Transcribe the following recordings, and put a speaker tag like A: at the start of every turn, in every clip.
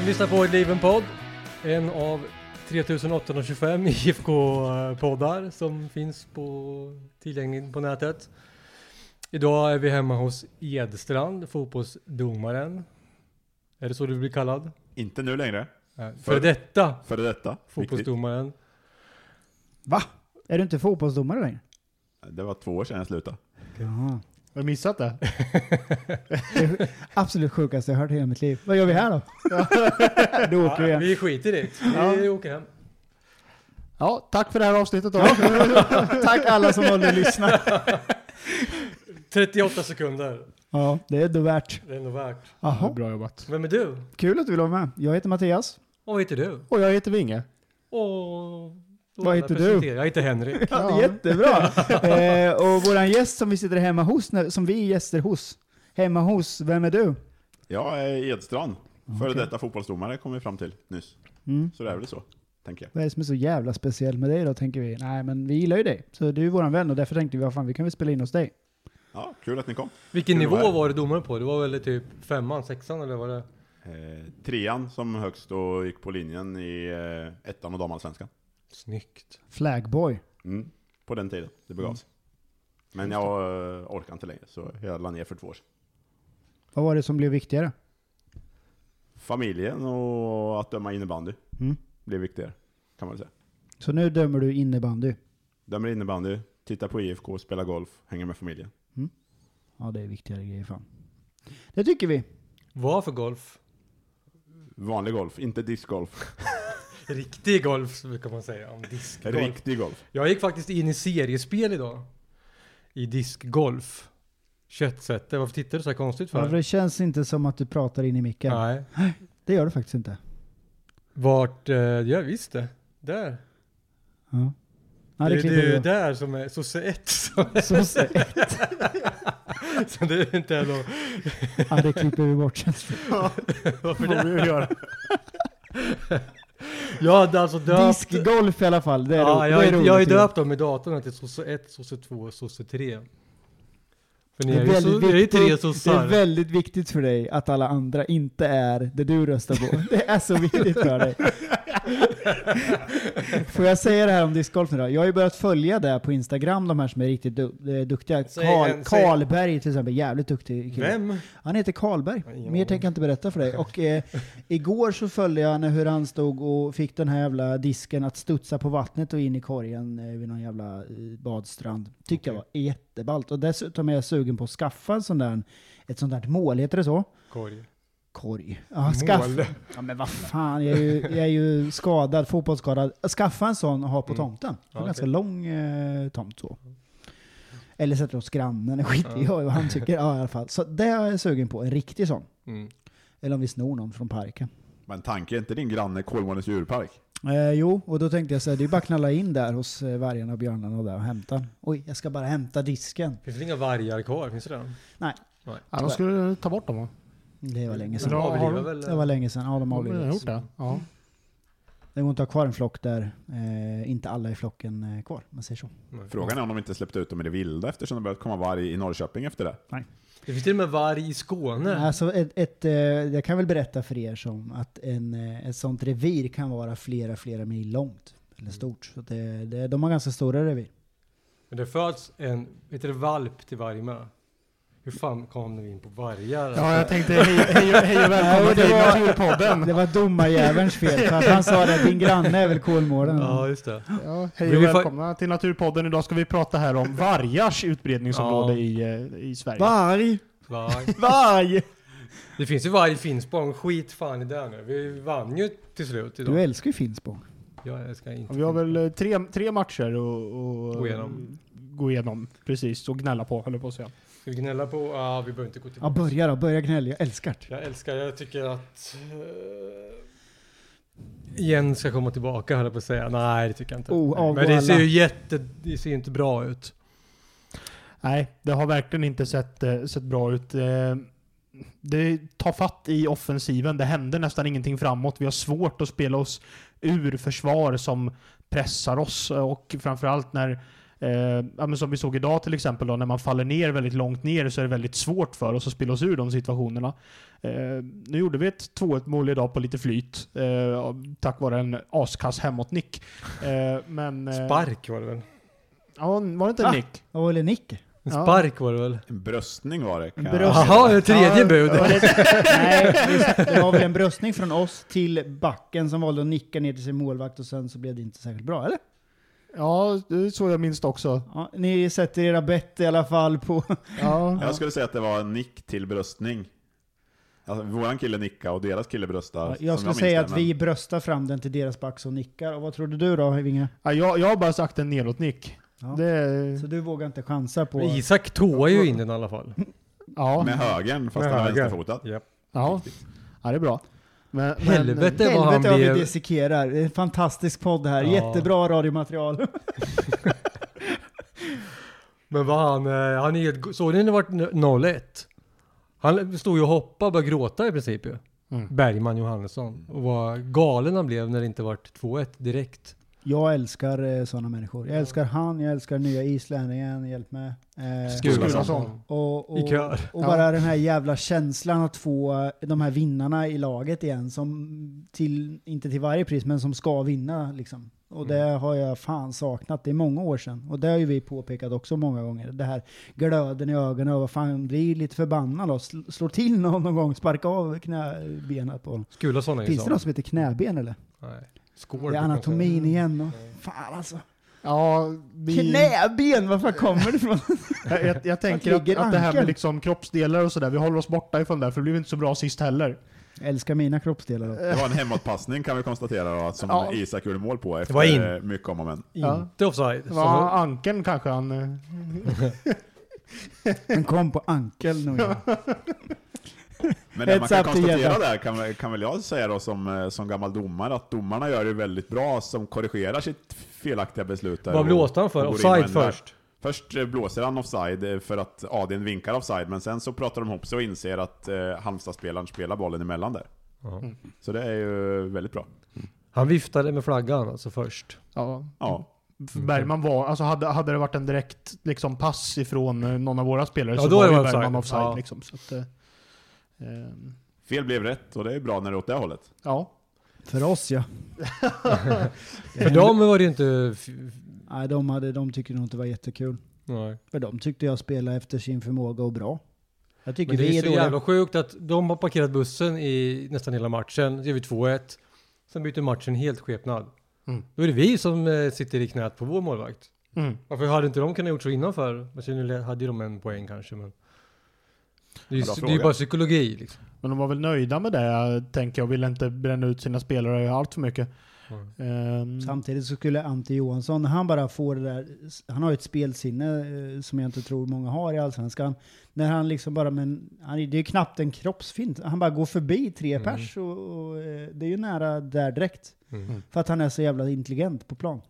A: Vi lyssnar på Liven podd, en av 3825 IFK-poddar som finns på, tillgänglig på nätet. Idag är vi hemma hos Edstrand, fotbollsdomaren. Är det så du blir kallad?
B: Inte nu längre.
A: Nej, Äh, För
B: För-
A: detta
B: Före detta.
A: fotbollsdomaren.
C: Va? Är du inte fotbollsdomare längre?
B: Viktigt. Det var två år sedan jag slutade.
C: Jaha.
D: Har du missat det?
C: Det är sj- absolut sjukaste jag hört i hela mitt liv. Vad gör vi här då? då åker vi
A: Ja,
C: igen.
A: vi skiter i det. Vi åker hem.
D: Ja, tack för det här avsnittet då.
C: Tack alla som håller och lyssnar.
A: 38 sekunder.
C: Ja, det är ändå värt.
A: Det är nog värt.
C: Jaha,
D: Bra jobbat.
A: Vem är du?
C: kul att du vill vara med. Jag heter Mattias.
A: Och vad heter du?
D: Och jag heter Vinge.
A: Och...
C: Vad heter du?
A: Presentera. Jag heter Henrik.
C: Ja. Jättebra! Eh, och våran gäst som vi sitter hemma hos, när- som vi är gäster hos. Hemma hos, vem är du?
B: Jag är eh, Edstrand. Före detta fotbollsdomare kom vi fram till nyss.
C: Mm.
B: Så det är väl så, tänker jag.
C: Vad är det som är så jävla speciellt med dig då, tänker vi? Nej, men vi gillar ju dig. Så du är våran vän och därför tänkte vi, vad fan, vi kan väl spela in hos dig?
B: Ja, kul att ni kom.
A: Vilken
B: Kul att
A: nivå
B: vara här.
A: var du domare på? Det var väl typ femman, sexan eller vad det
B: Eh, trean som högst och gick på linjen i eh, ettan och damallsvenskan.
A: Snyggt.
C: Flagboy.
B: Mm. På den tiden det begav sig. Men jag eh, orkar inte längre, så jag la ner för två år sedan.
C: Vad var det som blev viktigare?
B: Familjen och att döma innebandy
C: Mm.
B: blev viktigare, kan man väl säga.
C: Så nu dömer du innebandy.
B: Dömer innebandy, tittar på IFK, spelar golf, hänger med familjen.
C: Ja, det är viktigare grejer fan. Det tycker vi.
A: Vad för golf?
B: Vanlig golf, inte discgolf.
A: Riktig golf brukar man säga om diskgolf.
B: Riktig golf.
A: Jag gick faktiskt in i seriespel idag. I diskgolf. Köttsätter. Varför tittar du så här konstigt
C: För
A: för?
C: det känns inte som att du pratar in i micken.
A: Nej.
C: Det gör du faktiskt inte.
A: Vart? Eh, ja visst det. Där.
C: Ja. Ja,
A: det,
C: det
A: är-
C: klipper
A: det är
C: vi
A: ju
C: då.
A: där som är sosse 1. Som,
C: Så se-
A: som det inte är någon...
C: ja, det klipper vi bort.
A: Varför
D: Får
A: det?
D: vi ju göra.
A: Jag hade alltså döpt...
C: Diskgolf i alla fall. Det är
A: ja,
C: ro-
A: jag,
C: det är
A: har- jag har ju
C: roligt.
A: döpt dem i datorn här till sosse 1, sosse 2 och sosse 3. För ni
C: Det
A: är,
C: är,
A: ju så,
C: väldigt
A: ni är ju tre
C: viktigt, det
A: sossar.
C: är väldigt viktigt för dig att alla andra inte är det du röstar på. Det är så viktigt för dig. Får jag säga det här om discgolf nu då? Jag har ju börjat följa det på Instagram, de här som är riktigt du- eh, duktiga.
A: Säg
C: Karl,
A: en- säg-
C: Karlberg till exempel, jävligt duktig kille.
A: Vem?
C: Han heter Karlberg.
A: Ja, ingen
C: Mer
A: aning.
C: tänker jag inte berätta för dig. Och eh, igår så följde jag när hur han stod och fick den här jävla disken att studsa på vattnet och in i korgen eh, vid någon jävla eh, badstrand. Tyckte jag var jätteballt. Och dessutom är jag sugen på att skaffa en sån där, ett sånt där mål, heter det så?
A: Korg.
C: Korg. Ja, skaffa. Ja men vad fan, jag är ju, jag är ju skadad, fotbollsskadad. Skaffa en sån och ha på
A: Mm.
C: tomten. Det är
A: Ja,
C: ganska
A: okej.
C: lång eh, tomt så. Eller sätta hos grannen, skit i
A: Ja.
C: vad han tycker. Ja, i alla fall. Så det är jag sugen på, en riktig sån.
A: Mm.
C: Eller om vi snor någon från parken.
B: Men tanken är inte din granne Kolmårdens djurpark?
C: Eh, jo, och då tänkte jag så här, det är bara att knalla in där hos eh, vargarna och björnarna och där och hämta. Oj, jag ska bara hämta disken.
A: Finns det inga vargar kvar? Finns det det?
C: Tyvärr.
D: Annars skulle du ta bort dem va?
C: Det var länge
A: De
C: sedan.
A: avlivar
D: har-
A: väl?
C: Det var länge sedan. Ja, de
D: Har du
C: avlivades.
D: gjort det? Ja.
C: Det går inte att ha kvar en flock där eh, inte alla i flocken eh, kvar, om man säger så.
B: Frågan är om de inte släppte ut dem i det vilda eftersom det börjat komma varg i Norrköping efter det.
A: Det finns till och med varg i Skåne.
C: Alltså ett, ett, eh, jag kan väl berätta för er som att en, eh, ett sånt revir kan vara flera, flera mil långt. Eller stort. Så att det, det, de har ganska stora revir.
A: Men det föds en, heter det valp till varje med? Hur fan kom du in på vargar?
D: Ja, jag tänkte hej, hej, hej och välkomna
C: Nej, det
D: till
C: var-
D: Naturpodden.
C: Det var domarjävelns fel, för att han sa det, din granne är väl Kolmården.
A: Ja, just det.
D: Ja, hej
A: Vill
D: och
A: vi fa-
D: välkomna till Naturpodden. Idag ska vi prata här om vargars utbredningsområde
A: Ja.
D: i, eh, i Sverige.
C: Varg!
A: Varg.
C: Varg!
A: Det finns ju varg i Finspång. Skit fan i det nu. Vi vann ju till slut
C: Du
A: idag.
C: älskar ju Finspång.
A: Jag ska inte.
D: Vi har väl eh, tre, tre matcher att
A: Gå igenom.
D: gå igenom. Precis, och gnälla på, höll jag på att säga.
A: Ska vi gnälla på? Ja, vi behöver inte gå tillbaka.
C: Ja, börja då. Börja gnälla. Jag älskar det.
A: Jag älskar, jag tycker att... eh, Jens ska komma tillbaka höll jag på att säga. Nej, det tycker jag inte.
C: Oh, avgå
A: Men det ser
C: alla.
A: ju jätte... Det ser inte bra ut.
D: Nej, det har verkligen inte sett, eh, sett bra ut. Eh, Det tar fatt i offensiven. Det händer nästan ingenting framåt. Vi har svårt att spela oss ur försvar som pressar oss och framförallt när Eh, ja, men som vi såg idag till exempel, då, när man faller ner väldigt långt ner så är det väldigt svårt för oss att spela oss ur de situationerna. Eh, nu gjorde vi ett 2-1 mål idag på lite flyt, eh, tack vare en askass hemåtnick. Eh, men... Eh,
A: Spark var det väl?
D: Ja, var det inte
C: Va?
D: en nick?
C: Ja, eller Nick.
A: En
D: Ja.
A: spark var det väl?
B: En bröstning var det. kan jag-
D: bröstning.
A: Jaha, det är tredje
D: Ja,
A: bud.
D: ja, det-
C: Nej, visst, det var väl en bröstning från oss till backen som valde att nicka ner till sin målvakt och sen så blev det inte särskilt bra, eller?
D: Ja, det är så jag minns det också.
C: Ja, ni sätter era bett i alla fall på...
D: Ja.
B: Jag skulle säga att det var en nick till bröstning. Alltså, våran kille nickade och deras kille bröstade. som
C: Jag skulle
B: minns
C: säga
B: det,
C: att
B: men-
C: vi bröstar fram den till deras back som nickar. Och vad trodde du då, Vinge?
D: Ja, jag, jag har bara sagt en nedåtnick.
C: Ja.
D: Det,
A: Mm.
C: Så du vågar inte chansa på...
A: Men Isak tåar ju in den i alla fall.
D: ja,
B: Med högern, fast
A: Med
B: han var
A: höger.
B: vänsterfotad.
A: Japp.
D: ja. ja, det är bra. Men, men-
A: Helvete vad han
C: Helvete vad vi
A: blev...
C: dissekerar. Det är en fantastisk podd här.
A: Ja.
C: Jättebra radiomaterial.
A: Men vad han... eh, han är, ju- såg ni när det vart 0-1? Han stod ju och hoppade och började gråta i princip ju.
D: Mm.
A: Bergman Johannesson. Och vad galen han blev när det inte vart 2-1 direkt.
C: Jag älskar sådana människor. Jag älskar han, jag älskar nya islänningen, hjälp mig. Eh,
D: Skulason.
C: och, och,
A: I kör.
C: och
D: Ja.
C: bara den här jävla känslan att få eh, de här vinnarna i laget igen, som till, inte till varje pris, men som ska vinna. Liksom. Och det
A: Mm.
C: har jag fan saknat, det är många år sedan. Och det har ju vi påpekat också många gånger. Det här glöden i ögonen och vad fan, bli lite förbannad och sl- slå till någon, någon gång, sparka av knäbenet på honom.
A: Skulason är ju
C: Finns det
A: sån.
C: något som heter knäben eller?
A: Nej. Skål,
C: Det är anatomin igen och...
A: Mm.
C: Fan alltså.
D: Ja, vi,
C: Knäben, var fan kommer det ifrån?
D: jag, jag, jag tänker
C: Vart
D: att,
C: ligger
D: att det här med
C: ankeln?
D: liksom kroppsdelar och sådär, vi håller oss borta ifrån det, för det blev inte så bra sist heller.
C: Jag älskar mina kroppsdelar. Då.
B: Det var en hemåtpassning kan vi konstatera då, som
D: Ja.
B: Isak gjorde mål på efter
A: var in.
B: eh, mycket om och men.
D: Ja.
A: Inte offside.
D: Det
A: Så-
D: var ankeln kanske han... eh,
C: Den kom på ankeln nog. ja.
B: Men det man
C: Heads
B: kan
C: up till
B: konstatera
C: Gädda.
B: där kan, kan väl jag säga då som, eh, som gammal domare att domarna gör det väldigt bra som korrigerar sitt felaktiga beslut. där
A: Vad
B: och-
A: blåste han för?
B: och går in och
A: Offside
B: ändrar.
A: först?
B: Först eh, blåser han offside eh, för att ADn vinkar offside, men sen så pratar de ihop sig och inser att eh, Halmstad-spelaren spelar bollen emellan där.
A: Ja.
B: Så det är ju väldigt bra.
A: Han viftade med flaggan alltså först.
D: Ja.
B: Ja.
D: Bergman var, alltså hade, hade det varit en direkt liksom, pass ifrån eh, någon av våra spelare
A: Ja,
D: så
A: då
D: var
A: är det
D: ju
A: offside.
D: Bergman offside.
A: Ja.
D: Liksom, så att, eh, eh,
B: Fel blev rätt och det är bra när det är åt det hållet.
D: ja.
C: För oss ja.
A: För dem var det ju inte... f- f-
C: Nej, de, hade, de tyckte nog inte det var jättekul.
A: Nej.
C: För de tyckte jag spelade efter sin förmåga och bra. Jag tycker
A: Men det
C: vi
A: är
C: är
A: så
C: dåliga.
A: jävla sjukt att de har parkerat bussen i nästan hela matchen. Så gör vi 2-1. Sen byter matchen helt skepnad.
D: Mm.
A: Då är det vi som eh, sitter i knät på vår målvakt.
D: Mm.
A: Varför hade inte de kunnat gjort så innan för? Men sen le- hade ju de en poäng kanske men... Det är ju
B: Bra
A: det är ju
B: fråga.
A: bara psykologi liksom.
D: Men de var väl nöjda med det, tänker jag. Ville inte bränna ut sina spelare allt för mycket.
A: Mm.
D: Ehm,
C: Samtidigt så skulle Ante Johansson, när han bara får det där, han har ju ett spelsinne eh, som jag inte tror många har i Allsvenskan. När han liksom bara, men han, det är ju knappt en kroppsfint. Han bara går förbi tre
A: Mm.
C: pers och, och eh, det är ju nära där direkt.
A: Mm.
C: För att han är så jävla intelligent på plan.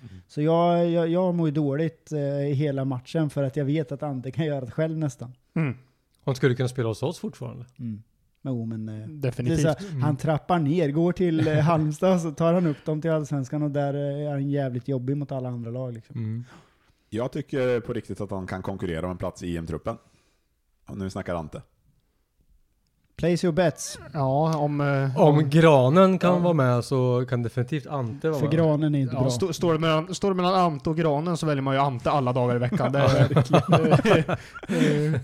D: Mm.
C: Så jag, jag, jag mår ju dåligt eh, i hela matchen för att jag vet att Ante kan göra det själv nästan.
D: mm,
A: Han skulle kunna spela hos oss fortfarande.
C: Men, oh, men, eh, det är
D: definitivt. Mm.
C: så, här, Han trappar ner, går till eh, Halmstad så tar han upp dem till Allsvenskan och där eh, är han jävligt jobbig mot alla andra lag. Liksom.
A: Mm.
B: Jag tycker på riktigt att han kan konkurrera om en plats i EM-truppen. Och Nu snackar Ante.
C: Place your bets.
D: Ja, om... eh,
A: Om granen kan vara med så kan definitivt Ante vara
C: För
A: med.
C: granen är inte
D: Ja,
C: bra.
D: stå- står, det mellan, står det mellan Ante och granen så väljer man ju Ante alla dagar i veckan. Det, det,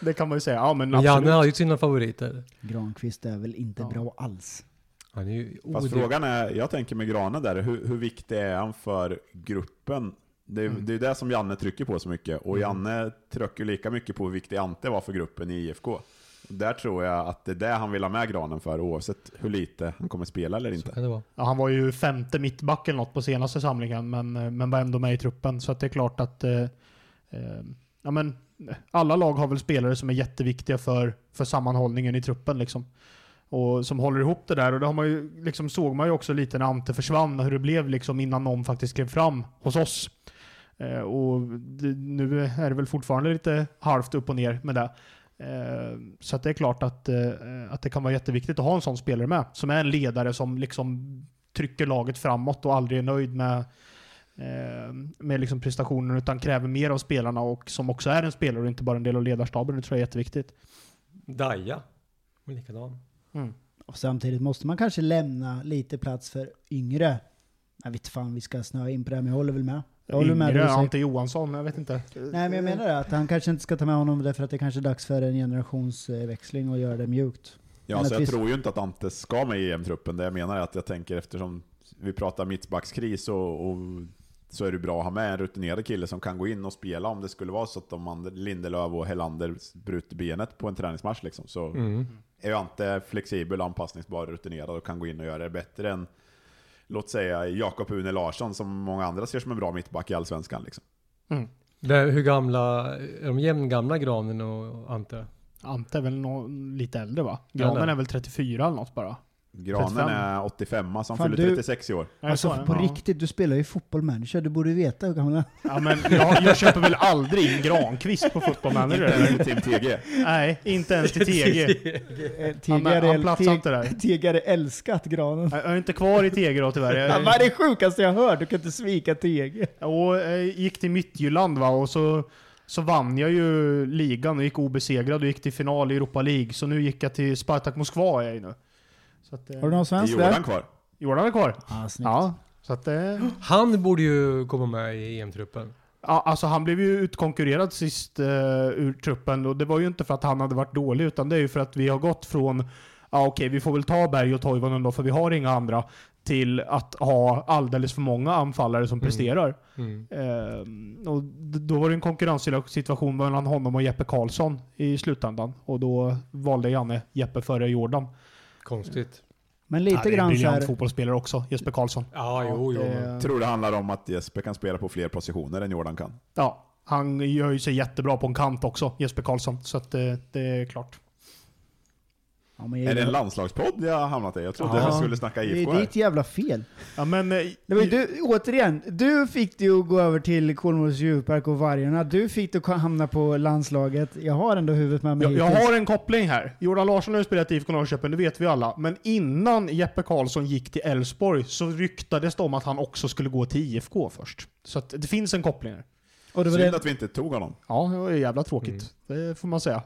D: det kan man ju säga. Ja, men
A: Men Janne
D: absolut.
A: har ju sina favoriter.
C: Granqvist är väl inte
D: Ja.
C: bra alls.
A: Han är ju
B: Fast
A: oduglig.
B: frågan är, jag tänker med Granen där, hur, hur viktig är han för gruppen? Det är
C: Mm.
B: ju det, är det som Janne trycker på så mycket, och Janne trycker lika mycket på hur viktig Ante var för gruppen i IFK. Där tror jag att det är det han vill ha med Granen för, oavsett hur lite han kommer spela eller
A: Så
B: inte.
A: kan det vara.
D: Ja, han var ju femte mittback eller något på senaste samlingen, men, eh, men var ändå med i truppen. Så att det är klart att eh, eh, ja, men, alla lag har väl spelare som är jätteviktiga för, för sammanhållningen i truppen. Liksom. Och som håller ihop det där. Och det har man ju, liksom, såg man ju också lite när Ante försvann, hur det blev liksom, innan någon faktiskt klev fram hos oss. Eh, och det, nu är det väl fortfarande lite halvt upp och ner med det. Eh, så att det är klart att, eh, att det kan vara jätteviktigt att ha en sån spelare med. Som är en ledare som liksom trycker laget framåt och aldrig är nöjd med, eh, med liksom prestationen utan kräver mer av spelarna och som också är en spelare och inte bara en del av ledarstaben. Det tror jag är jätteviktigt.
A: Daja. Men Likadan.
C: Och samtidigt måste man kanske lämna lite plats för yngre. Jag vet fan vi ska snöa in på det här, men jag håller väl med. Jag håller med det
D: Yngre
C: du säger.
D: Ante Johansson, jag vet inte.
C: Nej men jag menar det, att han kanske inte ska ta med honom därför att det kanske är dags för en generationsväxling och göra det mjukt.
B: Ja,
C: Men
B: så
C: att
B: jag
C: vi-
B: tror ju inte att Ante ska med i EM-truppen. Det jag menar är att jag tänker eftersom vi pratar mittbackskris och, och så är det bra att ha med en rutinerad kille som kan gå in och spela om det skulle vara så att de andra, Lindelöf och Helander bryter benet på en träningsmatch liksom. Så
C: Mm.
A: Mm.
B: är ju Ante flexibel, anpassningsbar, rutinerad och kan gå in och göra det bättre än låt säga Jakob Une Larsson som många andra ser som en bra mittback i Allsvenskan liksom.
A: Det, hur gamla, är de jämngamla granen och Ante?
D: Ante är väl nå- lite äldre va? Granen
A: Eller?
D: är väl 34 eller något bara?
B: Granen
D: 35.
B: är 85 så han
C: Fan,
B: fyller
C: du-
B: 36 i år.
D: Nej, så är
C: alltså
D: det.
C: på
D: Ja.
C: riktigt, du spelar ju fotboll manager, du borde veta hur gammal han är.
D: Ja, men jag, jag köper väl aldrig in Granqvist på Football Manager? eller?
B: Team TG.
D: Nej, inte ens till TG. Han- han
C: Eh, Tegare-
D: platsar inte där.
C: Tegare älskat granen.
D: Jag är inte kvar i TG då tyvärr. Jag-
C: Vad är det sjukaste jag hört? Du kan inte svika TG.
D: Och eh, gick till Midtjylland va och så, så vann jag ju ligan och gick obesegrad och gick till final i Europa League. Så nu gick jag till Spartak Moskva är jag i nu. Så att, eh,
C: Har du någon
B: Är
C: svensk
B: Jordan
C: där?
B: kvar?
D: Jordan är kvar.
C: Ah, snyggt.
D: Ja. Så att, eh,
A: Han borde ju komma med i EM-truppen.
D: ja, alltså han blev ju utkonkurrerad sist eh, ur truppen och det var ju inte för att han hade varit dålig utan det är ju för att vi har gått från ja okej, vi får väl ta Berg och Toivonen då för vi har inga andra till att ha alldeles för många anfallare som presterar.
A: Mm.
D: Ehm, och d- då var det en konkurrenssituation mellan honom och Jeppe Karlsson i slutändan. Och då valde Janne Jeppe före Jordan.
A: Konstigt.
C: Men
D: Han
C: lite
D: är en
C: grann så
D: briljant
C: här,
D: fotbollsspelare också, Jesper Karlsson.
A: Ja, jo, jo. men-
D: Eh,
B: Tror det handlar om att Jesper kan spela på fler positioner än Jordan kan.
D: ja, han gör ju sig jättebra på en kant också, Jesper Karlsson. Så att, eh, det är klart.
C: Ja, men
B: Är det en
C: jävla,
B: landslagspodd jag har hamnat i? Jag trodde
D: Ja.
B: jag skulle snacka
C: det
B: IFK
C: är
B: här.
C: ditt jävla fel.
D: Ja, men, eh,
C: Nej, men du, återigen, du fick det ju att gå över till Kolmårdens djurpark och Vargarna. Du fick det att hamna på landslaget. Jag har ändå huvudet med mig
D: jag, jag
C: hittills.
D: har en koppling här. Jordan Larsson har ju spelat i IFK Norrköpen, det vet vi alla. Men innan Jeppe Karlsson gick till Elfsborg så ryktades det om att han också skulle gå till IFK först. Så att, det finns en koppling här.
C: Och det var
B: Synd
C: det,
B: att vi inte tog honom.
D: Ja, det var ju jävla tråkigt. Det får man säga.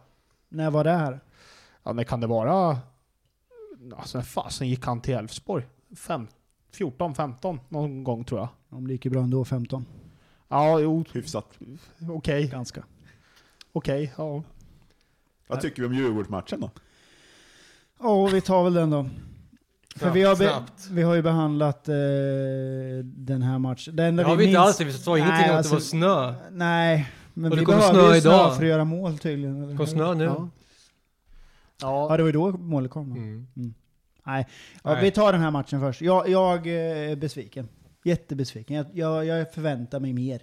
C: när var det här?
D: Ja, men kan det vara... Alltså när fasen gick han till Elfsborg? Fem- 14, 15 någon gång tror jag.
C: Om det gick ju bra ändå, 15.
D: Ja, jo,
B: Hyfsat.
D: okej,
C: Ganska.
D: okej, ja.
B: Vad tycker vi om Djurgårdsmatchen då?
C: Ja, vi tar väl den då. För vi har, be-
A: Snabbt.
C: vi har ju behandlat eh, den här matchen. Det enda
A: Det har vi
C: vi
A: inte
C: minns-
A: alls det. Vi sa ingenting
C: Nej,
A: om att
C: alltså-
A: det var snö.
C: Nej, men
A: Och det
C: vi
A: kommer
C: behöver
A: snö
C: ju snö
A: idag.
C: för att göra mål tydligen. eller
A: Det
C: hur?
A: kom snö nu.
D: Ja.
C: Ja,
D: Ja,
C: det var ju då målet kom. va?
A: Mm.
C: Nej. Ja,
A: Nej.
C: Vi tar den här matchen först. Jag, jag eh, är besviken. Jättebesviken. Jag, jag, jag förväntar mig mer.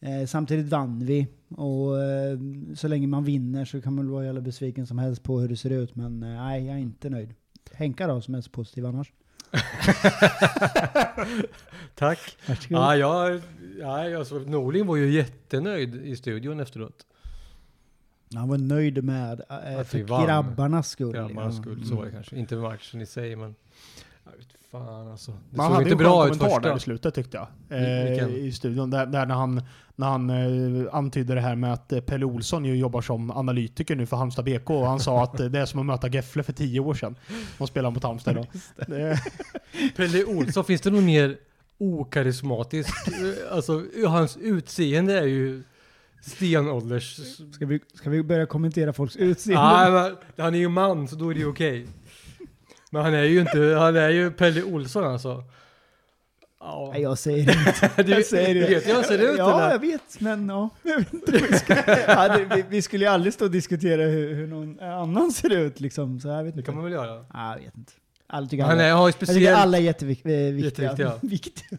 C: Eh, samtidigt vann vi. Och eh, så länge man vinner så kan man väl vara jävla besviken som helst på hur det ser ut. Men eh, nej, jag är inte nöjd. Henka då, som är så positiv annars.
A: Tack.
C: Varsågod.
A: Ja, jag, ja, alltså, Norling var ju jättenöjd i studion efteråt.
C: Han var nöjd med, eh,
A: Att
C: för
A: vi vann.
C: grabbarnas skull.
A: Grabbarnas
C: Ja.
A: skull, så var det kanske. Inte matchen i sig, men... Jag vet fan alltså. Det
D: Man
A: såg inte
D: hade ju en skön
A: bra ut
D: kommentar
A: första.
D: där i slutet tyckte jag.
A: Vil-
D: Eh,
A: vilken?
D: I studion. Där, där när han, när han eh, antydde det här med att eh, Pelle Olsson ju jobbar som analytiker nu för Halmstad BK och han sa att eh, det är som att möta Gefle för tio år sedan. De spelar mot Halmstad idag. Eh,
A: Pelle Olsson, finns det någon mer okarismatisk? eh, alltså hans utseende är ju stenålders...
C: Mm. Ska vi, ska vi börja kommentera folks utseende?
A: Nej, men han är ju man så då är det ju okej. Men han är ju inte, han är ju Pelle Olsson alltså. Ja.
C: Nej, jag säger det.
A: Du,
C: Jag säger det.
A: du vet hur han ser ut
C: Ja,
A: eller?
C: jag vet, men ja. Jag vet inte om vi, ska, ja det, vi, vi skulle ju aldrig stå och diskutera hur, hur någon annan ser ut liksom. Så jag vet
A: Det
C: inte.
A: kan man väl göra?
C: Ja, jag vet inte. Alla tycker
A: Han
C: alla.
A: är, har ju
C: Jag tycker
A: speciellt...
C: alla Alltså, är jätteviktiga.
A: Jätteviktiga.
C: Viktiga.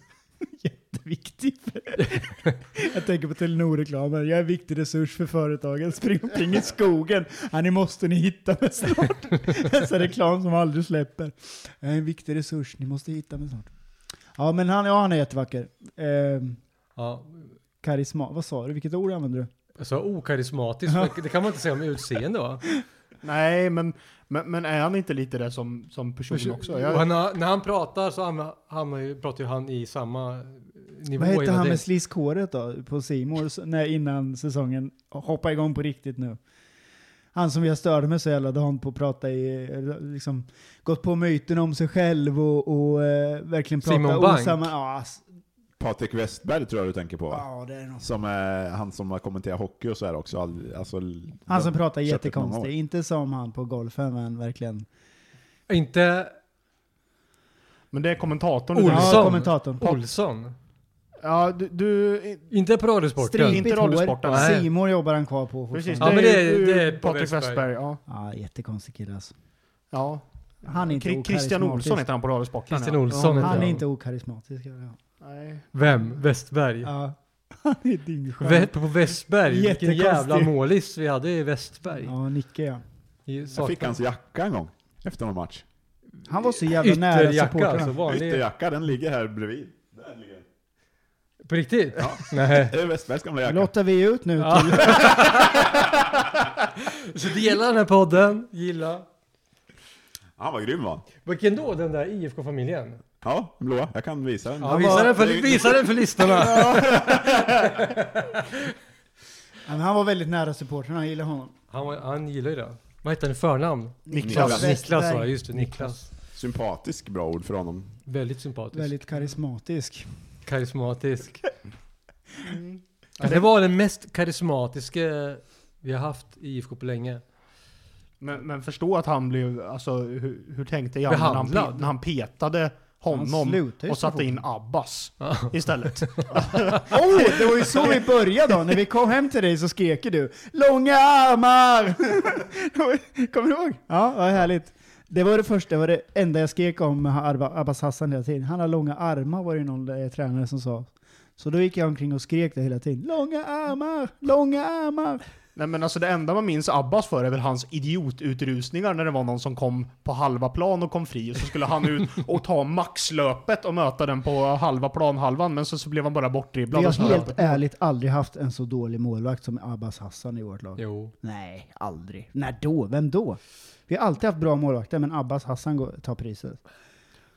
C: Jätteviktig. Jag tänker på Telenor-reklamen. Jag är en viktig resurs för företagen. Spring omkring i skogen. Ja, ni måste ni hitta mig snart. Dessa reklam som aldrig släpper. Jag är en viktig resurs. Ni måste hitta mig snart. Ja, men han, ja, han är jättevacker. Ehm,
A: Ja,
C: karisma. Vad sa du? Vilket ord använde du?
A: alltså okarismatisk,
C: Ja.
A: det- det kan man inte säga om utseende va?
D: nej, men, men, men är han inte lite det som, som person också?
A: Och
D: Jag,
A: han har, när han pratar så hamnar- hamnar ju- pratar ju han i samma nivå
C: Vad hette
A: hela
C: han
A: tiden.
C: med sliskhåret då? På Simor när innan säsongen hoppar igång på riktigt nu. Han som jag störde mig så jävla dant på att prata i, eh, liksom, gått på myten om sig själv och, och eh, verkligen prata
A: Simon Bank.
C: osamma... Ja, ass-
B: Patrik Westberg tror jag du tänker på va?
C: ja, det är något.
B: Som är han som har kommenterat hockey och så här också. All- Alltså,
C: Han som pratar
B: Köpte ett
C: jättekonstigt.
B: många år.
C: Inte som han på golfen, men verkligen.
A: Inte
D: men det är kommentatorn. du
A: Olsson.
D: tänker på.
C: Ja, kommentatorn.
A: Olsson.
D: Ja, du, du
A: Inte på radiosporten.
D: Strid.
C: Stripigt
D: Inte radiosporten.
C: hår.
A: Nej.
C: Simor jobbar han kvar på
D: Precis,
A: Ja,
C: fortfarande.
D: det,
A: men
D: är ju
A: det är Patrik
D: Patrik Westberg. Ja.
C: Ja, jättekonstig kille alltså.
D: Ja.
C: Han är inte
D: Kri- Christian
C: okarismatisk.
D: Olsson heter han på Radiosporten.
A: Christian
D: ja.
A: Olsson
D: Ja,
C: Han är
A: heter
C: inte okarismatisk. Ja.
D: Nej.
A: Vem? Westberg?
C: Ja. Han är dyngskön.
A: Vä- på Westberg, vilken
C: Jättekonstig.
A: jävla målis vi hade i Westberg.
C: Ja, Nicke ja.
A: I
B: Jag fick
A: saknar-
B: hans jacka en gång. Efter någon match.
C: Han var så jävla nära
A: Ytterjacka
C: supportrarna.
A: alltså, vanlig.
B: Ytterjacka, den ligger här bredvid. Där ligger den.
A: På riktigt?
B: Ja.
A: Nej.
B: Det är Westbergs gamla jacka.
C: Lottar vi ut nu
A: Ja.
C: till...
A: Så dela den här podden, gilla.
B: Han var grym va?
A: Vilken då den där IFK-familjen?
B: Ja, den blåa. Jag kan visa den.
A: Ja, visa, den för, visa den för lyssnarna!
C: Ja, men han var väldigt nära supportrarna, jag gillar honom.
A: Han, var- han gillar ju det. Vad heter han i förnamn?
D: Niklas.
C: Westberg.
A: Niklas va? Just det, Niklas.
B: Sympatisk bra ord för honom.
A: Väldigt sympatisk.
C: Väldigt karismatisk.
A: Karismatisk.
C: Mm.
A: Ja, det var den mest karismatiska vi har haft i IFK på länge.
D: Men, men förstå att han blev, alltså hur, hur tänkte jag när han,
A: Behandlad.
D: pe- när han petade
C: Han
D: honom
C: slutade ju
D: och satte in
C: supporten.
D: Abbas istället.
C: Oh, det var ju så vi började då. När vi kom hem till dig så skrek ju du “Långa armar!” Kommer du ihåg? Ja, vad härligt. Det var det första, det var det enda jag skrek om Arba, Abbas Hassan hela tiden. Han har långa armar var det ju någon eh, tränare som sa. Så då gick jag omkring och skrek det hela tiden. Långa armar, långa armar.
D: Nej men alltså det enda man minns Abbas för är väl hans idiotutrusningar när det var någon som kom på halva plan och kom fri och så skulle han ut och ta maxlöpet och möta den på halva planhalvan men så, så blev han bara
C: Vi
D: bortdribblad. och så
C: har
D: löpet.
C: helt ärligt aldrig haft en så dålig målvakt som Abbas Hassan i vårt lag.
A: Jo.
C: Nej, aldrig. När då? Vem då? Vi har alltid haft bra målvakter, men Abbas Hassan går, tar priset.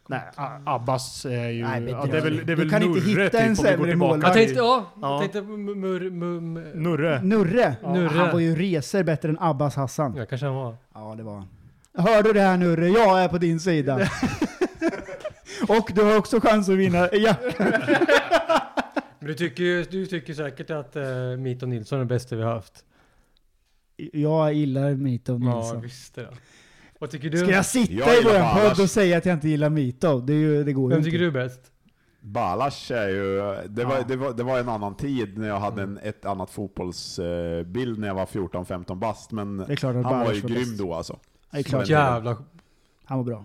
D: Nej, A- Abbas är ju...
C: Nej, men
D: ja,
C: det-
D: det är väl, det
C: du
D: är väl
C: kan inte
D: Nurre
C: hitta
D: typ,
C: en
D: om vi går
C: sämre
D: tillbaka
C: målvakt.
A: Jag
D: till-
A: tänkte, ja.
D: Ja.
A: Jag tänkte mur, mur, mur.
D: Nurre.
C: Nurre,
A: Nurre.
C: han var ju reser bättre än Abbas Hassan.
A: Ja, kanske han var.
C: Ja, det var han. Hör du det här Nurre? Jag är på din sida. Och du har också chans att vinna. Ja.
A: Men du tycker, ju- du tycker säkert att eh, Mito Nilsson är det bästa vi har haft.
C: Jag gillar Mito
A: Ja,
C: Nilsson.
A: visst är det. Vad tycker du?
C: Ska jag sitta
B: Jag
C: i
B: gillar
C: våran
B: Ballas.
C: podd och säga att jag inte gillar Mito? Det, är ju, det går ju
A: Vem
C: inte.
A: tycker du är bäst?
B: Balasch är ju, det var,
C: Ja.
B: det, var, det var en annan tid när jag hade en, ett annat fotbollsbild när jag var 14-15 bast, men
C: Det är klart att
B: han var
C: Ballas
B: ju
C: var
B: grym
C: bäst.
B: då alltså.
C: Ja, det är klart.
A: Jävla...
C: Han var bra.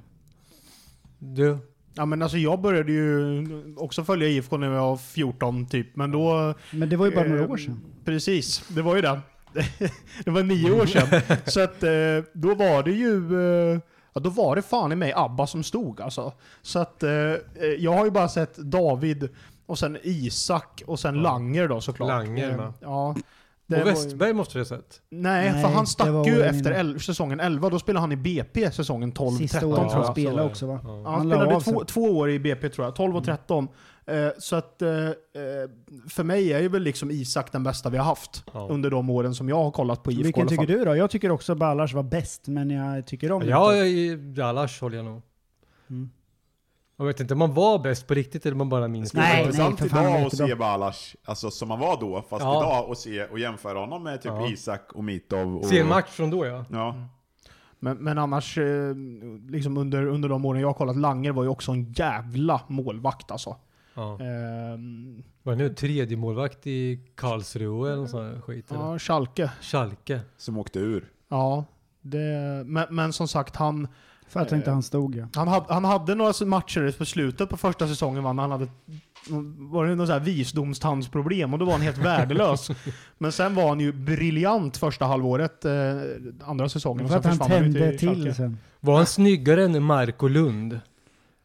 A: Du?
D: Ja men alltså jag började ju också följa IFK när jag var 14 typ, men då...
C: Men det var ju bara några
D: eh,
C: år sedan.
D: Precis, det var ju det. det var nio år sedan. Så att eh, då var det ju... eh, Ja, då var det fan i mig ABBA som stod alltså. Så att eh, jag har ju bara sett David och sen Isak och sen Langer då såklart.
A: Langer,
D: Eh,
A: va?
D: Ja. Det
A: och
D: var ju-
A: Westberg måste det ha sett.
D: Nej,
C: Nej,
D: för han
C: det var
D: stack ju
C: åren
D: efter
C: innan.
D: el- säsongen 11. Då spelade han i BP säsongen 12,
C: Sista
D: 13
C: året
D: tror
C: han
D: jag.
A: Ja,
C: spelade
A: så var det.
C: också va?
A: Ja.
D: Han,
C: Han la
D: spelade
C: av Mm. sen.
D: två, två år i BP tror jag, 12 och 13. Eh, så att eh, eh, för mig är ju väl liksom Isak den bästa vi har haft
A: Ja.
D: under de åren som jag har kollat på IFK i
C: Vilken
D: alla
C: tycker
D: fall.
C: du då? Jag tycker också Ballars var bäst, men jag tycker om
A: Ja,
C: Isak.
A: jag- i- Dallas håller jag nog.
C: Mm.
A: Jag vet inte om man var bäst på riktigt eller om man bara minns
B: Det är
C: Nej,
A: det.
B: intressant
C: nej, för fan,
B: idag att
C: jättebra.
B: se Balash, alltså som han var då, fast
A: Ja.
B: idag och, se, och jämföra honom med typ
A: Ja.
B: Isak och Mitov. Och,
A: Se en match från då ja.
B: Ja.
D: Men, men annars, eh, liksom under, under de åren jag har kollat, Langer var ju också en jävla målvakt alltså.
A: ja.
D: Ehm,
A: Var det nu tredje målvakt i Karlsruhe eller någon sån här skit? eller?
D: ja, Schalke.
A: Schalke.
B: Som åkte ur.
D: Ja, det, men, men som sagt, han,
C: För att inte han stod ja.
D: han, hade, han hade några matcher på slutet på första säsongen vann. Han hade var det något så här visdomstandsproblem och då var han helt värdelös. Men sen var han ju briljant första halvåret, eh, andra säsongen. och
C: För att
D: sen
C: han
D: försvann ju
C: tände
D: Schalke.
C: till sen.
A: Var han snyggare än Marco Lund?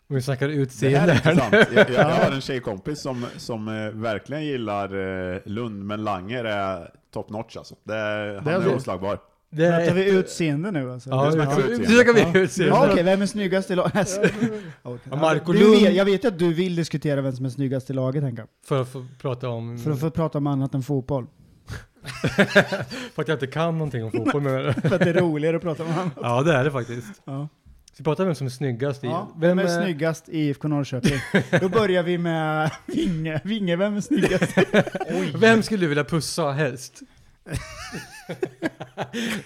A: Om vi snackar
B: Det här är
A: utseende.
B: intressant. Jag, jag, jag har en tjejkompis som, som eh, verkligen gillar eh, Lund, men Langer är top notch alltså. Det, han
D: Det är
B: är
D: så.
B: oslagbar.
A: Det
C: Pratar
A: är...
C: vi utseende nu alltså?
A: Ja,
B: Nu snackar vi
A: ut-
B: utseende.
A: nu snackar vi
C: Ja.
A: utseende.
C: Ja, okej, vem är snyggast i laget?
A: Ja, Marco
C: Du vet,
A: Lund.
C: jag vet ju att du vill diskutera vem som är snyggast i laget Henka.
A: För att få prata om...
C: För att få prata om annat än fotboll.
A: För att jag inte kan någonting om fotboll menar du?
C: För att det är roligare att prata om annat.
A: Ja det är det faktiskt.
C: Ja.
A: Ska vi prata om vem som är snyggast i...
C: Ja,
A: vem
C: vem är snyggast i IFK Norrköping? Då börjar vi med Vinge. Vinge, vem är snyggast?
A: Vem skulle du vilja pussa helst?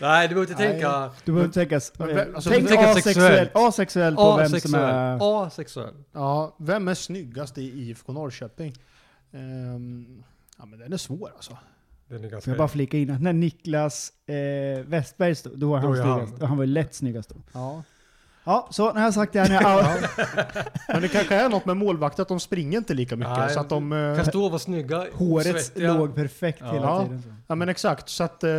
A: Nej, du behöver inte
C: Nej.
A: tänka
C: Du behöver tänka, s- eh,
D: Men vem- alltså,
C: tänk
A: tänk
C: asexuell,
A: sexuellt.
C: asexuell på vem som
A: asexuell.
C: är...
A: Asexuell.
D: Ja, vem är snyggast i IFK Norrköping? Ehm, ja, men den är svår alltså.
A: Den är
C: Får
A: ganska...
C: jag bara flika in att när Niklas eh, Westberg stod, då var han
A: Då är han.
C: snyggast. Han. han var ju lätt snyggast då.
D: Ja.
C: Ja, så när jag sagt det här, när jag,
D: Men det kanske är något med målvakter, att de springer inte lika mycket.
A: Nej,
D: så att de, eh,
A: Kan stå och vara snygga,
C: håret
A: svettiga.
C: låg perfekt
A: Ja.
C: hela
D: Ja.
C: tiden. Så.
D: Ja men exakt, så att eh,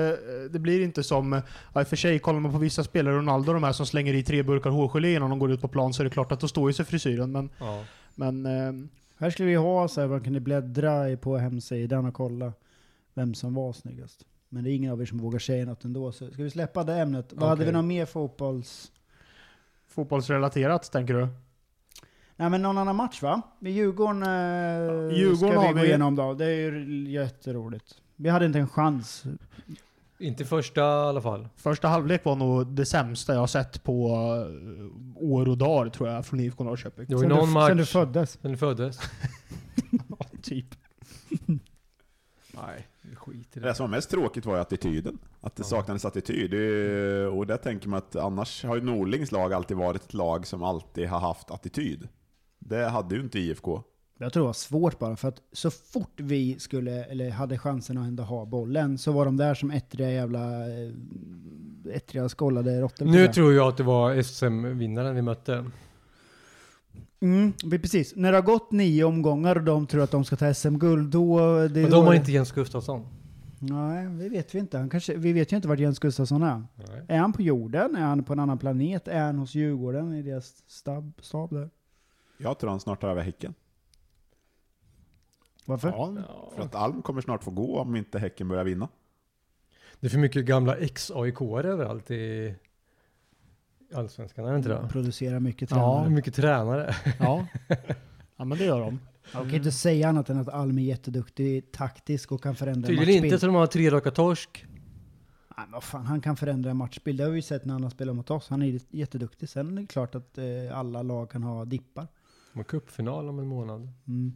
D: det blir inte som, eh, ja, i och för sig kollar man på vissa spelare, Ronaldo de här som slänger i tre burkar hårgelé innan de går ut på plan så är det klart att då står ju sig frisyren. Men,
A: Ja.
D: men eh,
C: Här skulle vi ha så här, man kunde bläddra i- på hemsidan och kolla vem som var snyggast. Men det är ingen av er som vågar säga något ändå, så ska vi släppa det ämnet? Vad hade
A: Okej.
C: vi någon mer fotbolls...
D: fotbollsrelaterat tänker du?
C: Nej men någon annan match va? Med Djurgården, eh,
D: Djurgården
C: ska vi
D: har
C: gå
D: vi-
C: igenom då. Det är ju jätteroligt. Vi hade inte en chans.
A: Inte första i alla fall.
D: Första halvlek var nog det sämsta jag har sett på eh, år och dagar tror jag, från IFK Norrköping.
A: Det var ju
C: sen,
A: någon
C: du,
A: match
C: sen du föddes.
A: sen du föddes.
D: Typ.
A: Nej, skit i
B: Det som var mest tråkigt var ju attityden. Att det
A: Ja.
B: saknades attityd. Det är ju- Och där tänker man att annars har ju Norlings lag alltid varit ett lag som alltid har haft attityd. Det hade ju inte IFK.
C: Jag tror det var svårt bara, för att så fort vi skulle, eller hade chansen att ändå ha bollen, så var de där som ettriga jävla... eh, Ettriga skållade råttor. på
A: Nu
C: det.
A: tror jag att det var SM-vinnaren vi mötte.
C: Mm, vi- precis. När det har gått nio omgångar och de tror att de ska ta SM-guld, då... Det är
A: Men
C: då
A: de har
C: det-
A: inte Jens Gustafsson.
C: Nej, det vet vi inte. Han kanske, vi vet ju inte vart Jens Gustafsson är.
A: Nej.
C: Är han på jorden? Är han på en annan planet? Är han hos Djurgården i deras stab, stab där?
B: Jag tror han snart tar över Häcken.
C: Varför?
D: Ja.
B: För att Alm kommer snart få gå om inte Häcken börjar vinna.
A: Det är för mycket gamla ex-AIK-are överallt i Allsvenskan, är det inte det?
C: Producerar mycket
A: Ja,
C: tränare.
A: mycket tränare.
D: Ja. ja men det gör de.
C: Jag kan inte säga annat än att Alm är jätteduktig taktisk och kan förändra
A: Tydligen
C: matchbild.
A: inte så de har tre raka torsk.
C: Nej, men vad fan, han kan förändra en matchbild. Det har vi ju sett när han har spelat mot oss. Han är ju jätteduktig. Sen är det klart att eh, alla lag kan ha dippar.
A: De har cupfinal om en månad.
C: Mm.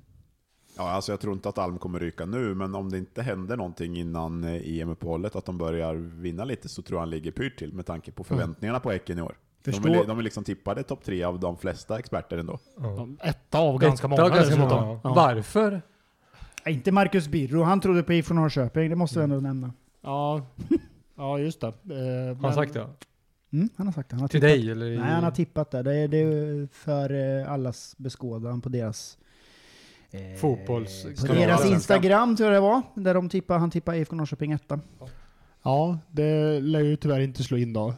B: Ja, alltså jag tror inte att Alm kommer ryka nu, men om det inte händer någonting innan eh, EM-uppehållet, att de börjar vinna lite, så tror jag han ligger pyrt till med tanke på förväntningarna på Häcken i år. De
C: Förstå-
B: är, li- de är liksom tippade topp tre av de flesta experter ändå.
A: Ja.
D: De, etta av ganska många
A: ganska
D: dessutom.
A: många.
D: Ja.
A: Varför?
C: Nej, Inte Marcus Birro, han trodde på IFK Norrköping, det måste vi ändå nämna.
D: Ja. ja, just det. Eh,
A: Har
D: men-
A: han sagt det?
C: Mm, han har sagt det. Han har
A: Till
C: tippat.
A: dig eller? i-
C: Nej, han har tippat det. Det är, det är för eh, allas beskådan på deras... Eh,
A: Fotbolls-
C: På
A: Ska
B: vi
C: deras
B: vara-
C: Instagram tror jag det var, där de tippar, han tippar IFK Norrköping etta.
D: Ja, det lär ju tyvärr inte slå in då. Eh,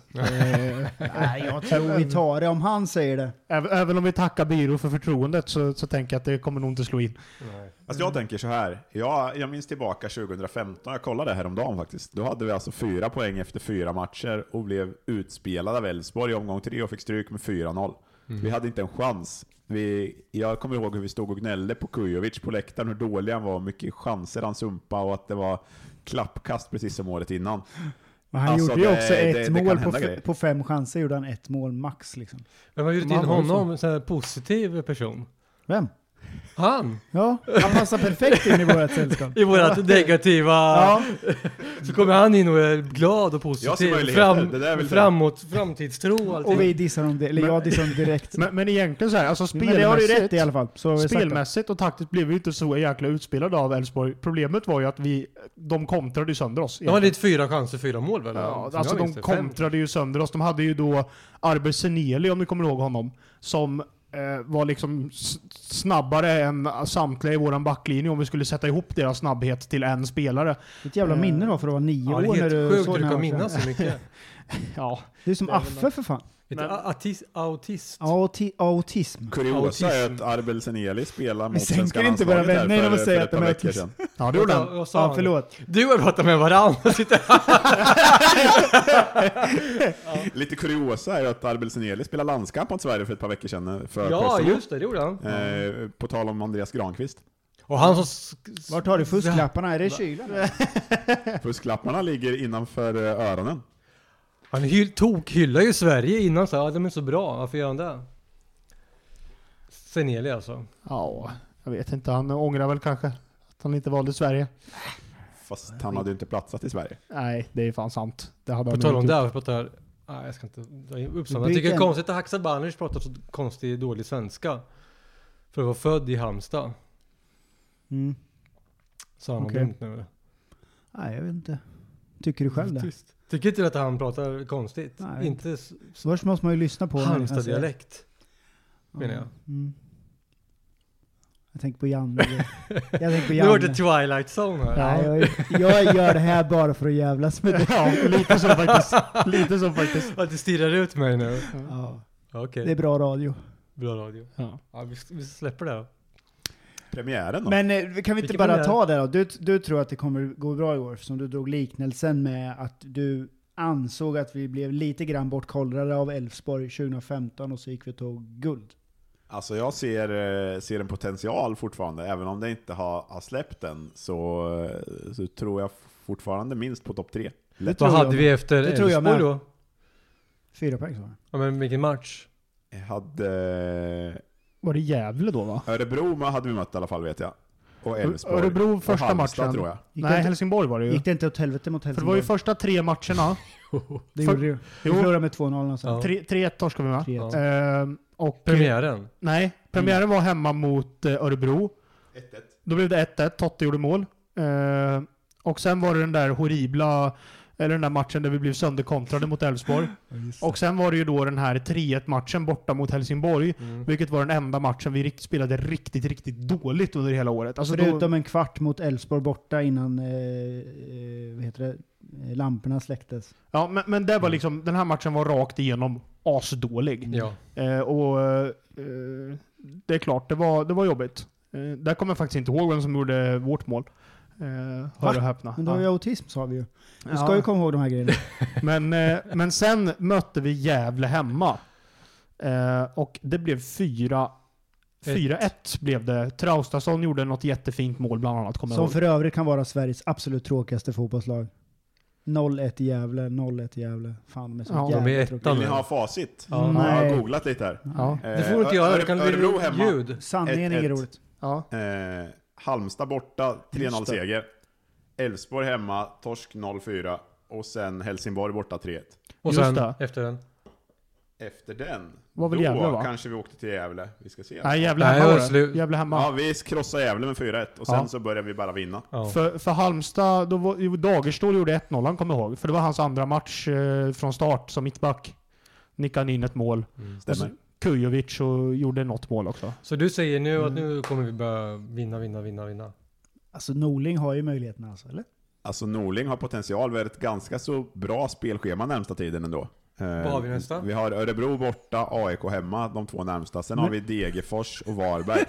C: Nej, jag tror vi tar det om han säger det.
D: även- Även om vi tackar byrå för förtroendet så, så tänker jag att det kommer nog inte slå in.
A: Nej.
B: Alltså
C: Mm.
B: jag tänker så här. Jag, jag minns tillbaka 2015, jag kollade häromdagen faktiskt. Då hade vi alltså fyra poäng efter fyra matcher och blev utspelade av Elfsborg i omgång tre och fick stryk med 4-0.
C: Mhm.
B: Vi hade inte en chans. Vi, jag kommer ihåg hur vi stod och gnällde på Kujovic på läktaren, hur dålig han var, hur mycket chanser han sumpade och att det var klappkast precis som året
C: Mm.
B: innan.
C: Men han
B: Alltså,
C: gjorde ju
B: det-
C: också
B: det-
C: ett
B: det kan
C: mål på,
B: hända grejer.
C: f- på fem chanser. gjorde han ett mål max. Liksom.
A: Men man har gjort in
C: Man var ju så.
A: honom, en sån här positiv person.
C: Vem?
A: Han!
C: Ja, han passar perfekt in i vårt sällskap.
A: I vårat negativa...
C: Ja,
A: Så kommer han in och är glad och
B: Jag ser
A: positiv.
B: möjligheter, det där är väl det.
A: framåt, framtidstro och allting.
C: och vi dissar om det, eller jag dissar om det direkt.
D: Men, men egentligen så här, alltså
C: Men det har du ju rätt i
D: spelmässigt,
C: alla fall. Så har vi sagt det.
D: spelmässigt och taktiskt blev vi inte så jäkla utspelade av Elfsborg. Problemet var ju att vi, de kontrade ju sönder oss.
A: De hade ett fyra chanser, fyra mål väl?
D: Ja,
A: Som
D: alltså
A: jag
D: de
A: minns det. Fem.
D: kontrade ju sönder oss. De hade ju då Arber Seneli, om ni kommer ihåg honom, som eh, var liksom s- snabbare än samtliga i våran backlinje om vi skulle sätta ihop deras snabbhet till en spelare.
C: Ett jävla minne då för att vara nio
A: Eh, Ja, det
C: år
A: är
C: när
A: helt
C: du
A: sjukt
C: såg
A: att
C: den
A: du
C: här
A: kan
C: matchen.
A: minnas så mycket.
D: Ja,
C: Du är som
A: Det är väl
C: Affe för fan.
A: Ett
D: Men-
A: autis, autist.
C: Auti- autism.
B: Kuriosa är
A: Autism.
B: att Arbel Seneli spelar
C: Vi
B: mot
C: sänker
B: svenska
C: inte våra
B: landslaget här
C: vänner genom
B: för,
C: att säga
B: för
C: att
B: ett
C: de
B: par
C: är
B: veckor
C: autister.
B: sedan.
D: ja det
A: Vad
D: gjorde
A: sa-
D: han.
A: vad sa
C: Ja,
A: han?
C: förlåt.
A: Du har pratat med varandra. Sitter här.
B: Lite kuriosa är att Arbel Seneli spelar landskamp mot Sverige för ett par veckor sedan eh, för
A: Ja,
B: Kosovo.
A: just det, det gjorde han.
B: Eh, på tal om Andreas Granqvist.
A: Och han som... sk-
C: Vart har du fusklapparna? Är det i kylen?
B: Fusklapparna ligger innanför eh, öronen.
A: Han hyll, tok, hyllar ju Sverige innan så här, ja, de är så bra, varför gör han det? Seneli alltså.
D: Ja, jag vet inte. Han ångrar väl kanske att han inte valde Sverige.
B: Fast han hade ju inte platsat i Sverige.
D: Nej, det är fan sant. Det hade
A: På
D: han
A: tal
D: nog
A: om
D: inte
A: det,
D: gjort.
A: här, vi pratar... Nej, jag ska inte dra in upp sådana. Jag
C: Vilken?
A: tycker det är konstigt att Haksabanovic pratar så konstig, dålig svenska. För att vara född i Halmstad.
C: Mm.
A: Sa han något
C: Okej.
A: dumt nu eller?
C: Nej, jag vet inte. Tycker du själv det?
A: Tyst. Tycker inte du att han pratar konstigt?
C: Nej, jag vet
A: inte s-
C: Så först måste man ju lyssna på när han säger-
A: Halmstad-dialekt. menar jag.
C: Mm. Jag tänker på Janne. alltså, Jag tänker på
A: Nu vart det
C: Janne.
A: Twilight Zone här.
C: Nej, jag, jag gör det här bara för att jävlas med dig.
D: Ja, lite så faktiskt. Lite så faktiskt.
A: Att du stirrar ut mig nu.
C: Ja,
A: Okej,
C: det är bra radio.
A: bra radio.
D: Ja.
A: Ja, vi, vi släpper det. här.
B: Premiären då?
C: Men eh, kan vi inte
A: Vilken
C: bara
A: premiär?
C: ta det då? Du, du tror att det kommer gå bra i år, som du drog liknelsen med att du ansåg att vi blev lite grann bortkollrade av Elfsborg 2015 och så gick vi och tog guld.
B: Alltså jag ser, eh, ser en potential fortfarande, även om det inte har, har släppt än så, eh, så tror jag fortfarande minst på topp tre.
C: Det
A: Vad
C: tror
A: hade
C: jag.
A: vi efter
C: Det tror jag
A: Elfsborg
C: med.
A: då?
C: Fyra poäng sa
A: Ja men vilken match.
B: Jag hade
D: Var det Gävle då va?
B: eh, Örebro men hade vi mött i alla fall vet jag. Och Elfsborg.
D: Örebro
B: och
D: första
B: Halmstad,
D: matchen.
B: tror jag.
C: Gick det
D: Nej,
C: inte-
D: Helsingborg var det ju.
C: Gick det inte åt helvete mot
D: För det var ju
C: Helsingborg?
D: första tre matcherna.
C: Det
D: för-
C: gjorde det ju. Vi
D: Jo.
C: förlorade med 2-0 någonstans.
A: Ja.
D: Tre- 3-1 torskade vi med.
C: Tre-
A: Ja.
D: Ehm, och,
A: Premiären.
D: Nej, premiären var hemma mot eh, Örebro.
B: 1-1.
D: Då blev det 1-1, Totte gjorde mål. Eh, och sen var det den där horribla, eller den där matchen där vi blev sönderkontrade mot Elfsborg. och sen var det ju då den här 3-1 matchen borta mot Helsingborg.
A: Mm.
D: Vilket var den enda matchen vi rikt, spelade riktigt, riktigt dåligt under hela året. Alltså då,
C: Förutom en kvart mot Elfsborg borta innan eh, eh, vad heter det? Eh, lamporna släcktes.
D: ja, men, men det var liksom, den här matchen var rakt igenom asdålig.
A: Ja.
D: Eh, och eh, det är klart, det var, det var jobbigt. Eh, där kommer jag faktiskt inte ihåg vem som gjorde vårt mål. Eh,
C: Va?
D: hör och häpna.
C: Men det var ju
D: Ja.
C: autism sa vi ju. Du ska
D: Ja.
C: ju komma ihåg de här grejerna.
D: men, eh, men sen mötte vi Gävle hemma. Eh, och det blev 4 4-1 blev det. Traustason gjorde något jättefint mål bland annat, kommer jag
C: Som
D: ihåg.
C: för övrigt kan vara Sveriges absolut tråkigaste fotbollslag. 0-1 i Gävle, 0-1 i Gävle. Fan de är så
D: Ja, de
C: jävla
A: är
C: tråkiga.
B: Vill ni ha facit?
A: Ja.
B: Jag har
C: Nej.
B: googlat lite här.
D: Ja,
B: Eh,
A: Det får du inte göra,
B: Öre-
A: det kan bli
B: Örebro hemma.
A: ljud.
C: Sanningen är
B: Ett-
C: inget
B: ett.
C: roligt.
D: ja.
B: Eh, Halmstad borta, 3-0
C: Just det.
B: seger. Elfsborg hemma, torsk 0-4. Och sen Helsingborg borta 3-1.
A: Och
D: Just
A: sen
D: det.
A: efter den.
B: Efter den,
D: Var väl
B: då
D: Gävle, va?
B: kanske vi åkte till Gävle. Vi ska se.
D: Nej, Gävle
A: Nej,
D: hemma
A: det
D: var
A: var
D: det.
A: slut.
D: Gävle hemma.
B: Ja, vi krossade Gävle med 4-1 och sen
D: Ja.
B: så började vi bara vinna.
A: Ja.
D: För, för Halmstad, då var, jo, Dagerstål gjorde 1-0, han kommer jag ihåg. För det var hans andra match eh, från start som mittback. Nickade in ett mål.
B: Stämmer.
D: Kujovic och gjorde något mål också.
A: Så du säger
C: Mm.
A: nu att nu kommer vi börja vinna, vinna, vinna, vinna.
C: Alltså Norling har ju möjligheterna alltså, eller?
B: Alltså Norling har potential. Vi har ett ganska så bra spelschema närmsta tiden ändå. Vad
A: har vi nästa?
B: Vi har Örebro borta, AIK hemma, de två närmsta. Sen har vi Degerfors och Varberg.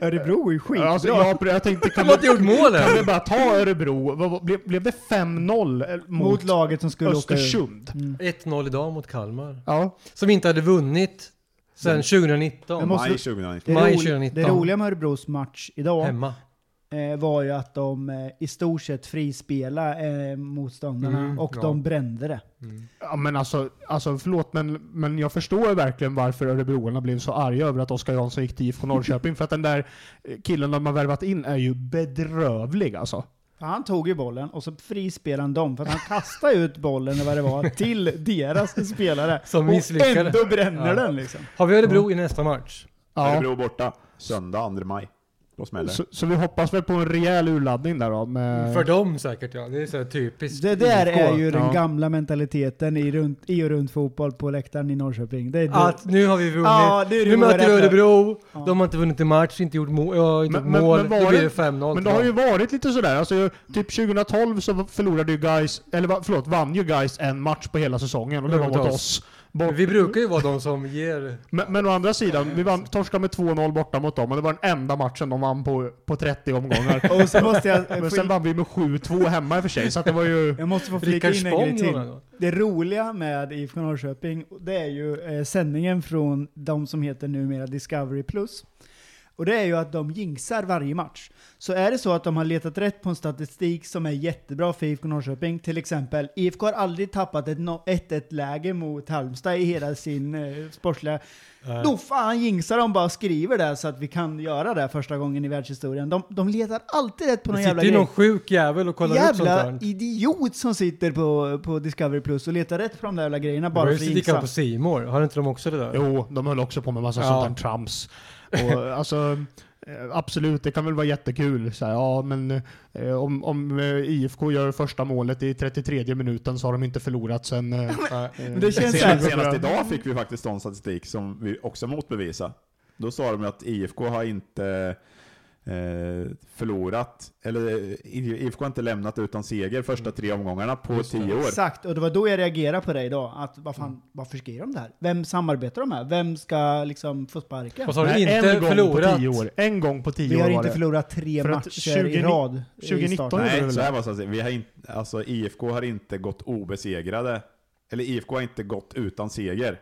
C: Örebro är ju skitbra.
D: Alltså, jag, jag tänkte, kan
A: De har inte gjort mål
D: Kan vi
A: än!
D: bara ta Örebro? Vad- vad- Blev, blev det 5-0 mot,
C: mot, laget som skulle åka ur.
D: Östersund?
A: 1-0 idag mot Kalmar.
D: Ja.
A: Som inte hade vunnit sedan
C: Men
A: 2019.
C: måste-
B: Maj 2019.
C: Det,
A: Maj
C: roli-
A: 2019.
C: det roliga med Örebros match idag
A: Hemma.
C: eh, var ju att de eh, i stort sett frispelade eh, motståndarna
A: Mm,
C: och
A: ja.
C: de brände det.
D: Ja men alltså, alltså förlåt men, men jag förstår verkligen varför örebroarna blev så arga över att Oskar Jansson gick till IFK Norrköping. för att den där eh, killen de har värvat in är ju bedrövlig alltså.
C: För han tog ju bollen och så frispelade han dem för att han kastade ut bollen eller vad det var till deras spelare.
A: Som misslyckades.
C: Och ändå bränner
A: Ja.
C: den liksom.
A: Har vi Örebro i nästa match?
D: Ja.
B: Örebro borta, söndag 2 maj. Då smäller det.
D: Så, så vi hoppas väl på en rejäl urladdning där då. Med...
A: För dem säkert ja, det är så här typiskt.
C: Det där
D: IFK,
C: är ju den
D: ja.
C: gamla mentaliteten i, runt, i och runt fotboll på läktaren i Norrköping. Det är
A: Att nu har vi vunnit,
C: Ja, det är det
A: nu
C: vi var
A: möter vi
C: rädda.
A: Örebro,
C: Ja.
A: de har inte vunnit en match, inte gjort mål, ja, inte
D: Men-
A: gjort
D: men-
A: mål.
D: men var
A: då blir
D: det-
A: det 5-0
D: Men
A: till
D: det har
A: dem.
D: ju varit lite sådär. Alltså, typ 2012 så förlorade ju guys eller va- förlåt, vann ju guys en match på hela säsongen och det var mot oss.
A: Men
D: Bort,
A: Vi brukar ju vara de som ger...
D: men, men å andra sidan, vi vann, torskade med 2-0 borta mot dem och det var den enda matchen de vann på, på 30 omgångar.
C: Du, och så måste jag,
D: Men
C: få
D: sen vann vi med 7-2 hemma i och för sig, så att det var ju...
C: jag måste få flika
A: Rickard
C: in en grej
A: Spång
C: till.
A: gjorde det då.
C: Det roliga med IFK Norrköping, det är ju eh, sändningen från de som heter numera Discovery Plus. Och det är ju att de jinxar varje match. Så är det så att de har letat rätt på en statistik som är jättebra för IFK Norrköping, till exempel IFK har aldrig tappat ett no- 1-1-läge mot Halmstad i hela sin eh, sportsliga... Då fan jinxar de bara och skriver det så att vi kan göra det första gången i världshistorien. De, de letar alltid rätt på någon
A: Det
C: jävla
A: sitter ju någon sjuk jävel och kollar upp sånt
C: jävla
A: där.
C: idiot som sitter på, på Discovery Plus och letar rätt på de där jävla grejerna
A: Det var
C: bara
A: ju
C: för
A: så
C: att
A: likadant
C: jinxa.
A: på C More. har inte de också det där?
D: Jo, de höll också på med massa
A: Ja.
D: sånt där trams. Och, alltså, eh, absolut, det kan väl vara jättekul. Så här, ja, men eh, om, om eh, IFK gör första målet i 33 minuten så har de inte förlorat sen... eh, eh,
C: det känns
D: sen-
C: så här-
B: Senast idag fick vi faktiskt sån statistik som vi också motbevisade. Då sa de att IFK har inte eh, förlorat, eller eh, IFK har inte lämnat utan seger första tre omgångarna på tio år.
C: Exakt, och det var då jag reagerade på det idag. Att vad fan, varför skriver de det här? Vem samarbetar de med? Vem ska liksom få sparken?
A: Och så har vi
D: Nej,
A: inte
D: en gång
A: förlorat.
D: På tio år. En gång på tio
C: Vi har
D: år var
C: inte
D: det.
C: förlorat tre
D: För att
C: matcher
D: 20
C: i rad. i
D: 2019
C: starten.
D: är det
B: Nej,
D: väl?
B: så här var det så att säga. vi har inte, alltså IFK har inte gått obesegrade, eller IFK har inte gått utan seger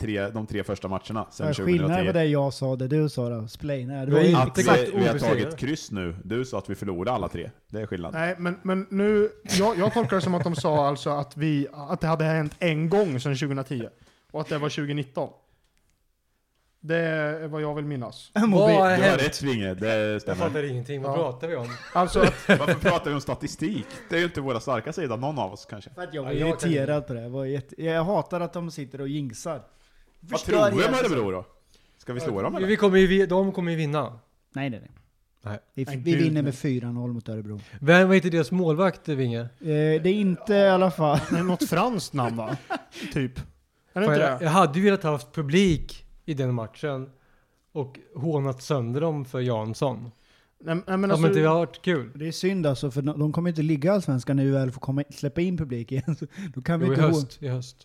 B: tre, de tre första matcherna
C: Det är
B: sedan
C: skillnad på
B: 2010.
C: det jag sa och det du sa då. Splaina. Det
A: Vi
C: var ju
A: är
B: Att vi,
A: Exakt
B: vi har
A: obesegrade.
B: tagit kryss nu. Du sa att vi förlorade alla tre. Det är skillnad.
D: Nej, men, men nu... Jag, jag tolkar det som att de sa alltså att, vi, att det hade hänt en gång sedan 2010. Och att det var 2019. Det är vad jag vill minnas.
A: Vad har
B: Du har
A: hänt?
B: rätt Svinge, det
A: Jag
B: stämmer.
A: fattar ingenting, vad
D: Ja.
A: pratar vi om?
D: Alltså att
B: Varför pratar vi om statistik? Det är ju inte våra starka sida, någon av oss kanske.
C: För att jag var
A: Ja, jag kan-
C: irriterad på det. Jag, var jätte... jag hatar att de sitter och jinxar.
B: Vad
C: Förstör
B: tror vi om
C: hela säsongen.
B: Örebro då? Ska vi slå dem eller?
A: Vi kommer ju, vi- de kommer ju vinna.
C: Nej, nej, nej.
A: Nej.
C: Vi,
D: Nej,
C: vi
D: gud,
C: vinner
D: nej.
C: med 4-0 mot Örebro.
A: Vem var inte deras målvakt, Vinge?
C: Eh, det är inte i alla fall.
D: Det är något franskt namn va? typ. Är det
A: Fan,
D: inte
A: Jag,
D: det?
A: jag hade ju velat haft publik i den matchen och hånat sönder dem för Jansson.
D: Nej, nej, men
A: Men
D: alltså,
A: Om inte det hade varit kul.
C: Det är synd alltså, för de de kommer inte ligga i Allsvenskan när UL får komma, släppa in publik igen. Så Då kan vi
A: Jo, i
C: inte gå.
A: höst. I höst.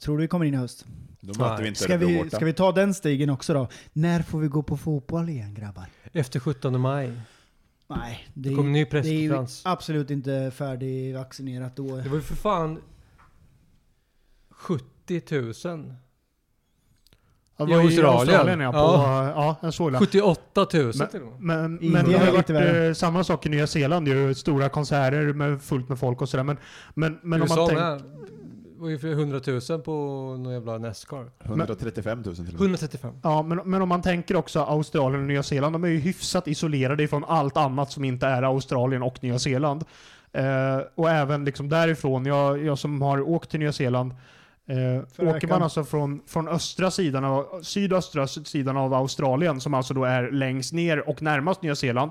C: Tror du vi kommer in i höst?
B: Då möter vi inte
C: Ska
B: Örebro
C: vi,
B: borta.
C: ska vi ta den stigen också då? När får vi gå på fotboll igen grabbar?
A: Efter 17 maj.
C: Nej, det är,
A: kommer en ny
C: det är ju
A: presskonferens.
C: absolut inte färdigvaccinerat då.
A: Det var ju för fan 70 000.
D: det
A: i
D: var i
A: Australien.
D: Australien ja. På,
A: Ja.
D: ja, jag såg det.
A: 78 000
D: Men-
A: till och med.
D: Men, men
C: Indien
D: det har
C: är
D: ju varit
C: lite värre.
D: eh, samma sak i Nya Zeeland ju. Stora konserter med fullt med folk och sådär. Men, men, men om man
A: USA
D: tänker...
A: med. Det var ju för 100 000 på någon jävla Nascar.
B: Mm. 135 000 till och med.
A: 135.
D: Ja, men, men om man tänker också Australien och Nya Zeeland, de är ju hyfsat isolerade ifrån allt annat som inte är Australien och Nya Zeeland. Eh, och även liksom därifrån, jag, jag som har åkt till Nya Zeeland, eh,
C: Förra
D: åker man
C: veckan.
D: alltså från, från östra sidan av, sydöstra sidan av Australien, som alltså då är längst ner och närmast Nya Zeeland,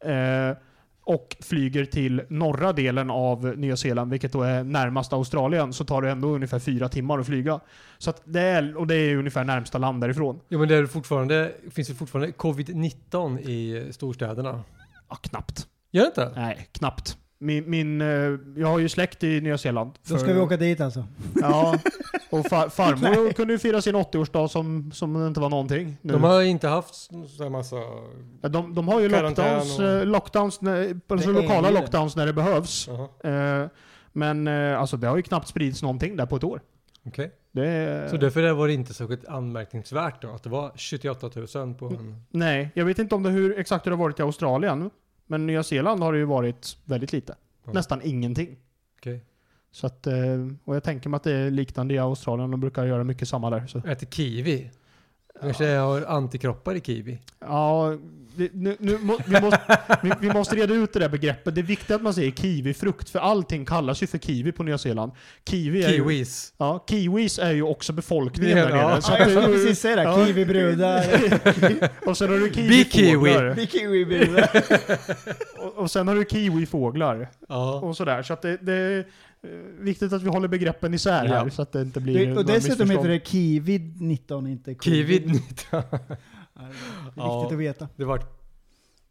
D: eh, och flyger till norra delen av Nya Zeeland, vilket då är närmast Australien, så tar det ändå ungefär fyra timmar att flyga. Så att det är, och det är ungefär närmsta land därifrån.
A: Jo men det är fortfarande, finns det fortfarande covid-19 i storstäderna?
D: Ja, knappt.
A: Gör det inte?
D: Nej, knappt. Min, min, eh, jag har ju släkt i Nya Zeeland.
C: Då ska
D: För-
C: vi åka dit alltså.
D: Ja. Och far, farmor kunde ju fira sin 80-årsdag som, som det inte var någonting. Nu.
A: De har inte haft så här massa...
D: Ja, de, de har ju
A: Karantän
D: lockdowns,
A: och-
D: eh, lockdowns när, alltså
C: Det är
D: lokala
C: ju det.
D: lockdowns när det behövs.
A: Jaha,
D: Eh, Men eh, alltså det har ju knappt spridits någonting där på ett år.
A: okej.
D: Det är,
A: Så därför det var det inte särskilt anmärkningsvärt då att det var 78 000 på en...
D: Nej, jag vet inte om det hur, exakt hur det har varit i Australien. Men Nya Zeeland har det ju varit väldigt lite.
A: Ja.
D: Nästan ingenting.
A: Okej.
D: Så att, eh, och jag tänker mig att det är liknande i Australien. De brukar göra mycket samma där. Så.
A: Äter kiwi. Kanske jag har antikroppar i kiwi.
D: Ja, det, nu, nu, må- vi, måste, vi, vi måste reda ut det där begreppet. Det är viktigt att man säger kiwifrukt, för allting kallas ju för kiwi på Nya Zeeland. Kiwi är Ju,
A: Kiwis.
D: ja, kiwis är ju också befolkningen
A: Ja,
D: där nere.
A: ja.
D: Så
C: Ja,
D: att
C: jag
D: det är
C: skulle
D: ju-
C: precis säga det.
D: ja.
C: Kiwibrudar.
D: Och sen har du
A: Be
D: kiwifåglar.
C: Kiwibrudar.
D: Och, och sen har du kiwifåglar.
A: Ja.
D: Och sådär. Så att det, det är eh, viktigt att vi håller begreppen isär här.
A: Ja.
D: Så att det inte blir
C: Det-
D: några
C: Och dessutom heter
D: missförstånd.
C: det Kiwi-19, inte
A: Kiwi.
C: covid. Ja, Det är viktigt
A: Ja.
C: att veta.
A: Det vart...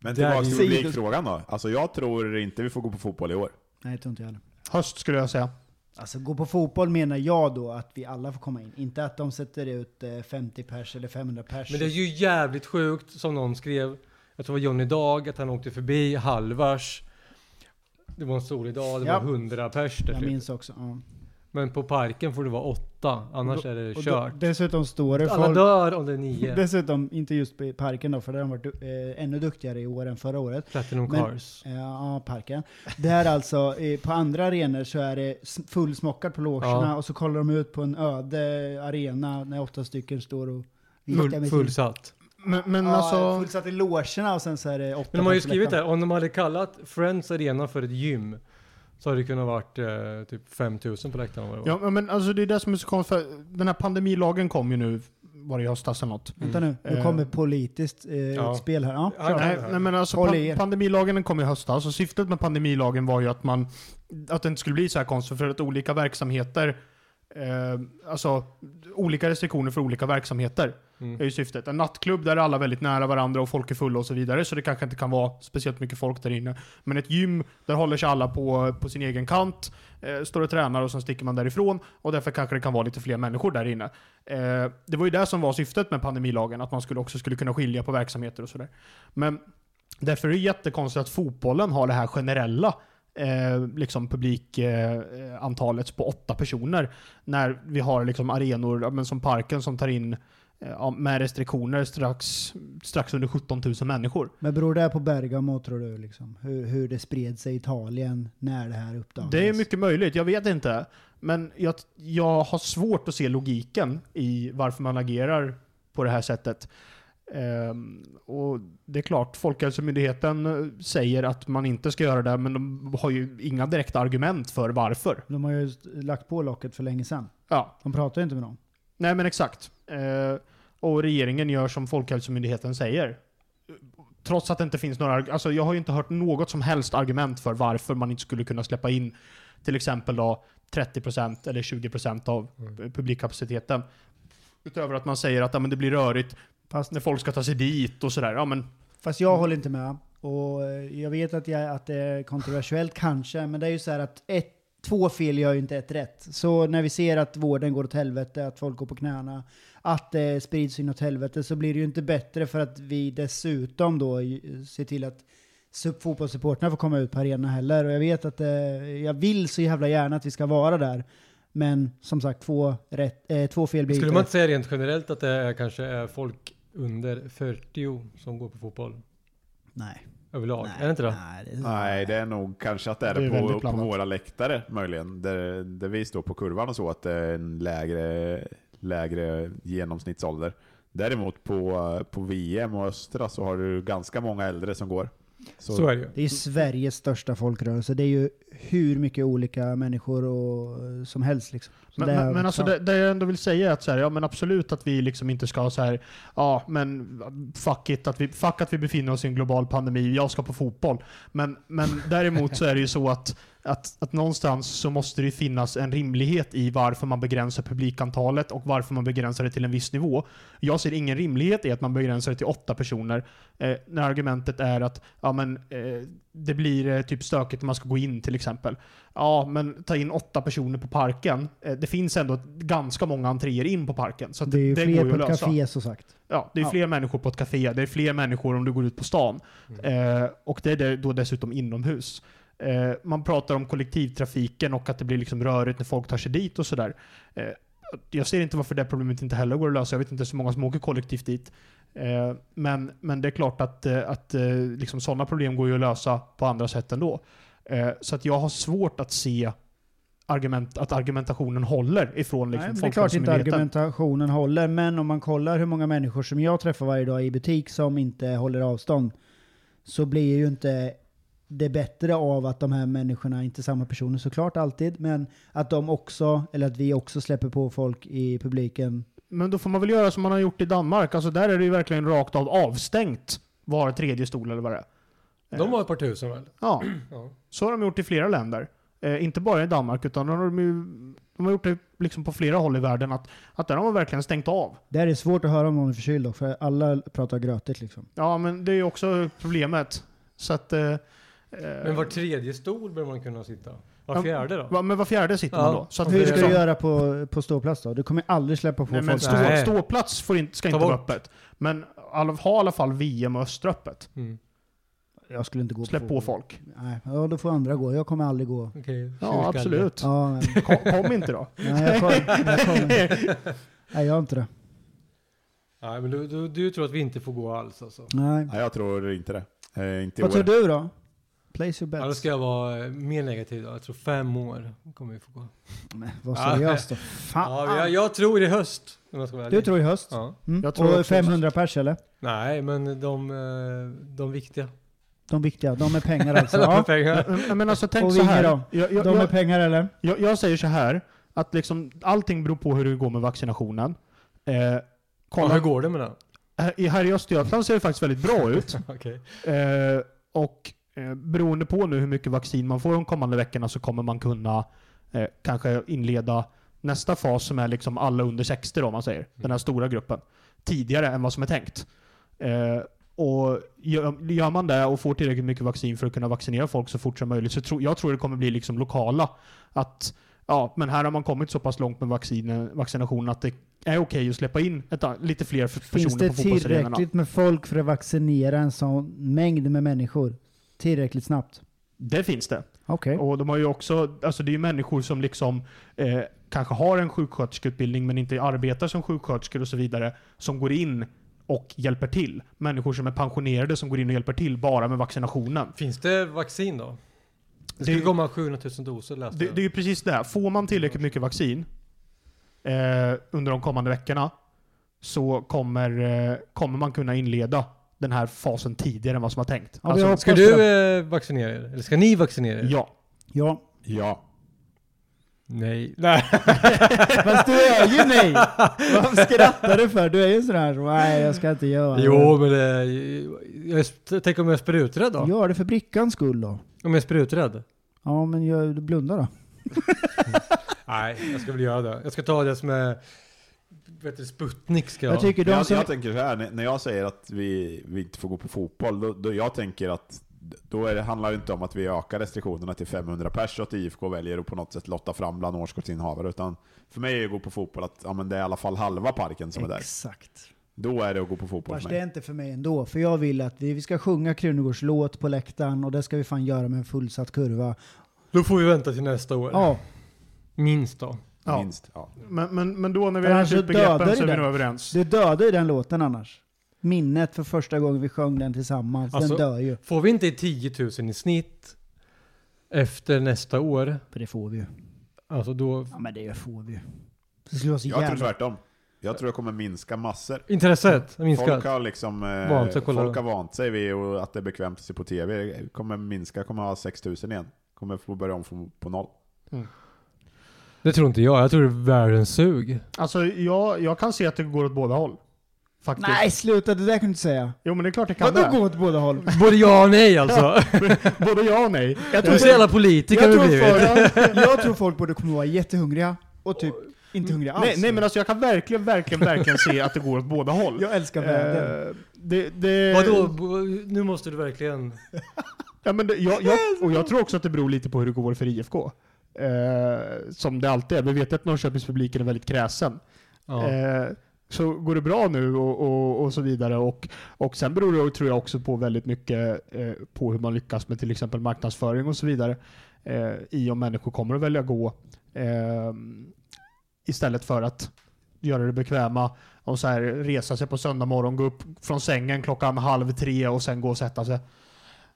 B: Men
A: Där
B: tillbaka till
C: sidor-
B: publikfrågan då. Alltså jag tror inte vi får gå på fotboll i år.
C: Nej, det tror inte jag heller.
D: Höst skulle jag säga.
C: Alltså gå på fotboll menar jag då att vi alla får komma in. Inte att de sätter ut eh, 50 pers eller 500 pers.
A: Men det är ju jävligt sjukt som någon skrev. Jag tror det var Johnny Dag att han åkte förbi Halvars. Det var en solig dag, det
C: Ja.
A: var 100 pers där
C: jag
A: typ.
C: minns också. Ja.
A: Men på parken får det vara åtta, annars är det
C: Och
A: kört.
C: då- Dessutom står det
A: Alla
C: folk...
A: dör om det är nio.
C: Dessutom, inte just i parken då, för där har de varit du- eh, ännu duktigare i år än förra året.
A: Platinum
C: Men-
A: Cars.
C: Eh, Ja, parken. Där alltså, eh, på andra arenor så är det s- fullsmockat på logerna
A: Ja.
C: och så kollar de ut på en öde arena när åtta stycken står och viftar
A: Full,
C: med sin-
A: fullsatt.
D: Men, men
C: Ja,
D: alltså...
C: fullsatt i logerna och sen så är det åtta
A: Men de har ju
C: pers på
A: skrivit
C: läktaren.
A: där, om de hade kallat Friends Arena för ett gym så hade det kunnat varit eh, typ 5000 på läktaren vad det var.
D: Ja, men alltså det är det som är så konstigt. För den här pandemilagen kom ju nu, var det i höstas eller något?
A: Mm.
C: Vänta nu, nu
D: Eh.
C: kommer politiskt eh,
A: Ja.
C: utspel här. Ja,
A: Ja,
C: klar.
D: Nej, nej men alltså
C: Håll
D: pan-
C: i er.
D: pandemilagen den kom i höstas och syftet med pandemilagen var ju att man, att det inte skulle bli så här konstigt för att olika verksamheter, eh, alltså olika restriktioner för olika verksamheter är
A: Mm.
D: ju syftet. En nattklubb där alla är väldigt nära varandra och folk är fulla och så vidare så det kanske inte kan vara speciellt mycket folk där inne. Men ett gym, där håller sig alla på, på sin egen kant, eh, står och tränar och sen sticker man därifrån och därför kanske det kan vara lite fler människor där inne. Eh, det var ju det som var syftet med pandemilagen, att man skulle också skulle kunna skilja på verksamheter och sådär. Men därför är det jättekonstigt att fotbollen har det här generella eh, liksom publikantalet eh, antalet på åtta personer. När vi har liksom arenor ja, men som Parken som tar in eh, ja, med restriktioner strax, strax under 17 000 människor.
C: Men beror det här på Bergamo tror du? Liksom? Hur, hur det spred sig i Italien när det här uppdagades?
D: Det är mycket möjligt, jag vet inte. Men jag, jag har svårt att se logiken i varför man agerar på det här sättet. Ehm, och Det är klart, Folkhälsomyndigheten eh, säger att man inte ska göra det, men de har ju inga direkta argument för varför.
C: De har ju just lagt på locket för länge sedan.
D: Ja,
C: De pratar ju inte med dem.
D: nej men exakt. Eh, och regeringen gör som Folkhälsomyndigheten säger. Trots att det inte finns några... arg- Alltså jag har ju inte hört något som helst argument för varför man inte skulle kunna släppa in till exempel då 30% eller 20% av
A: Mm.
D: publikkapaciteten. Utöver att man säger att ja, men det blir rörigt
C: Fast,
D: när folk ska ta sig dit och sådär. Ja, men,
C: fast jag
A: Mm.
C: håller inte med. Och eh, jag vet att, jag, att det är kontroversiellt kanske, men det är ju så här att ett, två fel gör ju inte ett rätt. Så när vi ser att vården går åt helvete, att folk går på knäna, att det sprids in åt helvete, så blir det ju inte bättre för att vi dessutom då ju- ser till att sup- fotbollssupportrarna får komma ut på arenorna heller. Och jag vet att eh, jag vill så jävla gärna att vi ska vara där. Men som sagt, två, rätt, eh, två fel blir
A: Skulle
C: inte
A: man
C: rätt.
A: inte säga rent generellt att det är, kanske är folk under 40 som går på fotboll
C: Nej.
A: överlag?
C: nej,
A: Är det inte det?
C: Nej, det
B: Nej, det är nog kanske att det är
D: Det
B: det,
D: är väldigt
B: på, på
D: blandat.
B: våra läktare möjligen. Där, där vi står på kurvan och så, att det är en lägre, lägre genomsnittsålder. Däremot på, på VM och Östra så har du ganska många äldre som går. Så,
A: Så är det ju.
C: Det är ju Sveriges största folkrörelse. Det är ju hur mycket olika människor och, som helst. Liksom. Så
D: men,
C: det är-
D: men, men alltså
C: ja.
D: det, det jag ändå vill säga är att så här, ja, men absolut att vi liksom inte ska så här, ja men fuck it, att vi, fuck att vi befinner oss i en global pandemi, jag ska på fotboll. Men, men däremot så är det ju så att att, att någonstans så måste det ju finnas en rimlighet i varför man begränsar publikantalet och varför man begränsar det till en viss nivå. Jag ser ingen rimlighet i att man begränsar det till åtta personer eh, när argumentet är att ja, men, eh, det blir eh, typ stökigt när man ska gå in till exempel. Ja, men ta in åtta personer på parken. Eh, det finns ändå ett- ganska många entréer in på parken. Så att
C: Det är ju
D: det går
C: fler
D: ju
C: på
D: att
C: ett
D: lösa.
C: café som sagt.
D: Ja, det är
C: Ja.
D: fler människor på ett café, det är fler människor om du går ut på stan.
C: Mm.
D: Eh, och det är det då dessutom inomhus. Eh, man pratar om kollektivtrafiken och att det blir liksom rörigt när folk tar sig dit och sådär. Eh, jag ser inte varför det problemet inte heller går att lösa. Jag vet inte så många som åker kollektivt dit. Eh, men, men det är klart att, eh, att eh, liksom sådana problem går ju att lösa på andra sätt ändå. Eh, så att jag har svårt att se argument, att argumentationen håller ifrån
C: Nej,
D: liksom,
C: men det är klart inte
D: Folkhälsomyndigheten.
C: argumentationen håller, men om man kollar hur många människor som jag träffar varje dag i butik som inte håller avstånd, så blir ju inte det bättre av att de här människorna, inte samma personer såklart alltid, men att de också, eller att vi också släpper på folk i publiken.
D: Men då får man väl göra som man har gjort i Danmark. Alltså där är det ju verkligen rakt av avstängt var tredje stol eller vad det är.
C: Eh.
A: De har ett par tusen väl?
D: Ja,
A: Ja.
D: så har de gjort i flera länder. Eh, inte bara i Danmark, utan de har, de ju, de har gjort det liksom på flera håll i världen. Att, att där har man verkligen stängt av.
C: Det här är svårt att höra om någon är förkyld dock, för alla pratar grötigt liksom.
D: Ja, men det är ju också problemet. Så att... Eh, eh,
A: Men var tredje stol bör man kunna sitta. Var
D: Ja,
A: fjärde då?
D: va- men var fjärde sitter
A: Ja.
D: man då. Så att
A: Och
C: Hur
D: det
C: ska
D: är
C: du
D: som-
C: göra på, på ståplats då? Du kommer aldrig släppa på
D: Nej, men
C: folk.
D: stå,
A: Nej.
D: ståplats får inte, ska
A: Ta
D: inte vara
A: bort.
D: öppet. Men alla, ha i alla fall VM och Östra öppet.
A: Mm.
C: Jag skulle inte gå
D: Släpp på folk. Mm.
C: Nej, ja, då får andra gå. Jag kommer aldrig gå.
A: Okej,
D: Ja,
A: kyrkan.
D: absolut.
C: Ja, men,
D: Kom, kom inte då.
C: nej, jag kommer, jag kommer. Nej, jag har inte det.
A: Nej, men du, du, du tror att vi inte får gå alls alltså?
C: Nej.
B: Nej, jag tror inte det. Eh, inte i
C: Vad tror
B: år.
C: du då? Place your
A: Ja, då
C: bets.
A: ska jag vara eh, mer negativ då. Jag tror fem år kommer vi få
C: Ah,
A: gå.
C: Men Vad
A: Ja.
C: seriöst då.
A: Ja, jag,
C: Fan.
A: jag tror i höst. Om jag ska vara
C: ah. Du
A: ärlig.
C: tror i höst?
A: Ja.
C: Mm.
D: Jag tror också
C: och
D: höst.
C: 500 pers eller?
A: Nej, men de, eh, de viktiga.
C: De viktiga, de med pengar alltså. Ja.
A: Pengar.
D: Men, men alltså tänk
C: Och
D: så här.
C: vingar då?
D: Jag, jag,
C: De med
D: jag,
C: pengar eller?
D: jag, jag säger så här. Att liksom, allting beror på hur det går med vaccinationen.
A: Och
D: Eh,
A: hur
D: kolla,
A: går det med den?
D: här, i- här i Östergötland ser det faktiskt väldigt bra ut.
A: Okej.
D: Eh, och eh, beroende på nu hur mycket vaccin man får de kommande veckorna så kommer man kunna eh, kanske inleda nästa fas som är liksom alla under 60 då, om man säger. Den här stora gruppen. Tidigare än vad som är tänkt. Eh, och gör, gör man det och får tillräckligt mycket vaccin för att kunna vaccinera folk så fort som möjligt så tro, jag tror det kommer bli liksom lokala. Att ja, men här har man kommit så pass långt med vaccin, vaccinationen att det är okej att släppa in ett, a- lite fler f-
C: Finns
D: personer
C: det
D: på fotbollsarenorna.
C: tillräckligt med folk för att vaccinera en sån mängd med människor? Tillräckligt snabbt?
D: Det finns det.
C: Okej.
D: Och de har ju också, alltså det är ju människor som liksom eh, kanske har en sjuksköterskeutbildning men inte arbetar som sjuksköterskor och så vidare, som går in och hjälper till. Människor som är pensionerade som går in och hjälper till bara med vaccinationen.
A: Finns det vaccin då? Det skulle
D: Det-
A: komma 700 000 doser läste
C: Alltså-
D: Det,
A: jag.
D: det är ju precis det. här. Får man tillräckligt mycket vaccin eh, under de kommande veckorna så kommer, eh, kommer man kunna inleda den här fasen tidigare än vad som var tänkt.
C: Ja, vi
D: Alltså,
C: har-
A: Ska du eh, vaccinera er? Eller ska ni vaccinera er?
D: ja.
C: Ja.
B: Ja.
A: Nej. Nej.
C: Fast du är ju nej! Vad skrattar du för? Du är ju sån här som, nej jag ska inte göra det.
A: Jo, men det, jag, är- tänk om jag är spruträdd då?
C: Gör det för brickans skull då.
A: Om jag är spruträdd?
C: Ja men gör, blunda då.
A: Nej, jag ska väl göra det. Jag ska ta det som är... Vet du, Sputnik ska jag
C: Jag
A: ha.
C: tycker de
B: Jag,
C: som...
B: jag tänker så här, när- när jag säger att vi, vi inte får gå på fotboll, då, då jag tänker att då är det, handlar det inte om att vi ökar restriktionerna till 500 pers och att IFK väljer att på något sätt lotta fram bland årskortsinnehavare, utan för mig är det att gå på fotboll att ja, men det är i alla fall halva parken som är där.
C: Exakt.
B: Då är det att gå på fotboll
C: Fast
B: för
C: det är
B: mig.
C: inte för mig ändå, för jag vill att vi, vi ska sjunga Krunegårds låt på läktaren och det ska vi fan göra med en fullsatt kurva.
A: Då får vi vänta till nästa år.
C: Ja,
A: Minst då.
D: Ja.
B: Minst. Ja.
D: Men, men, men då när vi
C: Men
D: har
C: alltså,
D: alltså begreppen
C: dödar
D: så är
C: det där.
D: vi nog överens.
C: du dödar ju den låten annars. Minnet för första gången vi sjöng den tillsammans,
A: Alltså-
C: den dör ju.
A: Får vi inte 10 000 i snitt efter nästa år,
C: För det får vi ju.
A: alltså då...
C: Ja men det får vi ju. Det skulle vara så
B: Jag tror
C: jävla...
B: tvärtom. Jag tror det kommer minska massor.
A: Intresset har minskat.
B: Folk har liksom eh,
A: Vant sig att kolla.
B: folk har vant sig vid och att det är bekvämt att se på TV. Det kommer minska, kommer ha 6000 igen. Kommer få börja om från- på noll.
A: Det tror inte jag. Jag tror det är världens sug.
D: Alltså jag, jag kan se att det går åt båda håll. Faktiskt.
C: Nej, sluta. Det där kan du inte säga.
D: Jo men det är klart jag kan
C: Vadå
D: det.
C: gå åt båda håll?
A: Både ja och nej alltså.
D: Både ja och nej.
A: Jag tror så jävla politiker vi
C: Eh, tror
A: blivit.
C: folk, jag tror folk borde komma att vara jättehungriga och typ inte hungriga alls.
D: Nej, nej men alltså jag kan verkligen, verkligen, verkligen se att det går åt båda håll.
C: Jag älskar världen.
D: Eh, det, det,
A: Vadå? Bo- Nu måste du verkligen...
D: Ja, men det, jag, jag, och jag tror också att det beror lite på hur det går för IFK. Eh, som det alltid är. Vi vet att Norrköpingspubliken är väldigt kräsen.
A: Ja.
D: Eh, så går det bra nu och, och, och så vidare. Och, och sen beror det tror jag också på väldigt mycket eh, på hur man lyckas med till exempel marknadsföring och så vidare. Eh, I om människor kommer att välja gå eh, istället för att göra det bekväma och så här resa sig på söndag morgon, gå upp från sängen klockan halv tre och sen gå och sätta sig.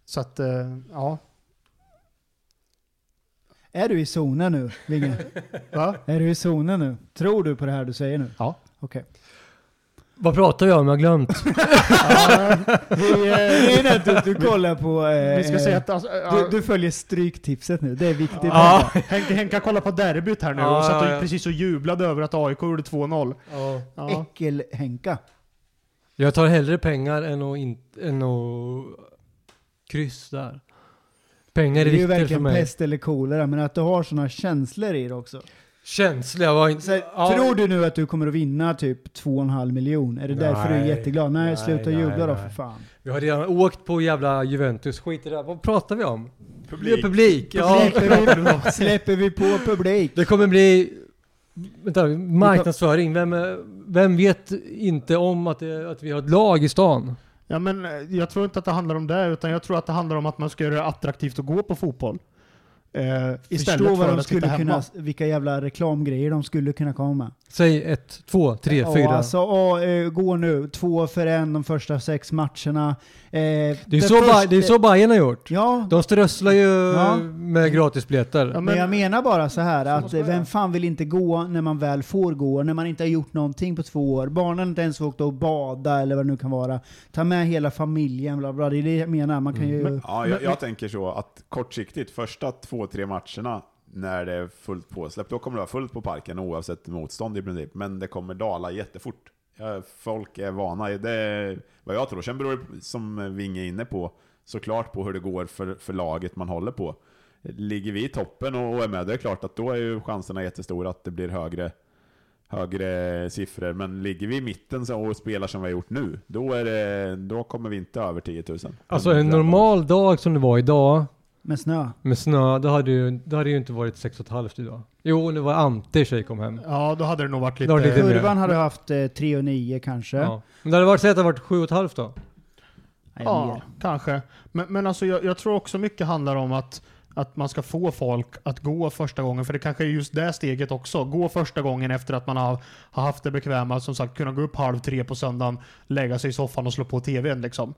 D: Så att, eh, ja.
C: Är du i zonen nu, Vinge?
D: Va?
C: Är du i zonen nu? Tror du på det här du säger nu?
D: Ja.
C: Okej.
A: Vad pratar jag om? Jag har glömt.
D: Ja, vi, eh,
C: Nej, nej, du, du kollar på... Eh,
D: vi ska säga att... alltså,
C: Du, du följer stryktipset nu, det är viktigt.
A: Ja.
D: Henke, Henka kollar på derbyt här nu
A: Ja,
D: och satt och
A: ja, ja.
D: precis och jublade över att AIK gjorde 2-0.
A: Ja.
D: Ja.
C: Äckel-Henka.
A: Jag tar hellre pengar än att, in, än att kryssa där.
C: Det
A: Pengar
C: är
A: är
C: ju
A: viktigt för
C: verkligen
A: mig.
C: pest eller kolera, men att du har såna känslor i det också.
A: Känsliga var inte...
C: Så här,
A: ja.
C: Tror du nu att du kommer att vinna typ 2,5 miljon? Är det därför du är
A: Nej.
C: jätteglad? Nej,
A: Nej,
C: sluta
A: nej,
C: jubla då
A: nej.
C: för fan.
A: Vi har redan åkt på jävla Juventus. Skit i det. här. Vad pratar vi om? Publik.
B: Publik.
A: Publik. Ja.
C: Släpper, vi, släpper vi på publik?
A: Det kommer bli... Vänta, marknadsföring. Vem, eh, vem vet inte om att, det, att vi har ett lag i stan?
D: Ja, men eh, jag tror inte att det handlar om det, utan jag tror att det handlar om att man ska göra det attraktivt att gå på fotboll. Eh, istället
C: Förstå
D: för
C: vad de
D: att sitta
C: skulle
D: hemma.
C: kunna, vilka jävla reklamgrejer de skulle kunna komma med.
A: Säg ett, två, tre,
C: Ja,
A: fyra.
C: Alltså, ja, eh, gå nu. Två för en de första sex matcherna. Eh,
A: det, är så ba, det är så Bayern har gjort.
C: Ja,
A: De strösslar ju
C: Ja.
A: med gratisbiljetter.
D: Ja,
C: men jag
D: men,
C: menar bara så här att eh, vem fan vill inte gå när man väl får gå, när man inte har gjort någonting på två år. Barnen har inte ens åkt och bada eller vad det nu kan vara. Ta med hela familjen, bla bla. Det är det jag menar. Man
A: Mm.
C: kan ju...
B: Ja, jag, jag tänker så att kortsiktigt, första två, tre matcherna när det är fullt påsläpp, då kommer det vara fullt på parken oavsett motstånd i princip. Men det kommer dala jättefort. Ja, Folk är vana, det är vad jag tror. Sen beror det, som Vinge är inne på, såklart på hur det går för, för laget man håller på. Ligger vi i toppen och och är med, det är klart att då är ju chanserna jättestora att det blir högre, högre siffror. Men ligger vi i mitten så- och spelar som vi har gjort nu, då, är det, då kommer vi inte över 10 000.
A: Alltså en normal dag som det var idag
C: Med snö.
A: med snö, då hade ju, då hade ju inte varit sex och ett halvt idag. Jo, det var Ante i tjej kom hem.
D: ja, då hade det nog varit
A: Det var
D: lite...
A: lite- mer.
C: Kurvan hade haft eh, 3 och 9 kanske.
A: Ja. Men det hade varit, säg att det hade varit sju och ett halvt då.
C: Nej,
D: Ja,
C: mer.
D: kanske. Men, men alltså, jag, jag tror också mycket handlar om att, att man ska få folk att gå första gången. För det kanske är just det steget också. Gå första gången efter att man har, har haft det bekväma. Som sagt, kunna gå upp halv tre på söndagen, lägga sig i soffan och slå på tvn. Liksom.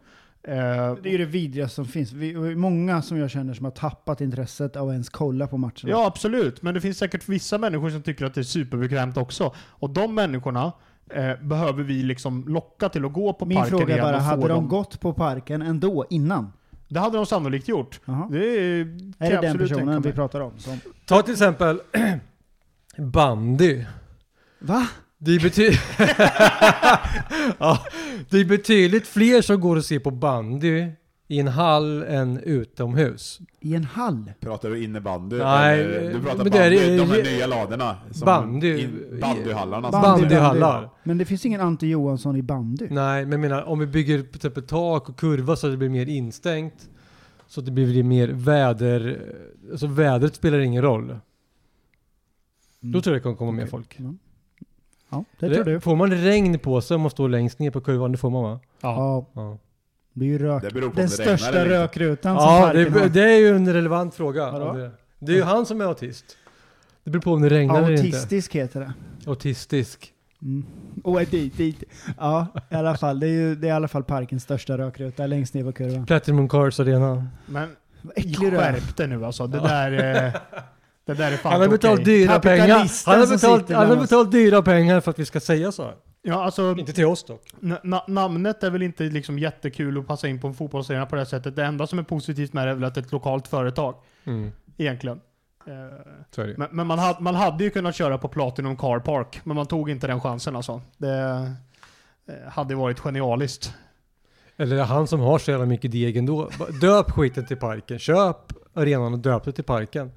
D: Eh,
C: Det är ju det vidrigaste som finns. Vi, och många som jag känner som har tappat intresset av att ens kolla på matcherna.
D: Ja, absolut. Men det finns säkert vissa människor som tycker att det är superbekvämt också. Och de människorna eh, behöver vi liksom locka till att gå på
C: Min
D: parken
C: fråga är
D: igen
C: bara,
D: och få
C: hade de
D: dem-
C: gått på parken ändå innan?
D: Det hade de sannolikt gjort.
C: Jaha.
D: Det är, kan
C: Är
D: jag
C: det den
D: absolut tänka
C: personen vi
D: mig.
C: pratar om? Som,
A: Ta till exempel bandy.
C: va?
A: Det är, bety- ja, det är betydligt fler som går och ser på bandy i en hall än utomhus.
C: I en hall?
B: Pratar du innebandy?
A: Nej,
B: eller- du pratar
A: men det
B: bandy,
A: är-
B: de här nya ladorna. som-
A: Bandy.
B: in- Bandyhallarna. som-
A: Bandy. Mm. Bandyhallar.
C: Men det finns ingen Ante Johansson i bandy.
A: Nej, men jag menar om vi bygger till exempel tak och kurva så att det blir mer instängt. Så att det blir mer väder. Alltså vädret spelar ingen roll. Då tror jag det kommer komma mer
C: Okej.
A: folk.
C: Mm. Ja. Ja, det tror du.
A: Får man regn på sig om man står längst ner på kurvan? Det får man va?
D: Ja.
C: Ja,
A: Ja,
C: det är ju rök.
B: Det beror på
C: Den
B: om det regnar
C: största
B: eller inte.
C: rökrutan som
A: ja
C: parken
A: det,
C: har.
A: det är ju en relevant fråga.
C: Vadå?
A: om Det, det är ju han som är autist. Det beror på om det regnar eller inte.
C: Autistisk heter det.
A: Autistisk.
C: Mm. Och dit, dit. Ja, i alla fall. Det är, ju, det är i alla fall parkens största rökruta längst ner på kurvan.
A: Platinum Cars Arena.
D: Men
C: Vad Äcklig rök.
D: skärp dig nu alltså. Det där, eh, det där är fan
A: Han har
D: inte
A: betalt
D: okej.
A: dyra pengar.
C: Kapitalisten
A: Han har
C: som
A: betalt,
C: sitter
A: han har
C: bland oss.
A: betalt dyra pengar för att vi ska säga så här.
D: Ja, alltså,
A: Inte till oss dock.
D: na- na- namnet är väl inte liksom jättekul att passa in på en fotbollsarena på det här sättet. Det enda som är positivt med det är väl att det är ett lokalt företag.
A: Mm,
D: Egentligen. Eh,
A: så är det.
D: Men, men man, hade, man hade ju kunnat köra på Platinum Car Park, men man tog inte den chansen alltså. Det, eh, hade varit genialiskt.
A: Eller han som har så jävla mycket deg ändå. Bara Döp skiten till parken. Köp arenan och döp det till parken.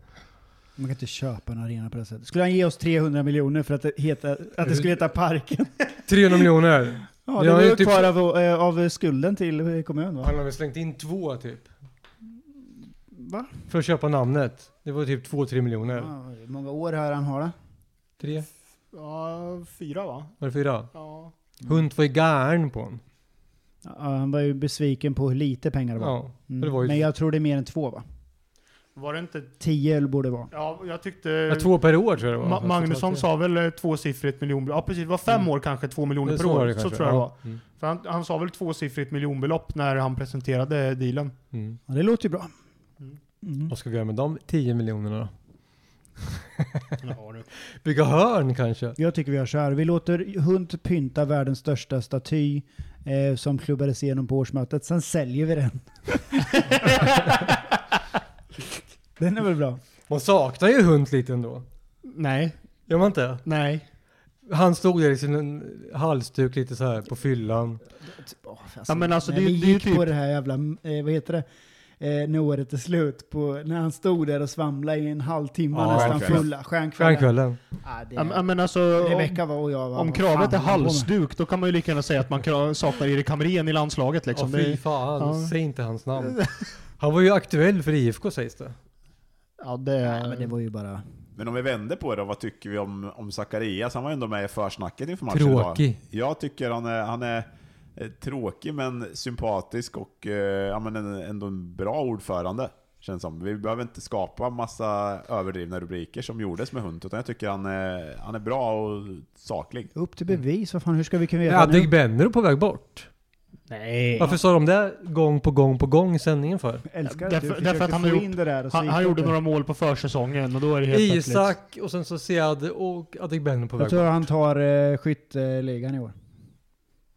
C: Man kan inte köpa en arena på det sättet. Skulle han ge oss 300 miljoner för att det, heta, att det skulle heta Parken?
A: 300 miljoner.
C: Ja, det
A: Jag
C: var
A: är
C: ju
A: typ-
C: kvar av, eh, av skulden till eh, kommunen va?
A: Han har väl slängt in två typ.
C: Va?
A: För att köpa namnet. Det var typ 2-3
D: Ah.
A: miljoner.
C: Ja, hur många år har han har det?
A: Tre?
D: Ja, fyra va?
A: Var det fyra?
D: Ja.
A: Hunt var ju gärn på honom.
C: Ja, han var ju besviken på hur lite pengar det var.
A: Ja.
C: Mm.
A: det var ju-
C: Men jag tror det är mer än två va?
D: Var det inte...
C: Tio borde det vara.
D: Ja, jag tyckte...
A: Ja, Två per år tror jag det var.
D: Ma- Magnusson sa väl eh, tvåsiffrigt miljonbelopp? Ja precis, det var fem
A: Mm.
D: år kanske, två
A: Det
D: miljoner per
A: så var
D: år.
A: det
D: Så
A: kanske.
D: tror jag det var.
A: Ja. Mm.
D: För han, han sa väl tvåsiffrigt miljonbelopp när han presenterade dealen.
A: Mm.
C: Ja, det låter ju bra.
D: Mm.
C: Mm.
A: Vad ska vi göra med de 10 miljonerna då?
D: Ja, du.
A: Bygga hörn kanske?
C: Jag tycker vi gör så här. Vi låter Hunt pynta världens största staty eh, som klubbades igenom på årsmötet. Sen säljer vi den. den är väl bra?
A: Man saknar ju Hunt lite ändå.
D: nej,
A: Gör man inte?
D: nej.
A: Han stod där i sin halsduk lite så här på fyllan.
D: Ja, men alltså,
C: när
D: det är-
C: vi
D: det är ju
C: gick
D: typ-
C: på det här jävla, eh, vad heter det? Eh, när året är slut, på, när han stod där och svamlade i en halvtimme
A: Ja,
C: nästan
B: stjärnkvällen.
C: fulla. Stjärnkvällen.
A: Stjärnkvällen.
C: Ja, det,
D: Ja, men- ja, men alltså, om,
C: Rebecka var och jag var.
D: om
C: vad
D: kravet är
C: fan håller de på med?
D: halsduk då kan man ju lika gärna säga att man kra- saknar Erik Hamrén i landslaget
A: Ja,
D: liksom.
A: fy
D: Det,
A: fan.
D: ja.
A: Säg inte hans namn. Han var ju aktuell för IFK sägs det.
D: ja, det,
C: Ja, men det var ju bara...
B: Men om vi vänder på det, vad tycker vi om, om Zacharias? Han var ju ändå med i försnacket inför matchen
A: Tråkig.
B: idag. Jag tycker han är, han är eh, tråkig men sympatisk och eh, ja, men en, ändå en bra ordförande. Känns som. Vi behöver inte skapa massa överdrivna rubriker som gjordes med Hunt, utan jag tycker han är, han är bra och saklig.
C: Upp till bevis, vad fan, hur ska vi kunna
A: Jag
C: veta
A: hade
C: nu?
A: Benro på väg bort.
D: nej.
A: Varför sa de det gång på gång på gång i sändningen för?
C: Älskar
D: Därför-
C: att du
D: därför att han
C: försökte
D: har
C: få
D: gjort-
C: in det där och så
D: Han,
C: gick
D: han
C: det
D: gjorde
C: inte.
D: några mål på försäsongen och då är det helt plötsligt-
A: Isak och sen så Sead och Adegbenro på
C: Jag
A: väg
C: tror
A: bort.
C: han tar eh, skytteligan i år.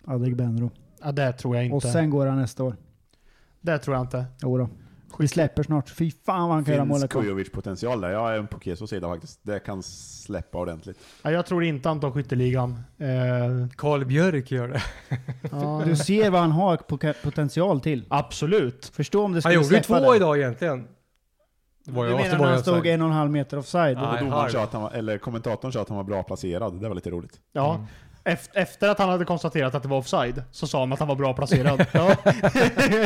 C: Adegbenro.
D: Ja, det tror jag inte.
C: Och sen går han nästa år.
D: Det tror jag inte.
C: Jodå. Vi släpper snart. Fy fan vad han kan göra
B: Finns
C: målet.
B: Kujovic-potential där. Jag är på Kesos sida faktiskt. Det kan släppa ordentligt.
D: Ja, jag tror inte han tar skytteligan. Eh,
A: Karl Björk gör det.
D: ja,
C: Du ser vad han har po- potential till.
D: absolut.
C: Förstå om det
A: Han
C: skulle
A: gjorde ju
C: släppa
A: två
C: det.
A: idag egentligen. Det var
C: Du
A: jag,
C: menar
A: så
C: när
A: var
C: han
A: jag
C: stod
A: offside.
C: en och en halv meter offside?
A: Ja.
B: Och
A: Nej,
B: domaren
A: halv.
B: sa att han var, eller kommentatorn sa att han var bra placerad. Det var lite roligt.
D: Ja.
A: Mm.
D: Eft- Efter att han hade konstaterat att det var offside så sa han att han var bra placerad. ja.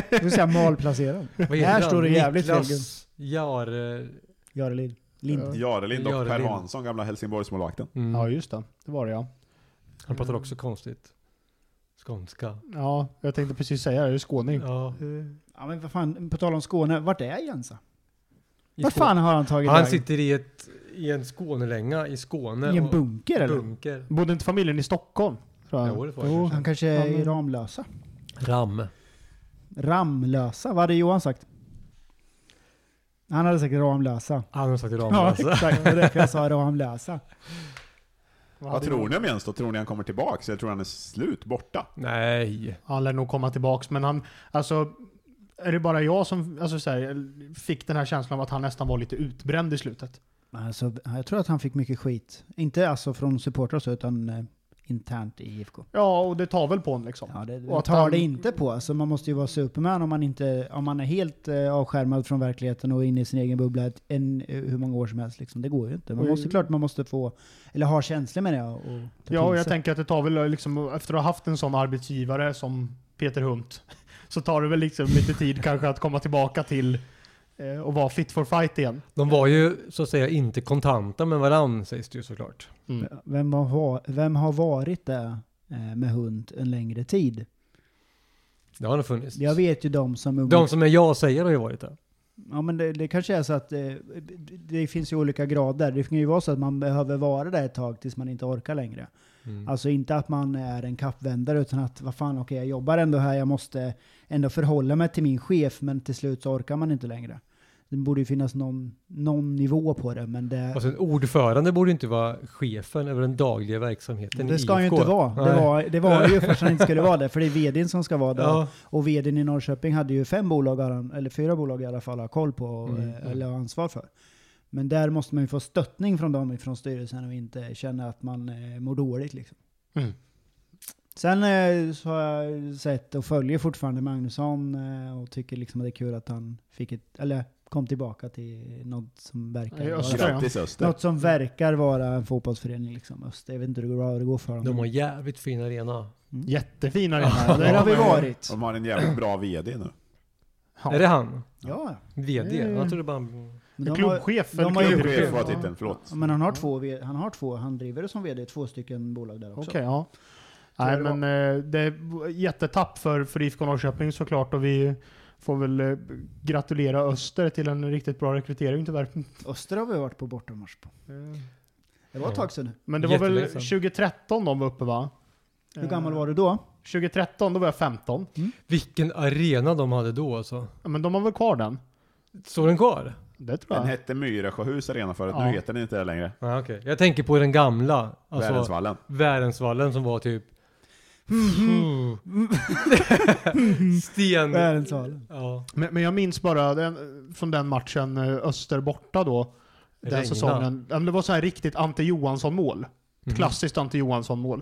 C: Det vill säga malplacerad.
A: Vad heter
C: Här
A: han?
C: står det jävligt fel.
A: Niklas Jar... eh,
C: Jarelid. Lind.
D: Ja.
B: Jarelind och
A: Jarelind.
B: Per Hansson, gamla Helsingborgsmålvakten.
A: Mm.
D: ja, just det. Det var det ja.
A: Han pratar också konstigt. Skånska.
C: Mm.
D: Ja, jag tänkte precis säga det. Jag är skåning.
A: Ja.
C: Ja men vad fan, på tal om Skåne. Vart är Jensa?
A: I
C: Vart
A: Skåne.
C: fan har han tagit
A: Han
C: vägen?
A: sitter i, ett, i en Skånelänga i Skåne.
C: I en
A: och-
C: bunker eller?
A: bunker.
D: Bodde inte familjen i Stockholm? Tror jag.
A: Jo, det var det
D: jo.
C: Han kanske
D: Ja,
C: är
D: men-
C: i Ramlösa?
A: Ram.
C: Ramlösa? Vad hade Johan sagt? Han hade sagt Ramlösa.
A: Han har sagt Ram.
C: Ja,
A: alltså.
C: exakt. Det är därför jag sa Ramlösa.
D: Vad
B: Vad
D: hade
B: tror
D: du?
B: ni om Jens då? Tror ni han kommer tillbaka? Eller tror ni han är slut, borta?
A: Nej.
D: Han lär nog komma tillbaks, men han... Alltså, är det bara jag som alltså, så här, fick den här känslan av att han nästan var lite utbränd i slutet?
C: Alltså, jag tror att han fick mycket skit. Inte alltså från supportrar och så, utan eh, internt i IFK.
D: Ja, och det tar väl på honom liksom.
C: Ja, det
D: Och att
C: tar
D: han-
C: det inte på. Alltså, man måste ju vara superman om man, inte, om man är helt eh, avskärmad från verkligheten och inne i sin egen bubbla ett, en, eh, hur många år som helst. Liksom. Det går ju inte. Man
D: Och-
C: måste klart man måste få, eller ha känslor med det. Och, och ta
D: Ja,
C: till
D: och jag
C: sig.
D: tänker att det tar väl liksom, efter att ha haft en sån arbetsgivare som Peter Hunt, så tar det väl liksom lite tid kanske att komma tillbaka till eh, och vara fit for fight igen.
A: De var ju så att säga inte kontanta med varann sägs det ju såklart.
C: Vem, har, va- vem har varit det eh, med hund en längre tid?
A: Det har nog funnits.
C: Jag vet ju de som... umgås-
A: De som är ja-sägare har ju varit det.
C: Ja, men det, det kanske är så att eh, det finns ju olika grader. Det kan ju vara så att man behöver vara där ett tag tills man inte orkar längre.
A: Mm.
C: Alltså inte att man är en kappvändare utan att vad fan, okej jag jobbar ändå här, jag måste ändå förhålla mig till min chef men till slut så orkar man inte längre. Det borde ju finnas någon, någon nivå på det men det,
A: Alltså en ordförande borde ju inte vara chefen över den dagliga verksamheten i
C: det ska ju
A: IFK.
C: inte vara. Det
A: Nej.
C: var, det var ju först han inte skulle vara det för det är vdn som ska vara där.
A: Ja.
C: Och vdn i Norrköping hade ju fem bolag, eller fyra bolag i alla fall, har koll på och,
A: Mm,
C: eh,
A: mm.
C: eller har ansvar för. Men där måste man ju få
A: Mm.
C: stöttning från dem, från styrelsen och inte känna att man eh, mår dåligt. Liksom. Sen eh, så har jag sett och följer fortfarande Magnusson eh, och tycker liksom att det är kul att han fick ett, eller kom tillbaka till något som verkar
D: Ja,
C: vara,
D: Öster.
B: Grattis Öster.
C: något som verkar vara en fotbollsförening. Liksom. Öster, jag vet inte hur det går- hur det går för dem.
A: De har jävligt fin arena.
D: Jättefin arena.
C: Där har vi
D: Ja.
C: varit.
B: De har en jävligt bra VD nu.
A: Är det han?
C: Ja,
A: VD?
D: Mm.
A: Jag trodde bara han...
C: men de har,
D: Klubbchef.
C: de
D: eller
C: har ju-
D: klubb-
B: Chef var
A: Ja.
B: titeln, förlåt.
C: ja, men han har två, v- han har två, han driver det som vd, två stycken bolag där också.
D: Okej, ja.
C: Tror jag
D: Nej,
C: det
D: men eh, det är jättetapp för, för IFK Norrköping såklart och vi får väl eh, gratulera Öster till en riktigt bra rekrytering tyvärr.
C: Öster har vi varit på bortamatch på. Det var ett
A: Ja.
C: tag sedan nu.
D: Men det var väl
A: Jätteledsen.
D: 2013 de var uppe va?
A: Eh,
C: Hur gammal var du då?
D: 2013, då var jag 15.
A: Vilken arena de hade då alltså.
D: Ja, Men de har väl kvar den?
A: Står den kvar?
D: Det tror
B: Den
D: jag.
B: hette Myresjöhus Arena förut,
D: Ja.
B: nu heter den inte det längre.
A: Ja, okej. Jag tänker på den gamla. Alltså,
B: Värensvallen.
A: Värensvallen som var typ... Puh.
C: Mm-hmm.
A: Sten...
C: Värensvallen.
A: Ja.
D: Men, men jag minns bara den, från den matchen eh, Öster borta då. Den
A: Regna.
D: säsongen. Ja, men Det var så här riktigt Ante Johansson-mål.
C: Mm-hmm.
A: Mhm.
D: Klassiskt Ante Johansson-mål.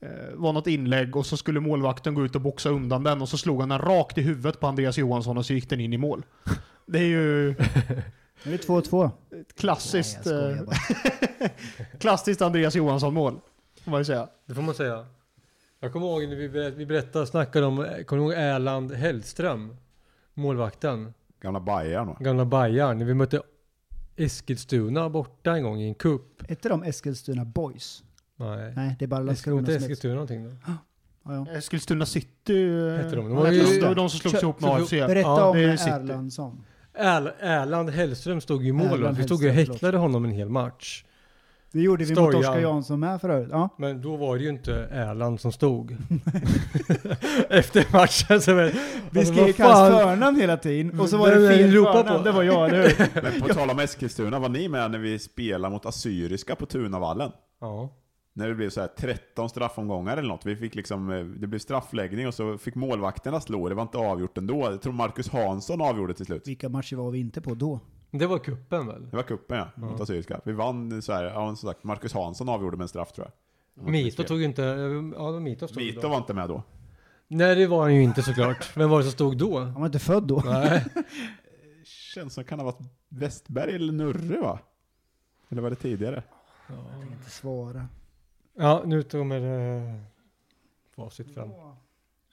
D: Eh, var något inlägg och så skulle målvakten gå ut och boxa undan den och så slog han den rakt i huvudet på Andreas Johansson och så gick den in i mål. Det är ju ett
C: Nu är det 2-2.
D: klassiskt,
C: Nej, jag skojar
D: eh, klassiskt Andreas Johansson-mål. får man ju säga.
A: Det får man säga. Jag kommer ihåg när vi, berätt, vi berättade, snackade om, eh, kommer du ihåg Erland Hellström? Målvakten.
B: Gamla Bajar då.
A: Gamla Bayern. När vi mötte Eskilstuna borta en gång i en cup.
C: Hette de Eskilstuna Boys?
A: Nej.
C: Nej, det är bara
A: Eskilstuna,
C: Landskrona
A: inte
C: som heter
A: Eskilstuna någonting då?
C: ja, ja.
D: Eskilstuna Eh, City eh,
A: Hette de. De var
D: hette
A: ju-
D: de, det var de som slogs
C: Kör-
D: ihop med
A: kör-
D: AFC.
C: Berätta
A: Ja,
C: om
D: det är City.
C: Erlandsson.
A: Erl- Erland Hellström stod ju i mål. va?
C: Erland
A: Vi stod ju och
C: Hellström,
A: häcklade honom en hel match.
C: Det gjorde vi mot
A: Stojan.
C: Oskar Jansson med förut. Ja.
A: Men då var det ju inte Erland som stod. Efter matchen så... var-
C: Vi
A: Alltså,
C: skrek
A: vad fan?
C: hans förnamn hela tiden och så var
A: Vem
C: det
A: är det ni
C: fel
A: ropar
C: förnamn.
A: på?
C: Det var jag, eller hur?
B: Men på tal om Eskilstuna, var ni med när vi spelade mot Assyriska på Tunavallen?
A: Ja.
B: När det blev så här 13 straffomgångar eller något. Vi fick liksom, eh, det blev straffläggning och så fick målvakterna slå. Det var inte avgjort ändå. Jag tror Marcus Hansson avgjorde till slut.
C: Vilka matcher var vi inte på då?
A: Det var kuppen väl?
B: Det var cupen ja, mot Assyriska. Vi vann så här, ja, som sagt, Marcus Hansson avgjorde med en straff tror jag.
A: Mito tog ju inte... Ja, det var Mito som stod
B: Mito
A: då.
B: var inte med då.
A: Nej, det var han ju inte såklart. Vem var det som stod då?
C: Han var inte född då.
A: Nej.
B: Känns som kan ha varit Westberg eller Nurre va? Eller var det tidigare?
C: Jag kan inte svara.
A: Ja, nu kommer eh, facit fram.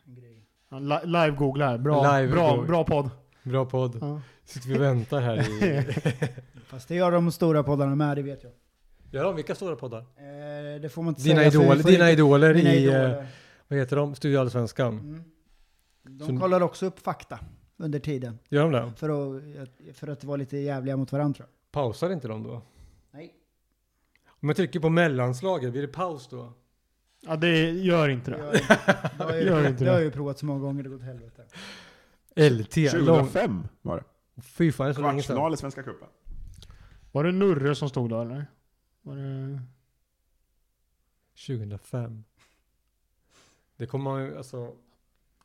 D: Li- Live-googla här. Bra,
A: Live
D: bra,
A: googla.
D: bra podd.
A: Bra podd.
D: Ja.
A: Sitter vi och väntar här i...
C: Fast det gör de stora poddarna med, det vet jag.
A: Gör de? Vilka stora poddar?
C: Eh, det får man inte
A: Dina
C: säga. för vi
A: idoler,
C: får
A: dina
C: inte-
A: idoler
C: mina
A: i... eh,
C: idoler.
A: Vad heter de? Studio Allsvenskan.
C: Mm. De
A: Så-
C: kollar också upp fakta under tiden.
A: Gör de det?
C: För att, för att vara lite jävliga mot varandra tror jag.
A: Pausar inte de då?
C: Nej.
A: Om jag trycker på mellanslaget, blir det paus då?
D: Ja, det gör inte
C: Det har jag inte- det
D: det.
C: har jag
D: Gör
C: ju-
D: inte
C: det har
D: det.
C: jag ju provat så många gånger, det har gått åt helvete.
A: LT, lång...
B: 2005 var det.
A: Fy fan, det är så länge sedan.
B: Kvartsfinal i Svenska cupen.
D: Var det Nurre som stod då eller? Var det...
A: 2005. Det kommer man ju, alltså...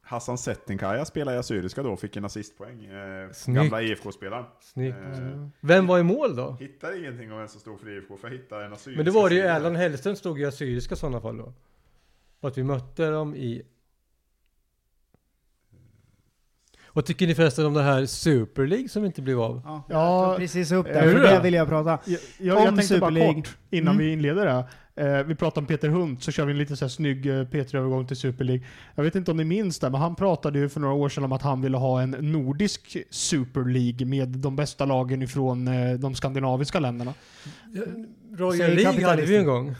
B: Hassan Settinkaja spelade i Assyriska då och fick en assistpoäng. Eh,
A: Snyggt. Mm.
B: gamla IFK-spelaren.
A: Snyggt.
B: Eh,
A: Vem var i mål då?
B: hittar ingenting om vem som stod för IFK, för jag hittade en assyrisk.
A: Men det var det ju Erland Hellström stod i Assyriska i sådana fall då. Och att vi mötte dem i... Vad tycker ni förresten om det här Super League som inte blev av?
C: Ja,
D: Ja,
C: jag tog precis upp det,
D: är
C: för
D: det?
C: det vill jag prata.
D: Jag, jag,
C: Om
D: jag tänkte bara
C: Superlig.
D: kort innan
C: Mm.
D: vi inleder det. här. Eh, vi pratade om Peter Hunt, så kör vi en liten så här snygg eh, P3-övergång till Super League. Jag vet inte om ni minns det, men han pratade ju för några år sedan om att han ville ha en nordisk Super League med de bästa lagen ifrån eh, de skandinaviska länderna.
A: Royal
C: Säger
A: League hade vi ju
C: kapitalisten.
A: en gång.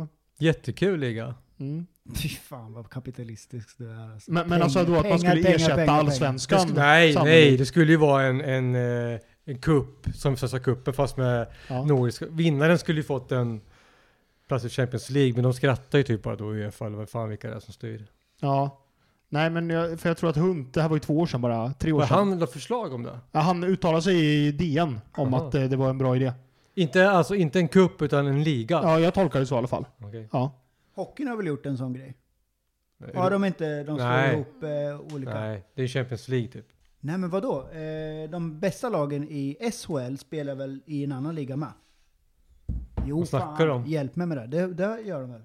D: Ja.
A: Jättekul liga.
D: Mm.
C: Fy fan vad kapitalistisk du är alltså.
D: Men, men
C: Pengar,
D: alltså då att man
C: pengar,
D: skulle
C: pengar,
D: ersätta
C: pengar, pengar.
D: allsvenskan?
A: Det sk- nej,
D: sannolikt.
A: nej, det skulle ju vara en, en, eh, en cup som Svenska cupen fast med
D: Ja.
A: nordiska. Vinnaren skulle ju fått en plats i Champions League, men de skrattar ju typ bara då i alla fall. Vad fan vilka det är som styr.
D: Ja. Nej, men jag, för jag tror att Hunt, det här var ju två år sedan bara, tre år
A: Var
D: sedan. Han,
A: han la förslag om det?
D: ja, han uttalade sig i DN om
A: Jaha.
D: att eh, det var en bra idé.
A: Inte, alltså, inte en cup utan en liga.
D: Ja, jag tolkar det så i alla fall.
A: Okej.
D: Ja.
C: Hockeyn har väl gjort en sån grej? Har de inte, de slår
A: Nej.
C: ihop eh, olika? Nej.
A: Nej, det är Champions League typ.
C: men vadå? Eh, de bästa lagen i SHL spelar väl i en annan liga med? Jo,
A: Vad snackar
C: fan,
A: de?
C: hjälp mig med det. det. Det gör de väl?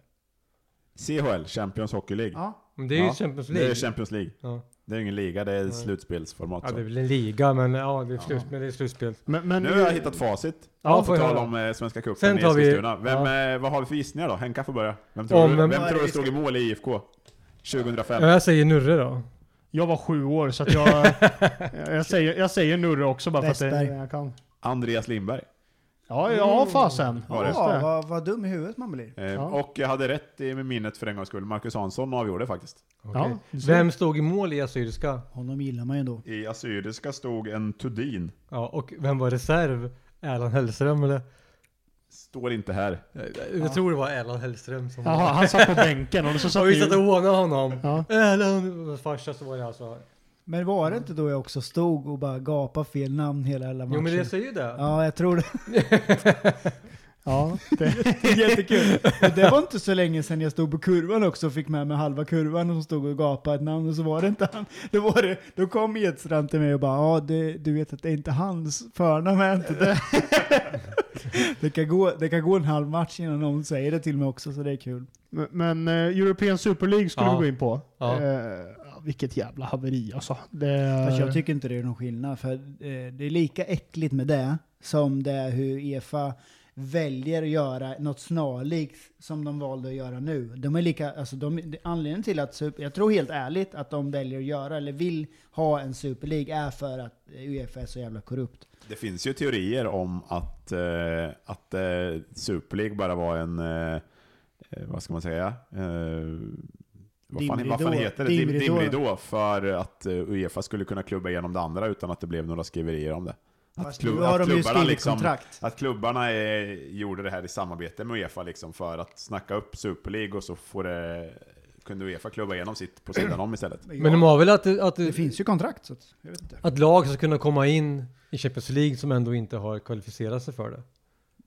B: CHL, Champions Hockey League.
D: Ja.
A: Men det är ju
B: Ja,
A: Champions
B: Det
A: League.
B: är Champions League.
A: Ja.
B: Det är ingen liga, det är
A: Nej.
B: slutspelsformat.
A: Ja,
B: så.
A: det är väl en liga, men ja, det är, slut, men det är slutspel.
D: Men, men
B: Nu har jag hittat facit.
A: Ja,
B: På
A: får jag
B: tal
A: höra.
B: om eh, Svenska cupen
A: Sen
B: i
A: tar vi-
B: Eskilstuna. Vem, eh, vad har vi för gissningar då? Henka får börja. Vem tror
A: Om-
B: du,
A: vem-
B: vem
A: vad
C: är
B: tror
C: det
B: du
C: vi
B: stod i mål i IFK 2005?
A: Ja, jag säger Nurre då.
D: Jag var sju år så att jag... jag, säger, jag säger Nurre också bara för att det,
C: Westberg. Mm.
D: jag kan.
B: Andreas Lindberg.
D: Ja, ja fasen.
B: Var det?
D: Just
C: Ja, vad, vad dum i huvudet man blir.
B: Eh,
D: Ja.
B: Och jag hade rätt i med minnet för en gångs skull. Marcus Hansson avgjorde faktiskt.
A: Okej.
D: du ser.
A: Vem stod i mål i Assyriska?
C: Honom gillar man ju ändå.
B: I Assyriska stod en Tudin.
A: Ja, och vem var reserv? Erland Hellström eller?
B: Står inte här.
A: Jag, jag tror det var Erland Hellström som
D: Jaha, han satt på bänken och så satt
A: Och vi
D: vi...
A: satt och hånade honom.
D: Ja.
A: Erland, farsa så var det alltså.
C: Men var det inte då jag också stod och bara gapade fel namn hela jävla matchen?
A: Jo men det säger ju det.
C: Ja, jag tror det.
D: Ja,
C: Jättekul. Men det var inte så länge sedan jag stod på kurvan också och fick med mig halva kurvan och stod och gapade ett namn och så var det inte han. Då, var det, då kom Edstrand till mig och bara ja, det, du vet att det är inte hans förnamn är inte det. det, kan gå, det kan gå en halv match innan någon säger det till mig också så det är kul.
D: Men- Men eh, European Super League skulle
A: Ja.
D: vi gå in på.
A: Ja.
D: Eh, vilket jävla haveri alltså. Det,
C: Fast
B: Eh.
C: jag tycker inte det är någon skillnad, för eh, det är lika äckligt med det som det är hur EFA väljer att göra något snarlikt som de valde att göra nu. De är lika, alltså de, anledningen till att, super, jag tror helt ärligt att de väljer att göra, eller vill ha en Super League, är för att Uefa är så jävla korrupt.
B: Det finns ju teorier om att, eh, att eh, Super League bara var en, eh, eh, vad ska man säga, eh, vad, fan, vad
C: Dimridå.
B: fan heter det? Dim-
C: Dimridå.
B: Dimridå för att eh, Uefa skulle kunna klubba igenom det andra utan att det blev några skriverier om det.
C: Fast
B: klubb-
C: nu har
B: att
C: de ju
B: klubbarna
C: skrivit
B: liksom-
C: kontrakt.
B: Att klubbarna eh, gjorde det här i samarbete med Uefa liksom för att snacka upp Super League och så får det, kunde Uefa klubba igenom sitt på sidan om istället.
A: Men de har väl att, att,
C: det finns ju kontrakt så att, jag vet inte.
A: att lag ska kunna komma in i Champions League som ändå inte har kvalificerat sig för det.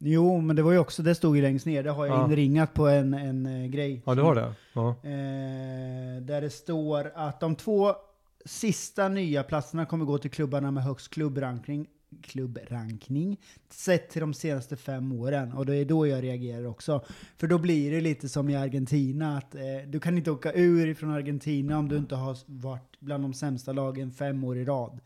C: Jo, men det var ju också, det stod ju längst ner, det har jag
A: Ja.
C: inringat på en, en eh, grej.
A: Ja du har det? Ja.
C: Eh, där det står att de två sista nya platserna kommer gå till klubbarna med högst klubbranking, klubbrankning sett till de senaste fem åren. Och det är då jag reagerar också. För då blir det lite som i Argentina, att eh, du kan inte åka ur ifrån Argentina om du inte har varit bland de sämsta lagen fem år i rad.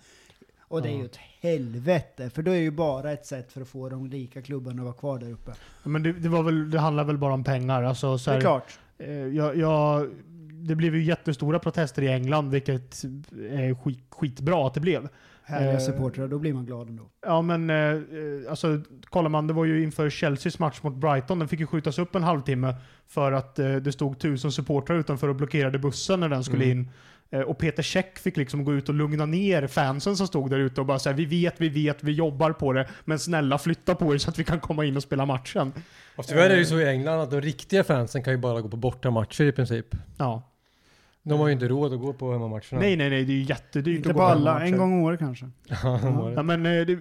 C: Och det är ju ett helvete, för då är det ju bara ett sätt för att få de rika klubbarna att vara kvar där uppe.
D: Men det, det, var väl, det handlar väl bara om pengar. Alltså, så
C: Det är
D: här,
C: klart.
D: eh, jag, jag, det blev ju jättestora protester i England, vilket är skit, skitbra att det blev.
C: Härliga
D: Eh,
C: supportrar, då blir man glad ändå.
D: Ja men eh, eh, alltså kollar man, det var ju inför Chelseas match mot Brighton, den fick ju skjutas upp en halvtimme för att eh, det stod tusen supportrar utanför och blockerade bussen när den skulle
A: Mm.
D: in. Eh, och Peter Käck fick liksom gå ut och lugna ner fansen som stod där ute och bara säga vi vet, vi vet, vi jobbar på det, men snälla flytta på er så att vi kan komma in och spela matchen.
A: Och tyvärr är det ju så i England att de riktiga fansen kan ju bara gå på bortamatcher i princip.
D: Ja.
A: De har ju inte råd att gå på hemmamatcherna.
D: Nej nej nej, det är ju jättedyrt
C: Inte
D: att
C: på
D: gå på
C: alla,
D: hemmamatcher.
C: en gång om året kanske.
A: Ja, de har det.
D: Ja, men, eh, det,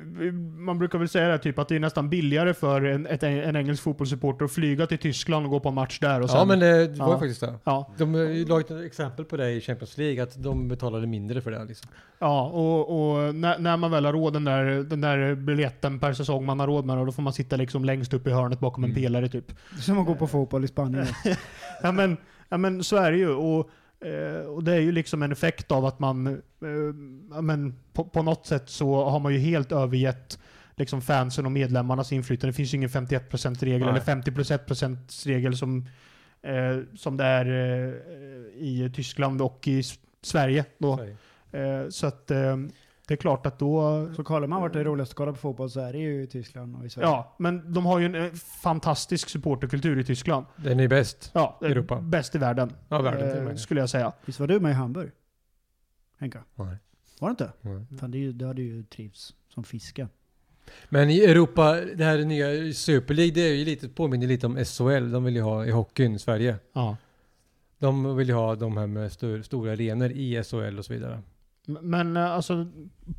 D: man brukar väl säga det här, typ att det är nästan billigare för en, ett, en engelsk fotbollssupporter att flyga till Tyskland och gå på en match där och sen...
A: Ja men det, det var ju
D: Ja.
A: faktiskt det.
D: ja.
A: De har ju lagt ett exempel på det i Champions League, att de betalade mindre för det. Liksom.
D: Ja, och, och när, när man väl har råd den där, den där biljetten per säsong man har råd med, då får man sitta liksom längst upp i hörnet bakom en
A: Mm.
D: pelare typ.
C: Som att gå på fotboll i Spanien.
D: Ja men, ja, men så är det ju. Och, eh, och det är ju liksom en effekt av att man, eh, ja, men, på, på något sätt så har man ju helt övergett liksom fansen och medlemmarnas inflytande. Det finns ju ingen 51%-regel
A: Nej.
D: eller 50%-regel som, eh, som det är eh, i Tyskland och i S- Sverige. Då.
A: Sorry.
D: Eh, så att eh, det är klart att då
C: Så kollar man vart det är roligast att kolla på fotboll så är det ju i Tyskland och i Sverige.
D: Ja, men de har ju en eh, fantastisk supporterkultur i Tyskland.
A: Den är bäst.
D: Ja, eh,
A: Europa.
D: Bäst i världen,
A: Ja, världen till och
D: eh,
A: med.
D: skulle jag säga.
C: Visst var du med i Hamburg? Henka?
A: Nej.
C: Var det
D: Mm.
C: inte?
A: Nej.
C: Fan, det är ju, då hade du ju trivts som fiske.
A: Men i Europa, det här nya Super League, det är ju lite, påminner lite om SHL. De vill ju ha i hockeyn, Sverige.
D: Ja.
A: De vill ju ha de här med stor, stora arenor i SHL och så vidare.
D: M- Men eh, alltså,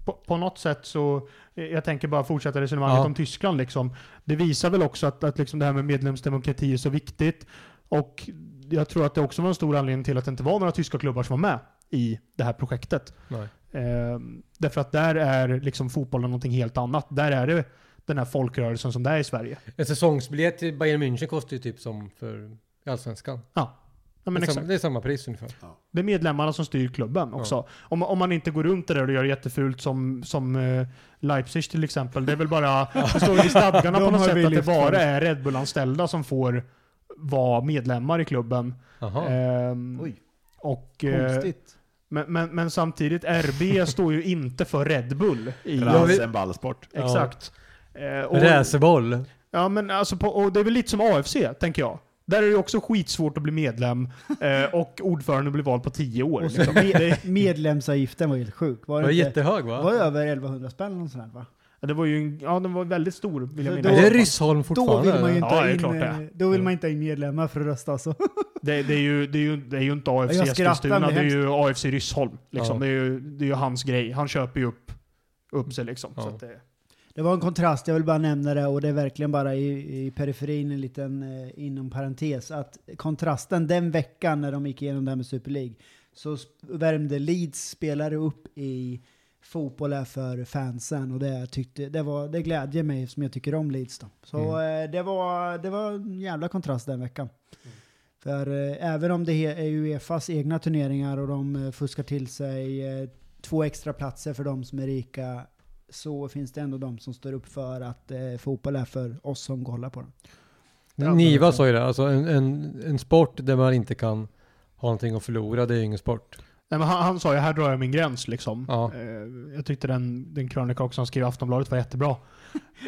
D: på, på något sätt så, eh, jag tänker bara fortsätta resonemanget
A: Ja.
D: om Tyskland liksom. Det visar väl också att, att liksom det här med medlemsdemokrati är så viktigt. Och jag tror att det också var en stor anledning till att det inte var några tyska klubbar som var med i det här projektet.
A: Nej.
D: Eh, därför att där är liksom fotbollen någonting helt annat. Där är det den här folkrörelsen som det är i Sverige.
A: En säsongsbiljett till Bayern München kostar ju typ som för i Allsvenskan.
D: Ja. Ja, men
A: det, är
D: exakt.
A: samma, det är samma pris ungefär.
D: Det är medlemmarna som styr klubben också. Om, om man inte går runt det där och gör jättefult som, som eh, Leipzig till exempel. Det är väl bara, det står väl i stadgarna
C: De
D: på något
C: har vi
D: sätt att det
C: lyft
D: bara
C: fram.
D: är Red Bull-anställda som får vara medlemmar i klubben.
A: Jaha.
D: Ehm,
C: Oj.
D: och, eh,
C: Konstigt.
D: men, men, men samtidigt, RB står ju inte för Red Bull. I,
A: Ja, vi-
B: Rasen ballsport.
A: Ja.
D: Exakt. Eh, och-
A: Racerboll.
D: Ja, men alltså på, och det är väl lite som AFC, tänker jag. Där är det ju också skitsvårt att bli medlem eh, och ordföranden blir vald på tio år.
C: Och
D: Liksom.
C: så med, medlemsavgiften var helt sjuk. Var
A: Det var
C: det, inte,
A: jättehög va?
C: var det över 1100 spänn eller sånt där, va?
D: Ja, Det var ju en, ja, den var väldigt stor vill jag
C: Så
A: Är
D: minnas.
C: då-
A: det Ryssholm
C: Då
A: fortfarande? Mm.
C: vill man ju inte
D: Ja,
C: ha
D: det är
C: in,
D: klart det.
C: eh, då vill man inte ha in medlemmar för att rösta alltså.
D: Det, det, är ju, det, är ju, det är ju inte AFC
C: Jag skrattar,
D: Eskilstuna,
C: men
D: det är ju AFC Ryssholm. Liksom.
A: Ja.
D: Det, är ju, det är ju hans grej. Han köper ju upp, upp sig liksom.
A: Ja.
D: Så att det,
C: Det var en kontrast, jag vill bara nämna det och det är verkligen bara i, i periferin en liten eh, inom parentes att kontrasten den veckan när de gick igenom det här med Super League så sp- värmde Leeds spelare upp i fotboll här för fansen och det, tyckte, det, var, det glädjer mig som jag tycker om Leeds då. Så eh, det, var, det var en jävla kontrast den veckan. För eh, även om det he- är Uefas egna turneringar och de eh, fuskar till sig eh, två extra platser för de som är rika så finns det ändå de som står upp för att eh, fotboll är för oss som kollar på den.
A: Niva sa ju det, alltså en, en, en sport där man inte kan ha någonting att förlora, det är ju ingen sport.
D: nej, men han, han sa ju här drar jag min gräns liksom.
A: Ja.
D: Eh, jag tyckte den, den krönika också han skrev i Aftonbladet var jättebra.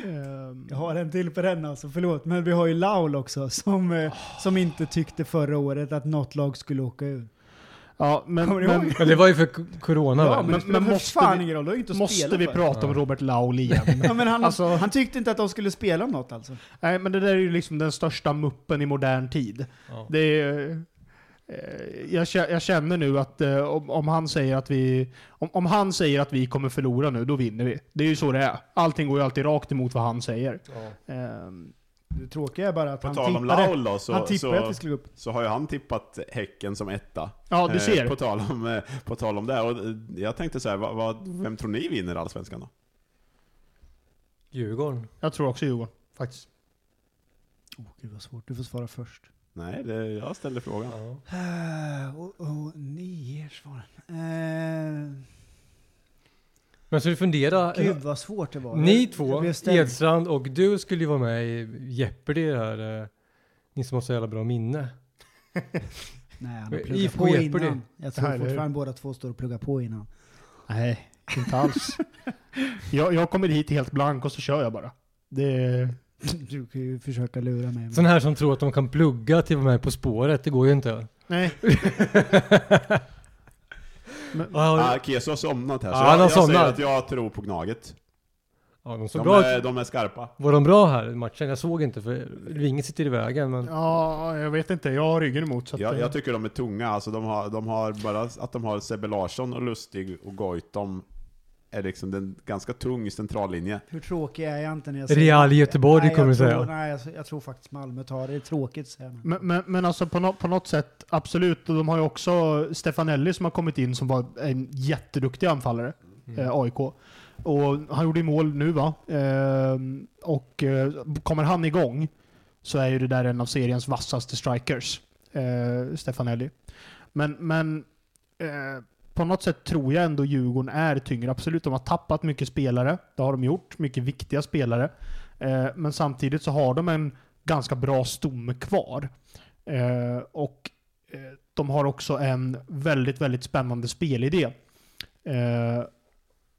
D: Ehm,
C: Jag har en till på den alltså, förlåt. Men vi har ju Laul också som, eh, som inte tyckte förra året att något lag skulle åka ur.
D: ja, men,
C: Kommer ni
D: men,
C: ihåg?
A: Men det var ju för k- corona
C: Ja,
A: va?
C: men, det
D: men-
C: spelar
D: men
C: för
D: måste
C: fan
D: vi-
C: ingen roll, du har ju inte att
D: Måste
C: spela
D: vi
C: för.
D: prata om Robert Laul igen?
C: Ja, men han,
D: Alltså-
C: han tyckte inte att de skulle spela om något alltså.
D: Nej, men det där är ju liksom den största muppen i modern tid.
A: Ja.
D: Det är, eh, jag, kä- jag känner nu att eh, om, om, han säger att vi, om, om han säger att vi kommer förlora nu, då vinner vi. Det är ju så det är. Allting går ju alltid rakt emot vad han säger.
A: Ja.
D: Ehm,
C: Det tråkiga är bara att
B: På
C: han
B: tal om
C: tippade,
B: Laul då,
C: han
B: så,
C: tippade
B: så,
C: att vi skulle gå upp.
B: så har ju han tippat Häcken som etta.
D: ja, du
B: Eh,
D: ser.
B: På tal om, eh, på tal om det. Och eh, jag tänkte så här, vad, vad, vem tror ni vinner Allsvenskan då?
A: Djurgården.
D: Jag tror också Djurgården, faktiskt.
C: Åh gud vad svårt, du får svara först.
B: Nej, det, jag ställer frågan.
A: Ja.
C: Eh, och, och ni ger svaren. Eh,
A: Men så du fundera.
C: Gud vad svårt det var.
A: Ni
C: Jag- jag
A: två,
C: blev ställd.
A: Edstrand och du skulle ju vara med i Jeopardy det här. eh, Ni som har så jävla bra minne.
C: Nej, han har
A: Men
C: pluggat
A: IFK
C: på
A: Jeopardy.
C: innan. Jag
D: Det
C: tror
D: här är-
C: fortfarande båda två står och pluggar på innan.
D: Nej, inte alls. jag, jag kommer hit helt blank och så kör jag bara. Det,
C: Du kan ju försöka lura mig.
A: Sån här som tror att de kan plugga till att vara med På spåret, det går ju inte.
D: nej,
A: Ja,
B: Ah, Keso har somnat här, så
A: Ja,
B: jag,
A: han har
B: jag säger
A: somnat.
B: att jag tror på Gnaget.
A: ja, de såg
B: De
A: bra
B: är,
A: ut.
B: de är skarpa.
A: Var de bra här i matchen? Jag såg inte för ringen sitter i vägen. Men
D: ja, jag vet inte. Jag har ryggen emot. Så att,
B: Jag,
D: eh,
B: jag tycker de är tunga, alltså de har, de har bara att de har Sebbe Larsson och Lustig och Goitom är liksom den ganska tung centrallinje.
C: Hur tråkig är jag inte när jag
A: Real Göteborg
C: Nej,
A: kommer
C: jag
A: du
C: tror-
A: säga.
C: Nej, jag, jag tror faktiskt Malmö tar det. Det är tråkigt säger man.
D: Men, men, men alltså på, nå på något sätt, absolut. Och de har ju också Stefanelli som har kommit in som var en jätteduktig anfallare,
A: Mm.
D: eh, AIK. Och han gjorde ju mål nu va? Ehm, och eh, kommer han igång så är ju det där en av seriens vassaste strikers, eh, Stefanelli. Men, men eh, på något sätt tror jag ändå Djurgården är tyngre. Absolut, de har tappat mycket spelare. Det har de gjort. Mycket viktiga spelare. Eh, men samtidigt så har de en ganska bra stomme kvar. Eh, och eh, de har också en väldigt, väldigt spännande spelidé. Eh,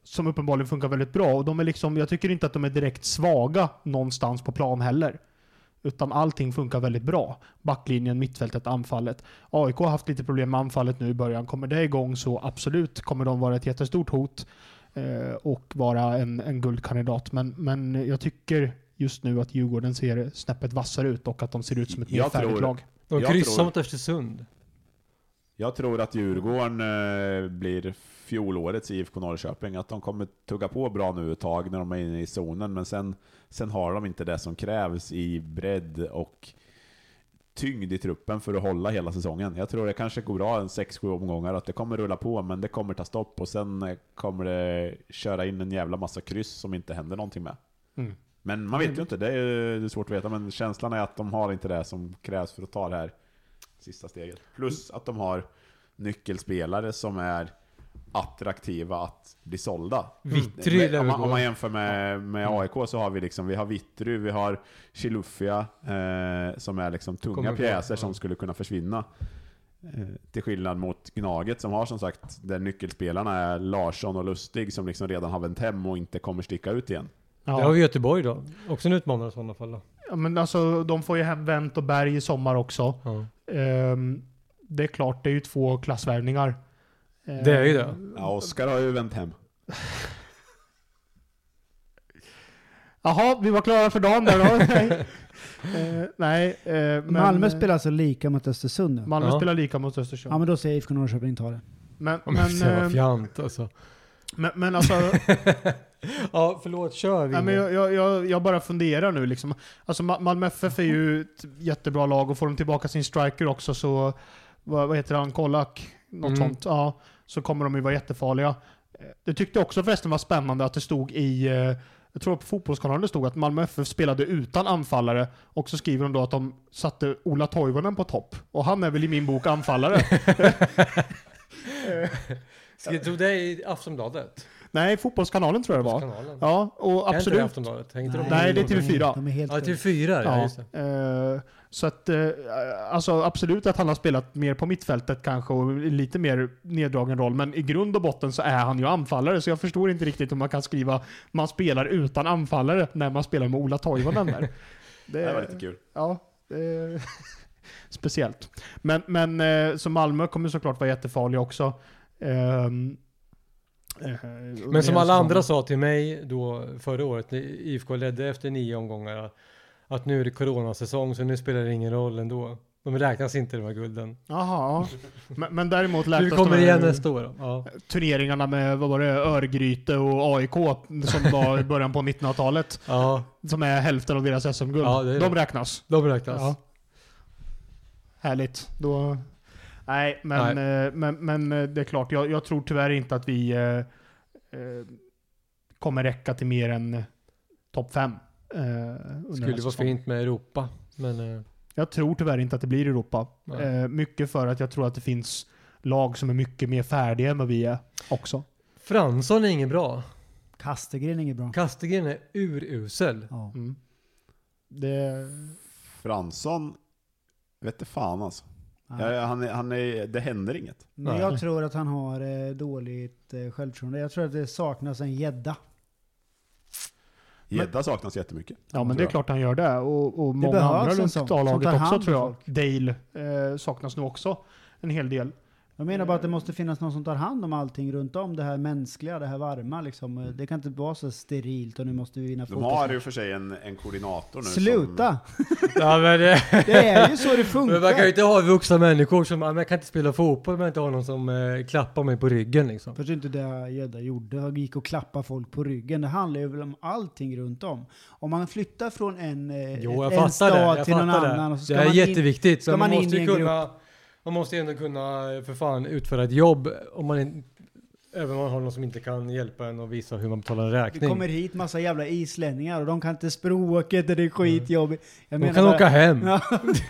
D: som uppenbarligen funkar väldigt bra. Och de är liksom, jag tycker inte att de är direkt svaga någonstans på plan heller. Utan allting funkar väldigt bra. Backlinjen, mittfältet, anfallet. AIK har haft lite problem med anfallet nu i början. Kommer det igång så absolut kommer de vara ett jättestort hot eh, och vara en, en guldkandidat. Men, men jag tycker just nu att Djurgården ser snäppet vassare ut och att de ser ut som ett mer
B: Jag
D: färdigt
B: tror-
D: lag.
A: De
B: Jag
A: kryssar
B: tror-
A: mot Östersund.
B: Jag tror att Djurgården eh, blir fjolårets IFK Norrköping, att de kommer tugga på bra nu ett tag när de är inne i zonen, men sen, sen har de inte det som krävs i bredd och tyngd i truppen för att hålla hela säsongen. Jag tror det kanske går bra en 6-7 omgångar, att det kommer rulla på, men det kommer ta stopp och sen eh, kommer det köra in en jävla massa kryss som inte händer någonting med.
D: Mm.
B: Men man vet ju inte, det är, ju- det är svårt att veta, men känslan är att de har inte det som krävs för att ta det här sista steget. Plus att de har nyckelspelare som är attraktiva att bli sålda.
A: Vittry
B: Men
A: lär
B: om,
A: vi
B: man,
A: gå.
B: om man jämför med, med AIK så har vi liksom, vi har Vittry, vi har Chilufya eh, som är liksom tunga
A: Kommer på,
B: pjäser
A: ja.
B: som skulle kunna försvinna. Eh, till skillnad mot Gnaget som har som sagt, där nyckelspelarna är Larsson och Lustig som liksom redan har vänt hem och inte kommer sticka ut igen.
D: Ja.
A: Det har vi Göteborg då. Också en utmanare i sådana fall då.
D: Ja, men alltså, de får ju hem Wendt och Berg i sommar också.
C: Eh,
A: Ja.
D: Ehm, det är klart, det är ju två klassvärvningar. Ehm,
A: Det är ju det.
B: Ja, Oskar har ju vänt hem.
D: Ehm, Jaha, vi var klara för dagen där då. nej, Ehm, nej eh, men,
C: Malmö spelar alltså lika mot Östersund nu?
D: Malmö
A: Ja.
D: spelar lika mot Östersund.
C: Ja men då säger IFK Norrköping tar det.
D: men,
A: Ja,
D: men,
A: Men, men,
C: eh,
D: ehm,
A: vad fjant alltså.
D: men, men alltså,
A: ja, förlåt. Kör vi.
D: Nej, men jag, jag, jag, jag bara funderar nu liksom. Alltså Ma- Malmö FF är ju ett jättebra lag och får de tillbaka sin striker också så, vad, vad heter han, Kolak? Något
A: Mm.
D: sånt. Ja, så kommer de ju vara jättefarliga. Eh, Det tyckte jag också förresten var spännande att det stod i, eh, jag tror på Fotbollskanalen det stod att Malmö FF spelade utan anfallare och så skriver de då att de satte Ola Toivonen på topp. Och han är väl i min bok anfallare.
A: Ska- Tog det i Aftonbladet?
D: Nej, Fotbollskanalen tror jag det var.
A: Kanalen.
D: Ja, och
A: Är inte det
D: absolut.
A: Aftonbladet? Hänger inte de
D: Nej,
A: med?
D: det är TV4.
C: De är helt
A: Ja, TV4 ja. Just det.
D: eh, så att, eh, alltså absolut att han har spelat mer på mittfältet kanske och lite mer neddragen roll, men i grund och botten så är han ju anfallare, så jag förstår inte riktigt om man kan skriva man spelar utan anfallare när man spelar med Ola Toivonen där.
B: Det var lite kul.
D: Ja, eh, speciellt. Men, men eh, så Malmö kommer såklart vara jättefarliga också. Ehm, eh,
A: Men som alla andra
D: så...
A: sa till mig då förra året när IFK ledde efter nio omgångar att nu är det coronasäsong så nu spelar det ingen roll ändå. De räknas inte de här gulden.
D: Jaha, ja. men, men däremot lät
A: Du
D: oss
A: kommer
D: de här-
A: igen nästa år. då. Ja.
D: turneringarna med, vad var det, Örgryte och AIK som var i början på 1900-talet.
A: ja,
D: Som är hälften av deras SM-guld.
A: Ja, det är
D: De
A: det.
D: räknas.
A: de räknas.
D: Ja. Härligt. Då... Nej, men, eh, Men, men eh, det är klart. Jag, jag tror tyvärr inte att vi eh, eh, kommer räcka till mer än eh, topp fem. eh, under den här
A: Skulle vara
D: säsongen.
A: fint med Europa. Men eh,
D: Jag tror tyvärr inte att det blir Europa.
A: Nej.
D: Eh, mycket för att jag tror att det finns lag som är mycket mer färdiga än vad vi är också.
A: Fransson är ingen bra.
C: Kastegren är inget bra.
A: Kastegren är urusel.
C: Ja.
D: Mm. Det...
B: Fransson, vet du fan alltså.
C: Ja.
B: Eh, Han är, han är, det händer inget.
C: Men
A: Nej.
C: jag tror att han har eh, dåligt eh, självförtroende. Jag tror att det saknas en gädda.
D: Men-
B: Gädda saknas jättemycket.
D: Ja men
B: tror
D: det är
B: jag.
D: klart han gör det. Och, och många
C: behövs
D: andra
C: en
D: runt
C: sån som
D: A-laget
C: tar hand
D: också
C: om
D: tror jag. Dale eh, saknas nog också en hel del.
C: Jag menar
A: Eh.
C: bara att det måste finnas någon som tar hand om allting runt om. Det här mänskliga, det här varma liksom. Eh, Det kan inte vara så sterilt och nu måste vi vinna
B: De har ju
C: fotbollsmatch.
B: för sig en, en koordinator nu. liksom.
C: Sluta!
A: Ja, men, eh,
C: Det är ju så det
A: men man kan ju
C: funkar.
A: inte ha vuxna människor som, "Ah, men jag kan inte spela fotboll om jag inte har någon som eh, klappar mig på ryggen liksom.
C: Fast det är inte det gädda gjorde. Han gick och klappade folk på ryggen. Det handlar ju väl om allting runt om. Om man flyttar från en, eh,
A: Jo, jag
C: en
A: fattar det.
C: stad
A: Jag
C: till någon
A: fattar det.
C: annan och så ska
A: det här är
C: man in-
A: jätteviktigt.
C: ska
A: men
C: man in
A: måste
C: i
A: ju
C: en
A: kunna, man måste ju ändå kunna eh, för fan utföra ett jobb om man inte Även om man har någon som inte kan hjälpa en och visa hur man betalar en
C: Det
A: räkning.
C: kommer hit massa jävla islänningar och de kan inte språket och det är skitjobbigt. Jag
A: Mm. De
C: menar
A: kan
C: bara-
A: åka hem.
C: Ja.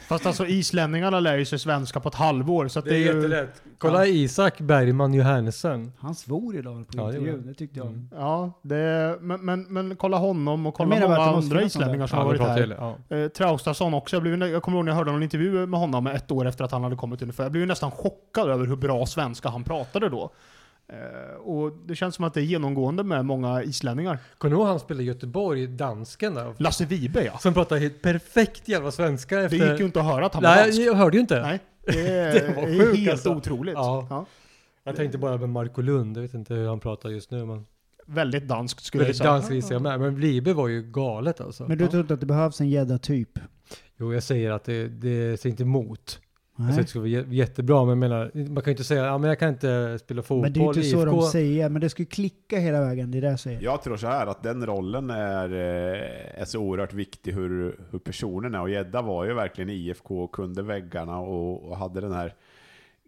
D: Fast alltså islänningarna lär ju sig svenska på ett halvår. Så att
A: Det är
D: det är ju,
A: jättelätt. Kolla Isak Bergman Johannesen.
C: Han svor idag på
A: Ja, det
C: intervjun,
A: gjorde
C: det tyckte jag.
A: Mm.
D: Ja, det, men, men, men kolla honom och
C: Jag
D: kolla
C: menar bara
D: många
C: att det måste
D: andra
C: finnas sånt där.
D: islänningar som har
A: vi
D: varit
A: pratar
D: här.
A: ju- ja.
D: Eh, Traustason också. Jag, blev, ju- jag kommer ihåg när jag hörde någon intervju med honom ett år efter att han hade kommit ungefär. Jag blev ju nästan chockad över hur bra svenska han pratade då. Eh, och det känns som att det är genomgående med många islänningar.
A: Kommer du ihåg han spelade i Göteborg, dansken där?
D: Lasse Vibe ja.
A: Som pratade helt perfekt jävla svenska
D: Det
A: efter...
D: gick ju inte att höra att han var
A: Nej,
D: dansk.
A: jag hörde ju inte.
D: Nej, det är,
A: var
D: det är
A: sjukt
D: helt
A: alltså.
D: otroligt.
A: Ja.
D: Ja.
A: Jag tänkte bara med Marco Lund. Jag vet inte hur han pratar just nu. Men...
D: Väldigt danskt skulle
A: Väldigt
D: jag
A: dansk gissar jag med. Men Libe var ju galet alltså.
C: Men du tror inte att det behövs en gädda-typ?
A: Jo, jag säger att det, det ser inte emot. Jag säger
C: Nej.
A: att det skulle vara jä- jättebra, men jag menar, man kan ju inte säga ja, men jag kan inte spela fotboll
C: Men det är ju inte
A: i
C: så de
A: IFK."
C: säger, men det skulle klicka hela vägen, det är det jag säger.
B: Jag tror så här att den rollen är, eh, är så oerhört viktig hur, hur personen är. Och Gedda var ju verkligen i IFK och kunde väggarna och, och hade den här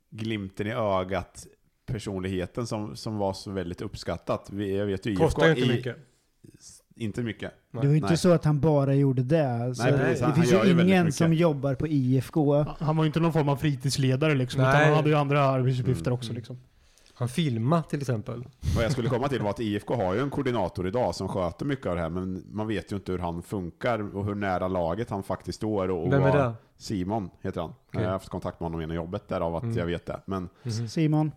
B: glimten i ögat personligheten som, som var så väldigt uppskattat. Vi- Jag vet ju IFK,
A: Kostar ju inte
B: i-
A: mycket.
B: inte mycket.
C: Det var ju inte
B: Nej.
C: så att han bara gjorde det. Så
B: Nej, precis. Han-
C: det finns
B: han gör ju
C: ju
B: väldigt
C: ingen
B: mycket.
C: som jobbar på IFK.
D: Han var ju inte någon form av fritidsledare liksom, utan
A: Nej.
D: han hade ju andra arbetsuppgifter
B: Mm.
D: också. Liksom.
A: Han filmar till exempel.
B: Vad jag skulle komma till var att IFK har ju en koordinator idag som sköter mycket av det här, men man vet ju inte hur han funkar och hur nära laget han faktiskt står. Och och
A: Vem är
B: vad-
A: det?
B: Simon heter han.
A: Okej.
B: Jag har haft kontakt med honom genom jobbet, därav att
A: Mm.
B: jag vet det. Men
C: Simon.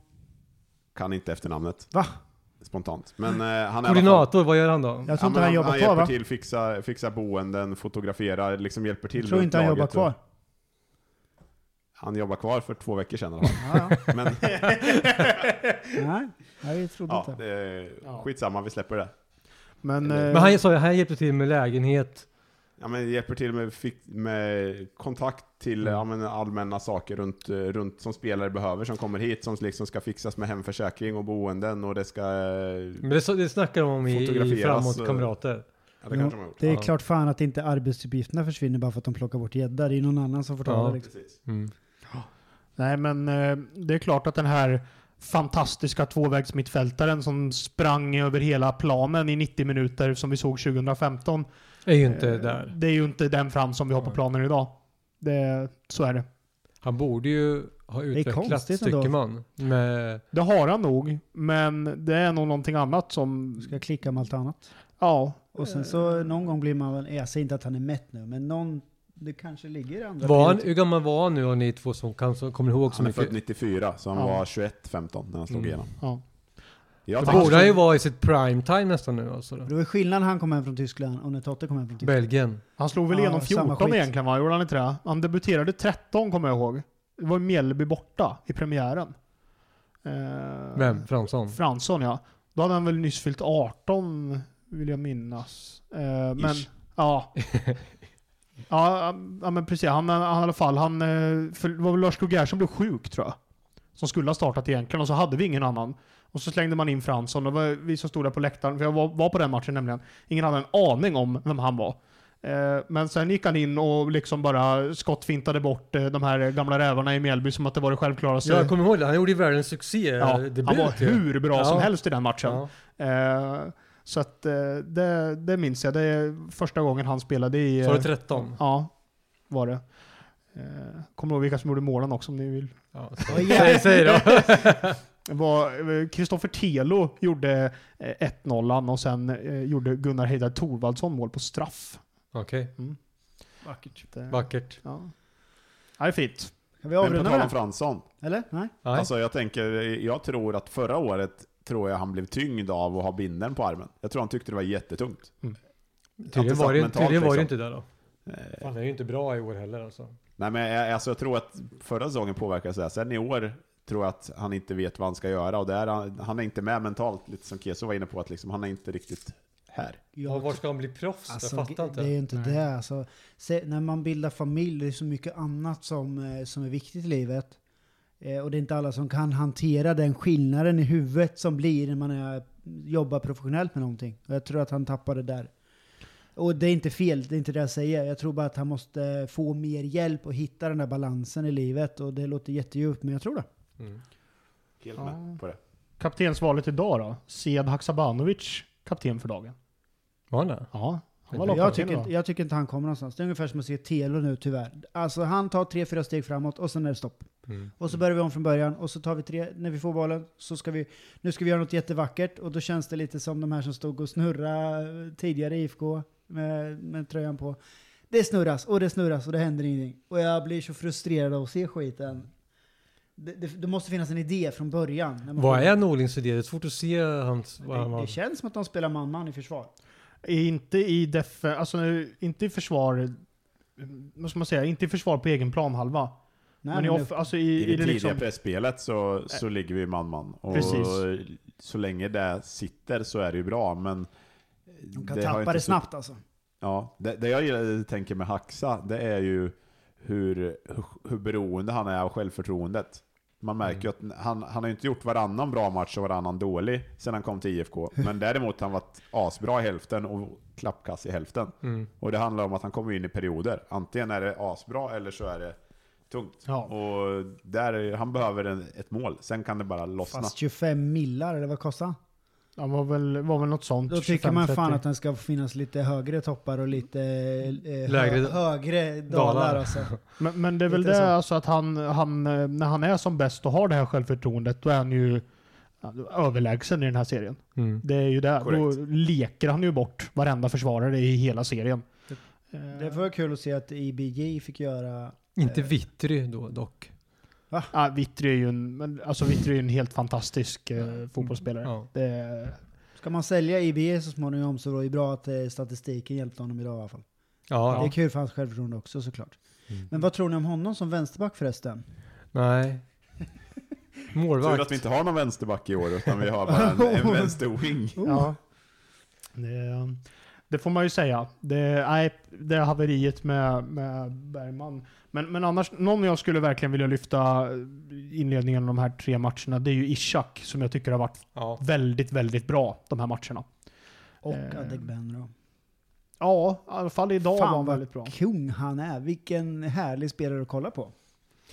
B: kan inte efternamnet.
C: Va?
B: Spontant. Men eh, han är i alla fall-
A: Koordinator, vad gör han då?
C: Jag tror inte
B: men
C: han jobbar
B: han
C: kvar
B: hjälper
C: va?
B: till, fixar, fixar boenden, fotograferar, liksom hjälper till.
C: Jag tror
B: runt
C: inte han
B: laget
C: jobbar
B: och-
C: kvar.
B: Han jobbar kvar för två veckor sedan i alla fall.
C: Ja, ja.
B: Men
C: Nej, Nej, jag trodde
B: ja,
C: inte.
B: det är,
D: Ja.
B: skitsamma, vi släpper det.
D: Men,
B: Men
D: eh,
A: Men han sa ju, han hjälpte till med lägenhet.
B: Ja, men hjälper till med, fix- med kontakt till
A: Mm.
B: ja, men allmänna saker runt, eh, runt som spelare behöver som kommer hit som liksom ska fixas med hemförsäkring och boenden och det ska... eh,
A: Men
C: Mm.
A: det, så- det snackar de om i, i
B: Fotograferas,
A: Framåt
B: eh,
A: Kamrater.
B: Ja, det
C: Ja.
B: kanske de har gjort.
C: Det är
A: Ja.
C: klart fan att inte arbetsuppgifterna försvinner bara för att de plockar bort gädda. Det är någon annan som får ta
A: Ja.
C: det. Liksom.
B: Precis.
A: Mm.
D: Nej, men eh, det är klart att den här fantastiska tvåvägsmittfältaren som sprang över hela planen i 90 minuter som vi såg 2015.
A: Är ju inte
D: eh,
A: där.
D: Det är ju inte den Fram som vi har på
A: Nej.
D: planen idag. Det, så är det.
A: Han borde ju ha utvecklats
C: konstigt ändå.
A: tycker man. Med,
D: Det har han nog, men det är nog någonting annat som...
C: Ska jag klicka om allt annat.
D: Ja.
C: Och sen
B: Eh.
C: så någon gång blir man väl, jag säger inte att han är mätt nu, men någon, det kanske ligger i andra
A: var han,
C: prioriter-
A: hur gammal var han nu om ni två som, kan, som kommer ihåg så
B: Han är född
A: mycket?
B: 94, så han
D: Ja.
B: var 21-15 när han slog
A: Mm.
B: igenom.
D: ja.
B: Jag
A: Då
B: tänker-
A: borde han ju vara i sitt prime time nästan nu alltså. Då.
C: Det var skillnad när han kom hem från Tyskland och när Totte kom hem från Tyskland.
A: Belgien.
D: Han slog väl
C: Ja,
D: igenom
C: samma
D: 14
C: skit.
D: egentligen va? Gjorde han inte det? Han debuterade 13 kommer jag ihåg. Det var i Mjällby borta i premiären. Eh,
A: Vem? Fransson?
D: Fransson ja. Då hade han väl nyss fyllt 18 vill jag minnas. Eh, men
B: Ish.
D: ja. ja. Ja men precis. Han, han, i alla fall, han, eh, för, det var väl Lars Kroger som blev sjuk tror jag. Som skulle ha startat egentligen och så hade vi ingen annan. Och så slängde man in Fransson. Det var vi som stod där på läktaren, för jag var, var på den matchen nämligen. Ingen hade en aning om vem han var. Eh, Men sen gick han in och liksom bara skottfintade bort eh, de här gamla rävarna i Mjällby som att det var det självklaraste.
A: Ja, jag kommer ihåg det. Han gjorde ju världens succé. eh,
D: Ja,
A: debut,
D: han var
A: ju.
D: hur bra
A: Ja.
D: som helst i den matchen.
A: Ja.
D: Eh, så att eh, det, det minns jag. Det är första gången han spelade i...
A: Så var
D: eh,
A: det 13?
D: Ja, var det. Eh, kommer ihåg vilka som gjorde målen också om ni vill.
A: Ja,
C: Oj,
A: säg, säg då.
D: Det var, eh, Kristoffer Telo gjorde eh, 1-0 och sen eh, gjorde Gunnar Heidar Thorvaldsson mål på straff.
A: Okej,
D: Vackert.
A: vackert.
D: Ja. ja, det är fint.
C: Kan vi
B: Men på
C: avrunda
B: tal om
C: med
B: Fransson.
C: det? Eller? Nej?
A: Nej.
B: Alltså jag tänker, jag tror att förra året tror jag han blev tyngd av att ha bindeln på armen. Jag tror han tyckte det var jättetungt.
D: Mm.
A: tydligen var, det,
B: mentalt,
A: tydligen var det
B: liksom.
A: inte där då.
B: Eh,
A: Fan, det är ju inte bra i år heller alltså.
B: Nej men jag, alltså jag tror att förra säsongen påverkades det. här. Sen i år tror jag att han inte vet vad han ska göra och där, han, han är inte med mentalt, lite som Keso var inne på, att liksom, han är inte riktigt här.
A: Ja, var ska han bli proffs?
C: typ- Alltså,
A: jag fattar inte.
C: det är ju inte
D: Nej.
C: det. Alltså, se, när man bildar familj, det är så mycket annat som, eh, som är viktigt i livet. Eh, och det är inte alla som kan hantera den skillnaden i huvudet som blir när man är, jobbar professionellt med någonting. Och jag tror att han tappade det där. Och det är inte fel, det är inte det jag säger. Jag tror bara att han måste eh, få mer hjälp och hitta den där balansen i livet. Och det låter jättedjupt, men jag tror det.
A: Mm.
B: Helt
D: Ja.
B: med på det.
D: Kaptensvalet idag då? Sead Haksabanovic, kapten för dagen.
A: Var han det?
D: Ja, han var
C: Jag
D: lagkapten
C: tycker, inte,
D: idag.
C: jag tycker inte han kommer någonstans. Det är ungefär som att se Telo nu tyvärr. Alltså han tar tre, fyra steg framåt och sen är det stopp.
A: Mm.
C: Och så börjar vi om från början och så tar vi tre, när vi får bollen så ska vi, nu ska vi göra något jättevackert och då känns det lite som de här som stod och snurrade eh, tidigare i IFK med, med tröjan på. Det snurras och det snurras och det händer ingenting. Och jag blir så frustrerad av att se skiten. Det, det, det måste finnas en idé från början. när man
A: Vad
C: får-
A: är Norlings idé? Det är svårt att se hans... vad han
C: det,
A: var.
C: det känns som att de spelar man-man i försvar.
D: Inte i def, alltså inte i försvar, vad ska man säga, inte i försvar på egen planhalva.
C: Nej,
D: men i,
C: men
D: off, alltså i,
B: I det,
D: i det
B: tidiga
D: liksom,
B: pressspelet så, så ligger vi man-man. Och
D: Precis.
B: så länge det sitter så är det ju bra, men...
C: de kan
B: det har ju
C: tappa
B: inte
C: det
B: så-
C: snabbt alltså.
B: Ja, det, det jag gillar- tänker med Haxa, det är ju hur, hur- hur beroende han är av självförtroendet. Man märker ju att han, han har ju inte gjort varannan bra match och varannan dålig sedan han kom till IFK. Men däremot har han varit asbra i hälften och klappkass i hälften.
A: Mm.
B: Och det handlar om att han kommer in i perioder. Antingen är det asbra eller så är det tungt.
D: Ja.
B: Och där, är- han behöver en, ett mål, sen kan det bara lossna.
C: Fast 25 millar, eller vad kostar han?
D: Ja, var väl, var väl något sånt.
C: Då tycker man
D: 25-30.
C: fan att den ska finnas lite högre toppar och lite eh,
A: Lägre-
C: hö- högre dalar.
A: dalar.
C: Alltså.
D: Men, men det är väl
C: Lite så.
D: det alltså att han, han, eh, när han är som bäst och har det här självförtroendet, då är han ju ja, överlägsen i den här serien.
A: Mm.
D: Det är ju där.
B: Korrekt.
D: Då leker han ju bort varenda försvarare i hela serien. Eh,
C: Det var kul att se att IBJ fick göra...
A: Inte
C: Eh.
A: Vittry då dock.
D: Ja, Vittry Eh, ah, är ju en, men, alltså Vittry är ju en helt fantastisk eh, fotbollsspelare.
A: Ja.
D: Det,
C: Ska man sälja IBJ så småningom så var det ju bra att eh, statistiken hjälpte honom idag i alla fall. Det
A: Ja.
C: är kul för hans självförtroende också såklart.
A: Mm.
C: Men vad tror ni om honom som vänsterback förresten?
A: Nej.
B: Tur
A: Målvakt.
B: att vi inte har någon vänsterback i år, utan vi har bara en, en vänsterwing.
D: Ja. Det, det får man ju säga. Det, nej, det är haveriet med, med Bergman. Men, men annars, någon jag skulle verkligen vilja lyfta inledningen av de här tre matcherna, det är ju Ishak som jag tycker har varit
A: Ja.
D: väldigt, väldigt bra de här matcherna.
C: Och
D: Eh.
C: Adegbenro.
D: Ja, i alla fall idag var
C: Fan
D: han
C: vad
D: väldigt bra.
C: kung han är. Vilken härlig spelare att kolla på.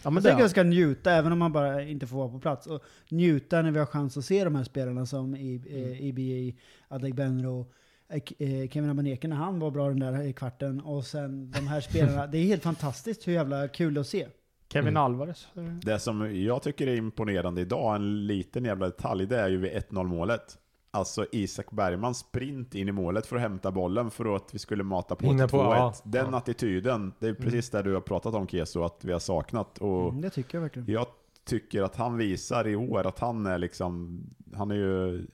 D: Ja, men
C: Jag
D: det,
C: tänker jag
D: är-
C: ska njuta, även om man bara inte får vara på plats. Och njuta när vi har chans att se de här spelarna som I-
D: Mm.
C: eh, IBJ, Adegbenro, eh, K- eh, Kevin Abaneke när han var bra den där i kvarten. Och sen de här spelarna. Det är helt fantastiskt hur jävla kul att se.
D: Kevin
A: Mm.
D: Alvarez. eh,
B: Det som jag tycker är imponerande idag, en liten jävla detalj, det är ju vid 1-0 målet. Alltså Isak Bergmans sprint in i målet för att hämta bollen för att vi skulle mata på
A: Hinna
B: till 2-1.
A: på, ja. Mm.
B: Den
A: Ja.
B: attityden, det är precis det du har pratat om Keso, att vi har saknat. Och
C: Mm, det tycker jag verkligen.
B: jag tycker att han visar i år att han är liksom, han är ju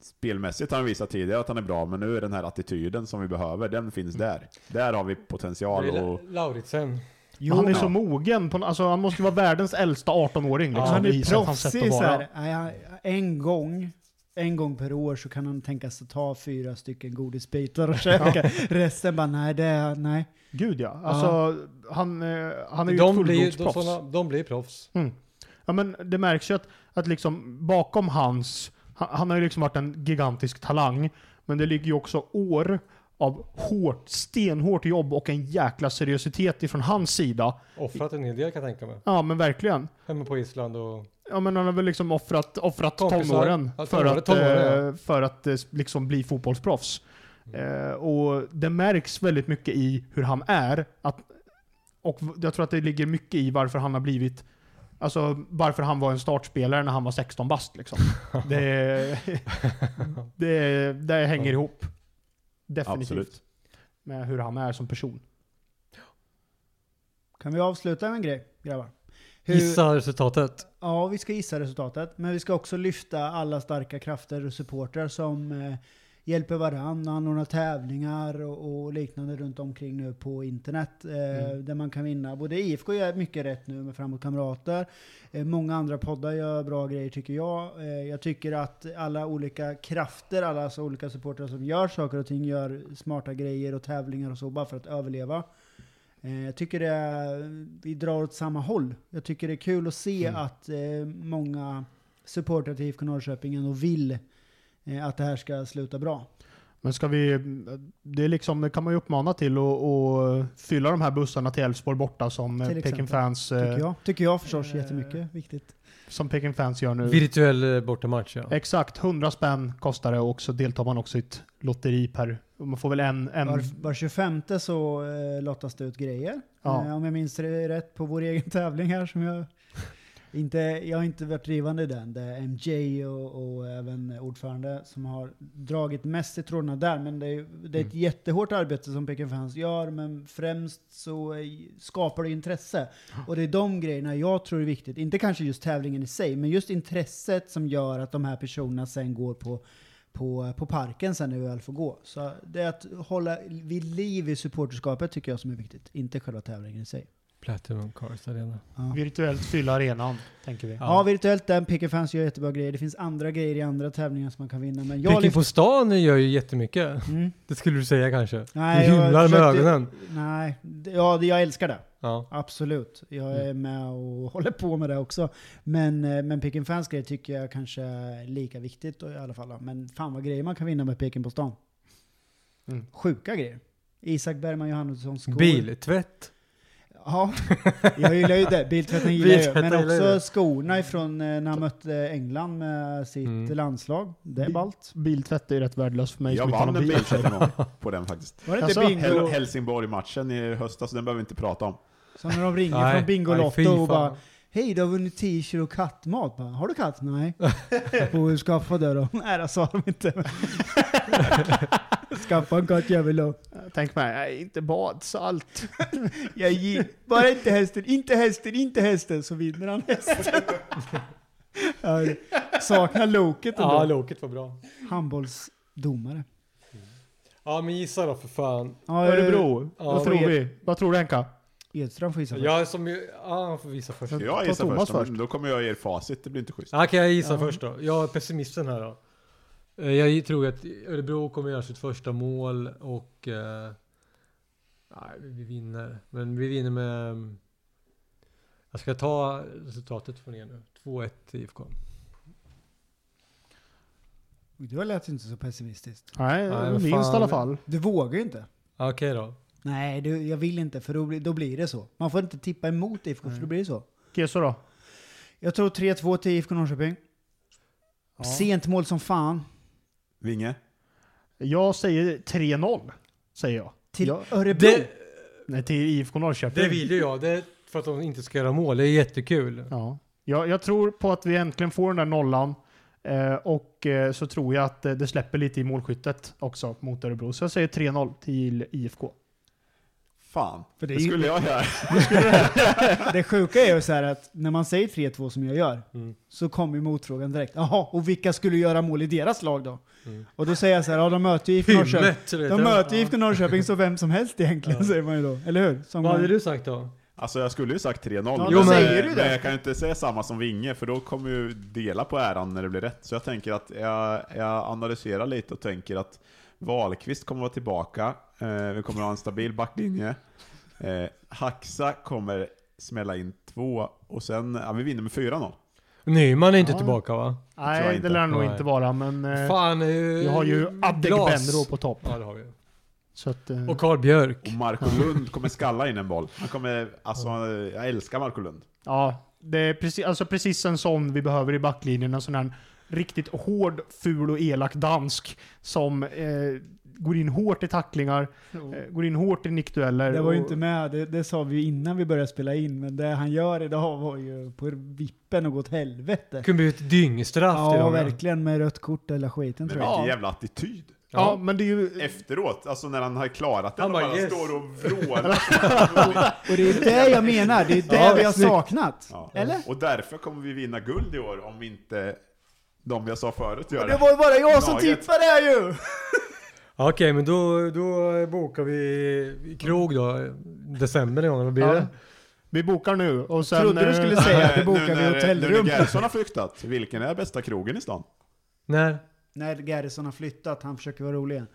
B: Spelmässigt har han visat tidigare att han är bra, men nu är den här attityden som vi behöver, den finns
A: Mm.
B: där. Där har vi
A: Det
B: potential
A: är
B: och
A: La- Lauritsen.
D: Men han är så mogen. På, alltså, han måste ju vara världens äldsta 18-åring. Liksom,
C: han
D: i
C: är
D: sitt- hans sätt
C: proffsig
D: att
C: så
D: vara.
C: här. Nej, han- En gång, en gång per år så kan han tänka sig att ta fyra stycken godisbitar och käka. Resten bara nej, det är, nej.
D: Gud ja. Alltså, han, eh, han är ju ett
A: De blir, de,
D: fullblodsproffs.
A: såna, de blir proffs.
D: Ja, men det märks ju att, att liksom bakom hans, han, han har ju liksom varit en gigantisk talang, men det ligger ju också år av hårt, stenhårt jobb och en jäkla seriositet ifrån hans sida.
A: Offrat en hel del kan jag tänka mig.
D: Ja men verkligen.
A: Hemma på Island och...
D: Ja men han har väl liksom offrat, offrat
A: Kompisar.
D: tonåren
A: Ja, Mm.
D: för
A: tonåren,
D: att,
A: tonåren,
D: eh, för att eh, liksom bli fotbollsproffs. Eh, och det märks väldigt mycket i hur han är. Att, och v- jag tror att det ligger mycket i varför han har blivit Alltså varför han var en startspelare när han var 16 bast liksom. Det, det, det hänger ihop. Definitivt.
B: Absolut.
D: Med hur han är som person.
C: Kan vi avsluta med en grej, grabbar? Hur-
A: Gissa resultatet.
C: Ja, vi ska gissa resultatet. Men vi ska också lyfta alla starka krafter och supportrar som eh, hjälper varandra, anordnar tävlingar och, och liknande runt omkring nu på internet. Eh, Där man kan vinna. Både IFK gör mycket rätt nu med Framåt Kamrater. Eh, många andra poddar gör bra grejer tycker jag. Eh, jag tycker att alla olika krafter, alla alltså olika supportrar som gör saker och ting, gör smarta grejer och tävlingar och så bara för att överleva. Eh, Jag tycker det är, vi drar åt samma håll. Jag tycker det är kul att se
D: Mm.
C: att eh, många supportrar till IFK Norrköping ändå vill eh, att det här ska sluta bra.
D: Men ska vi, det, är liksom, det kan man ju uppmana till att att fylla de här bussarna till Elfsborg borta som
C: Till
D: eh, Peking
C: exempel.
D: fans, eh,
C: Tycker jag, tycker jag förstås
D: eh,
C: jättemycket. Viktigt.
D: som Peking fans gör nu.
A: Virtuell eh, bortamatch ja.
D: Exakt, 100 spänn kostar det och så deltar man också i ett lotteri per, man får väl en, en
C: Var, var 25 så eh, lottas det ut grejer.
D: Ja.
C: Eh, om jag minns det rätt på vår egen tävling här som jag inte, jag har inte varit drivande i den. Det är MJ och, och även ordförande som har dragit mest i trådarna där. Men det är, det är ett jättehårt arbete som Peking Fans gör, men främst så eh, skapar det intresse. Och det är de grejerna jag tror är viktigt. Inte kanske just tävlingen i sig, men just intresset som gör att de här personerna sen går på på, på parken sen när vi väl får gå. Så det är att hålla vid liv i supporterskapet tycker jag som är viktigt, inte själva tävlingen i sig.
A: Platinum Cars Arena.
D: virtuellt fylla arenan, tänker vi.
C: Ja, virtuellt den, Picker Fans gör jättebra grejer. Det finns andra grejer i andra tävlingar som man kan vinna. Men jag
A: Pricken
C: lyfter...
A: på stan gör ju jättemycket.
C: Mm.
A: Det skulle du säga kanske.
C: Nej,
A: du
C: jag
A: himlar med
C: försökte-
A: ögonen.
C: Nej, det- ja, det- jag älskar det.
A: Ja.
C: Absolut. Jag är
A: Mm.
C: med och håller på med det också. Men, eh, men Picken Fans grejer tycker jag kanske är lika viktigt då i alla fall. Men fan vad grejer man kan vinna med Picken på stan.
D: Mm.
C: Sjuka grejer. Isak Bergman Johannessons skor.
A: Biltvätt.
C: Ja, jag gillar ju det. Biltvätten gillar jag ju.
A: Biltvätten
C: Men
A: gillar
C: också
A: jag ju.
C: skorna ifrån eh, när han mötte England med sitt
A: Mm.
C: landslag. Det är
D: Bi-
C: ballt.
D: Biltvätt är ju rätt värdelöst för mig
B: Jag
D: som inte har
B: vann
D: någon
B: en
D: bil.
B: biltvätt en gång på den faktiskt.
C: Var det
D: Alltså,
C: inte bingo?
B: Hel- Helsingborg-matchen i höstas, den behöver vi inte prata om.
C: Som när de ringer
A: Nej,
C: från
A: nej, fy
C: Bingolotto
A: fan.
C: och bara Hej, du har vunnit t-shirt och kattmat. Bara, har du katt? Nej. På hur skaffa det då? Nej, det sa de inte. skaffa en katt jävel då.
D: Tänk mig, nej, inte badsalt.
C: Jag ger. Bara inte hästen, inte hästen, inte hästen. Så vinner han hästen. Ja, det- Saknar loket ändå.
A: Ja, loket var bra.
C: Handbollsdomare.
A: Ja, men gissa då för fan.
C: Ja, eh,
D: Örebro,
A: Ja,
D: vad
A: vad
D: tror
C: är-
D: vi? Vad tror du Henka?
C: Edström får gissa först.
A: Jag som ju... Ja, han får visa först.
B: Jag
D: Ta
B: gissar
D: Thomas
B: först,
D: först.
B: men då kommer jag ge er facit, det blir inte schysst.
A: Ja, kan jag gissa
C: Ja.
A: först då? Jag är pessimisten här då. Eh, Jag tror att Örebro kommer göra sitt första mål och... Eh, nej, vi vinner. Men vi vinner med... mm, Jag ska ta resultatet från er nu. 2-1 till IFK.
C: Du lät inte så pessimistiskt.
D: Nej,
A: Nej, vad
D: minst i
A: fan.
D: alla fall.
C: Du vågar ju inte.
A: Ja, Okej då.
C: Nej, du, jag vill inte för då blir, då blir det så. Man får inte tippa emot IFK för då blir det så.
D: Keso då?
C: Jag tror 3-2 till IFK Norrköping. Sent mål som fan.
B: Vinge?
D: Jag säger 3-0. Säger jag.
C: Till
D: Ja.
C: Örebro.
A: Det,
D: Nej, till IFK Norrköping.
A: det vill ju jag. Det är för att de inte ska göra mål. Det är jättekul.
D: Ja. Jag, jag tror på att vi äntligen får den där nollan. Eh, och eh, så tror jag att eh, det släpper lite i målskyttet också mot Örebro. Så jag säger 3-0 till IFK.
B: Fan,
C: För det
B: det,
C: är ju-
B: skulle jag göra.
C: Det sjuka är ju så här att när man säger 3-2 som jag gör
A: Mm.
C: så kommer ju motfrågan direkt. Jaha, och vilka skulle göra mål i deras lag då?
A: Mm.
C: Och då säger jag så här, ja de möter ju IFK Norrköping.
A: Hymmet! vet jag.
C: De möter ju
A: Ja.
C: IFK Norrköping så vem som helst egentligen
A: Ja.
C: säger man ju då. Eller hur? Som
A: Vad
C: man-
A: hade du sagt då?
B: Alltså jag skulle ju sagt 3-0.
C: Ja,
A: då Jo, men-
C: säger du det.
B: Men jag kan ju inte säga samma som Vinge, för då kommer ju dela på äran när det blir rätt. Så jag tänker att jag, jag analyserar lite och tänker att Wahlqvist kommer vara tillbaka. Eh, vi kommer ha en stabil backlinje. Eh, Haxa kommer smälla in två och sen, ja vi vinner med 4-0.
A: Nyman är inte
D: Ja.
A: tillbaka va?
B: tror jag
D: Nej, det
B: inte.
D: lär nog
A: Nej.
D: inte vara, men eh,
A: Fan, eh,
D: jag har ju
A: glas.
D: Adegbenro på topp.
A: Ja, det har vi.
D: Så att, eh,
A: Och Karl Björk.
B: Och Marco Lund kommer skalla in en boll. Han kommer, alltså eh, jag älskar Marco Lund.
D: ja, det är precis, alltså precis en sån vi behöver i backlinjen. En sån här riktigt hård, ful och elak dansk som eh, går in hårt i tacklingar, eh, går in hårt i nickdueller.
C: Det var ju
D: och-
C: inte med, det, det sa vi ju innan vi började spela in, men det han gör idag var ju på vippen och gå åt helvete.
A: Det kunde bli ett dyngstraff till
C: Ja,
A: dem.
C: verkligen med rött kort eller skiten
B: Men
C: tror
B: vilken
C: jag.
B: jävla attityd.
D: Ja, men det är ju...
B: Efteråt, alltså när han har klarat den
A: Han
B: och
A: bara,
B: bara
A: "Yes."
B: står och vrålar.
C: Och det är det jag menar, det är det
A: Ja,
C: vi har
A: snyggt.
C: saknat.
B: Ja.
C: Eller?
B: Och därför kommer vi vinna guld i år om inte de jag sa förut gör
C: Det var ju bara jag som
B: Laget.
C: tippade här ju!
A: Ja, Okej, men då, då bokar vi krog då. December någon gång, vad blir
D: Ja.
A: det?
D: Vi bokar nu och sen...
C: Trodde du
D: eh,
C: skulle säga att det
B: Nu
C: bokar vi
B: när- Nu
C: hotellrum.
B: när Gerson har flyktat, vilken är bästa krogen i stan?
A: När?
C: När Garrison har flyttat, han försöker vara rolig igen.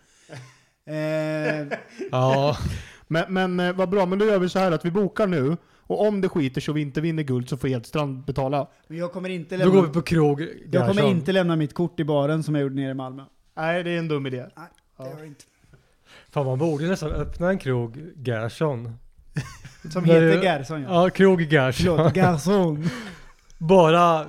C: Eh,
A: Ja,
D: Men, men eh, vad bra, men då gör vi så här att vi bokar nu. Och om det skiter så vi inte vinner guld så får Edstrand betala.
C: men jag kommer inte
A: då går vi
C: lämna,
A: på krog.
C: jag kommer
A: Gerson.
C: inte lämna mitt kort i baren som jag gjorde nere i Malmö.
D: Nej, det är en dum idé.
C: Det gör jag inte.
A: Fan, man borde ju nästan öppna en krog Gerson.
C: Som
A: Det är
C: heter
A: ju-
C: Garrison ja.
A: Ja, krog Gerson.
C: Förlåt, Garson.
A: Bara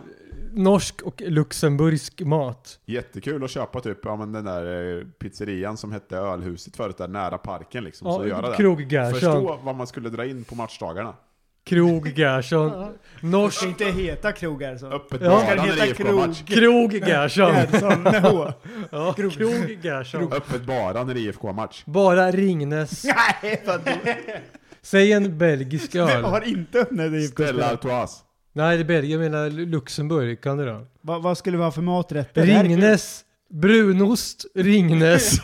A: norsk och luxemburgsk mat.
B: Jättekul att köpa typ, ja men den där eh, pizzerian som hette Ölhuset förut, där nära parken liksom. så göra
A: Ja,
B: det.
A: krog Gerson.
B: Förstå vad man skulle dra in på matchdagarna.
A: Krog Gerson.
C: Det
A: Norsk
C: ska inte heta Krog Garrison.
B: Öppet
A: Ja.
B: badande
C: Ska den heta
B: när IFK har match.
A: krog Gerson.
C: Garrison med H.
A: Ja, krog Gerson.
B: Öppet bara när IFK har match.
A: Bara Ringnes.
C: Nej, vad du-
A: Säg en belgisk
C: Jag
A: öl.
C: har inte öppnat det.
B: Stella Artois.
A: Nej, det är Belgien. Jag menar Lu- Luxemburg. Kan du då?
C: Vad, vad skulle vi ha för maträtter?
A: Ringnes. Brunost. Ringnes.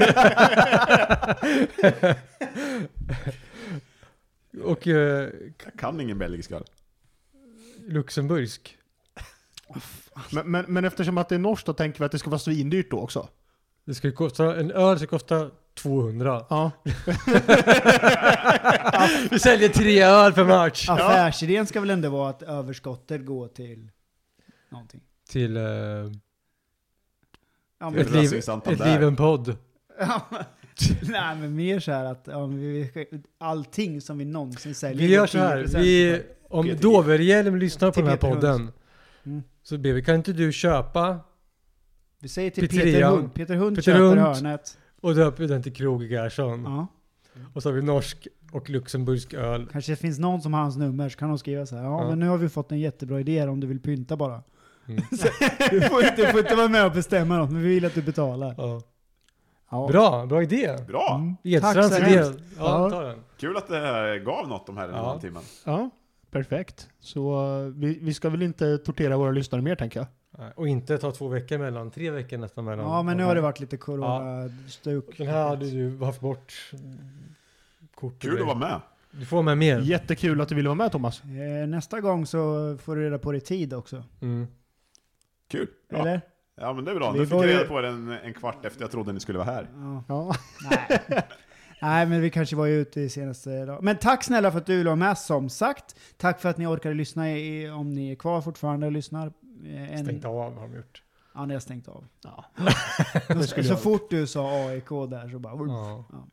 A: Och eh,
B: Jag kan ingen belgisk öl.
A: luxemburgsk.
D: Men, men, men eftersom att det är norskt då tänker vi att det ska vara svindyrt då också.
A: Det skulle kosta, en öl ska kosta 200.
D: Ja.
A: Vi säljer tre öl per match.
C: Affärsidén ska väl ändå vara att överskottet går till någonting.
A: Till eh,
C: Ja, men-
A: ett, liv,
B: Racing Santander.
A: ett liv en podd.
C: Nej, men mer så här att ja, men vi, vi- allting som vi någonsin säljer
A: Vi gör så här. Vi, om
B: PTG.
A: Doverhielm lyssnar på
C: Till
A: den här
C: Peter Hund.
A: podden.
C: Mm.
A: Så ber vi, kan inte du köpa
C: vi säger till Peter
A: Pizzeria.
C: Hund. Peter Hund
A: Peter
C: köper
A: Hund.
C: hörnet.
A: och döper den till Krog Gerson.
C: Ja.
A: Och så har vi norsk och luxemburgsk öl.
C: Kanske det finns någon som har hans nummer så kan de skriva så här. Ja,
A: Ja.
C: men nu har vi fått en jättebra idé här om du vill pynta bara.
A: Mm.
C: Så, du, får inte, du får inte vara med och bestämma något, men vi vill att du betalar.
A: Ja.
C: Ja.
A: Bra, bra idé.
B: Bra!
C: Mm.
A: Edstrands
C: så
A: idé.
C: hemskt.
A: Ja,
D: Ja.
A: ta den.
B: Kul att det här gav något de här en
A: Ja.
B: halvtimmen.
D: Ja, perfekt. Så eh, vi, vi ska väl inte tortera våra lyssnare mer tänker jag.
A: Nej, Och inte ta två veckor mellan, tre veckor nästan mellan.
C: Ja, men nu har det varit lite corona-stuk.
A: Den här hade du haft bort kortet.
B: Kul att vara med.
A: Du får med mer.
D: Jättekul att du ville vara med Thomas.
C: Eh, Nästa gång så får du reda på det i tid också.
A: Mm.
B: Kul. Bra.
C: Eller?
B: Ja men det är bra.
C: Vi
B: Nu fick
C: får
B: jag
C: ju-
B: reda på det en, en kvart efter jag trodde ni skulle vara här.
C: Ja.
D: Ja.
C: Nej. Nej, men vi kanske var ute i senaste dag. Men tack snälla för att du ville vara med som sagt. Tack för att ni orkade lyssna i, om ni är kvar fortfarande och lyssnar. Eh, En,
A: Stängt av har de gjort.
C: Ja, ni har stängt av.
D: Ja.
C: Så,
D: skulle jag ha
C: fort du sa AIK där så bara...
A: Ja.
C: Ja.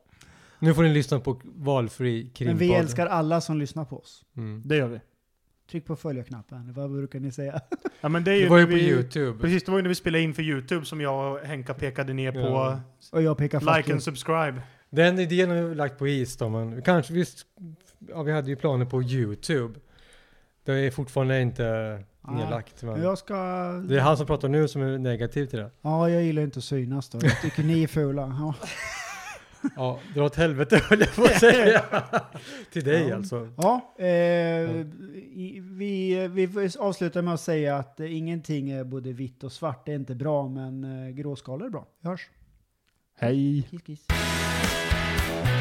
A: Nu får ni lyssna på valfri krimpodd.
C: Men vi älskar alla som lyssnar på oss.
A: Mm.
D: Det gör vi.
C: Tryck på följa-knappen. Vad brukar ni säga?
D: Ja, men det, är ju
A: Det var ju
D: när
A: på
D: vi,
A: Youtube.
D: Precis, det var ju när vi spelade in för Youtube som jag och Henka pekade ner på
A: Ja.
C: Och jag pekar fuck
D: like
C: you.
D: and subscribe.
A: Den idén har vi lagt på is då, men vi kanske visst, ja, vi hade ju planer på YouTube. Det är fortfarande inte
C: Nej.
A: nedlagt. Men
C: Jag ska...
A: Det är han som pratar nu som är negativ till det.
C: Ja, jag gillar inte att synas då. Jag tycker ni är fula. Ja.
A: Ja, dra åt helvete höll jag på att säga. till dig
C: Ja.
A: alltså.
C: Ja, eh, i- vi, vi avslutar med att säga att eh, ingenting är både vitt och svart. Det är inte bra, men eh, gråskalor är bra. Vi hörs.
D: Hej!
C: Kiss, kiss.
E: Thank you.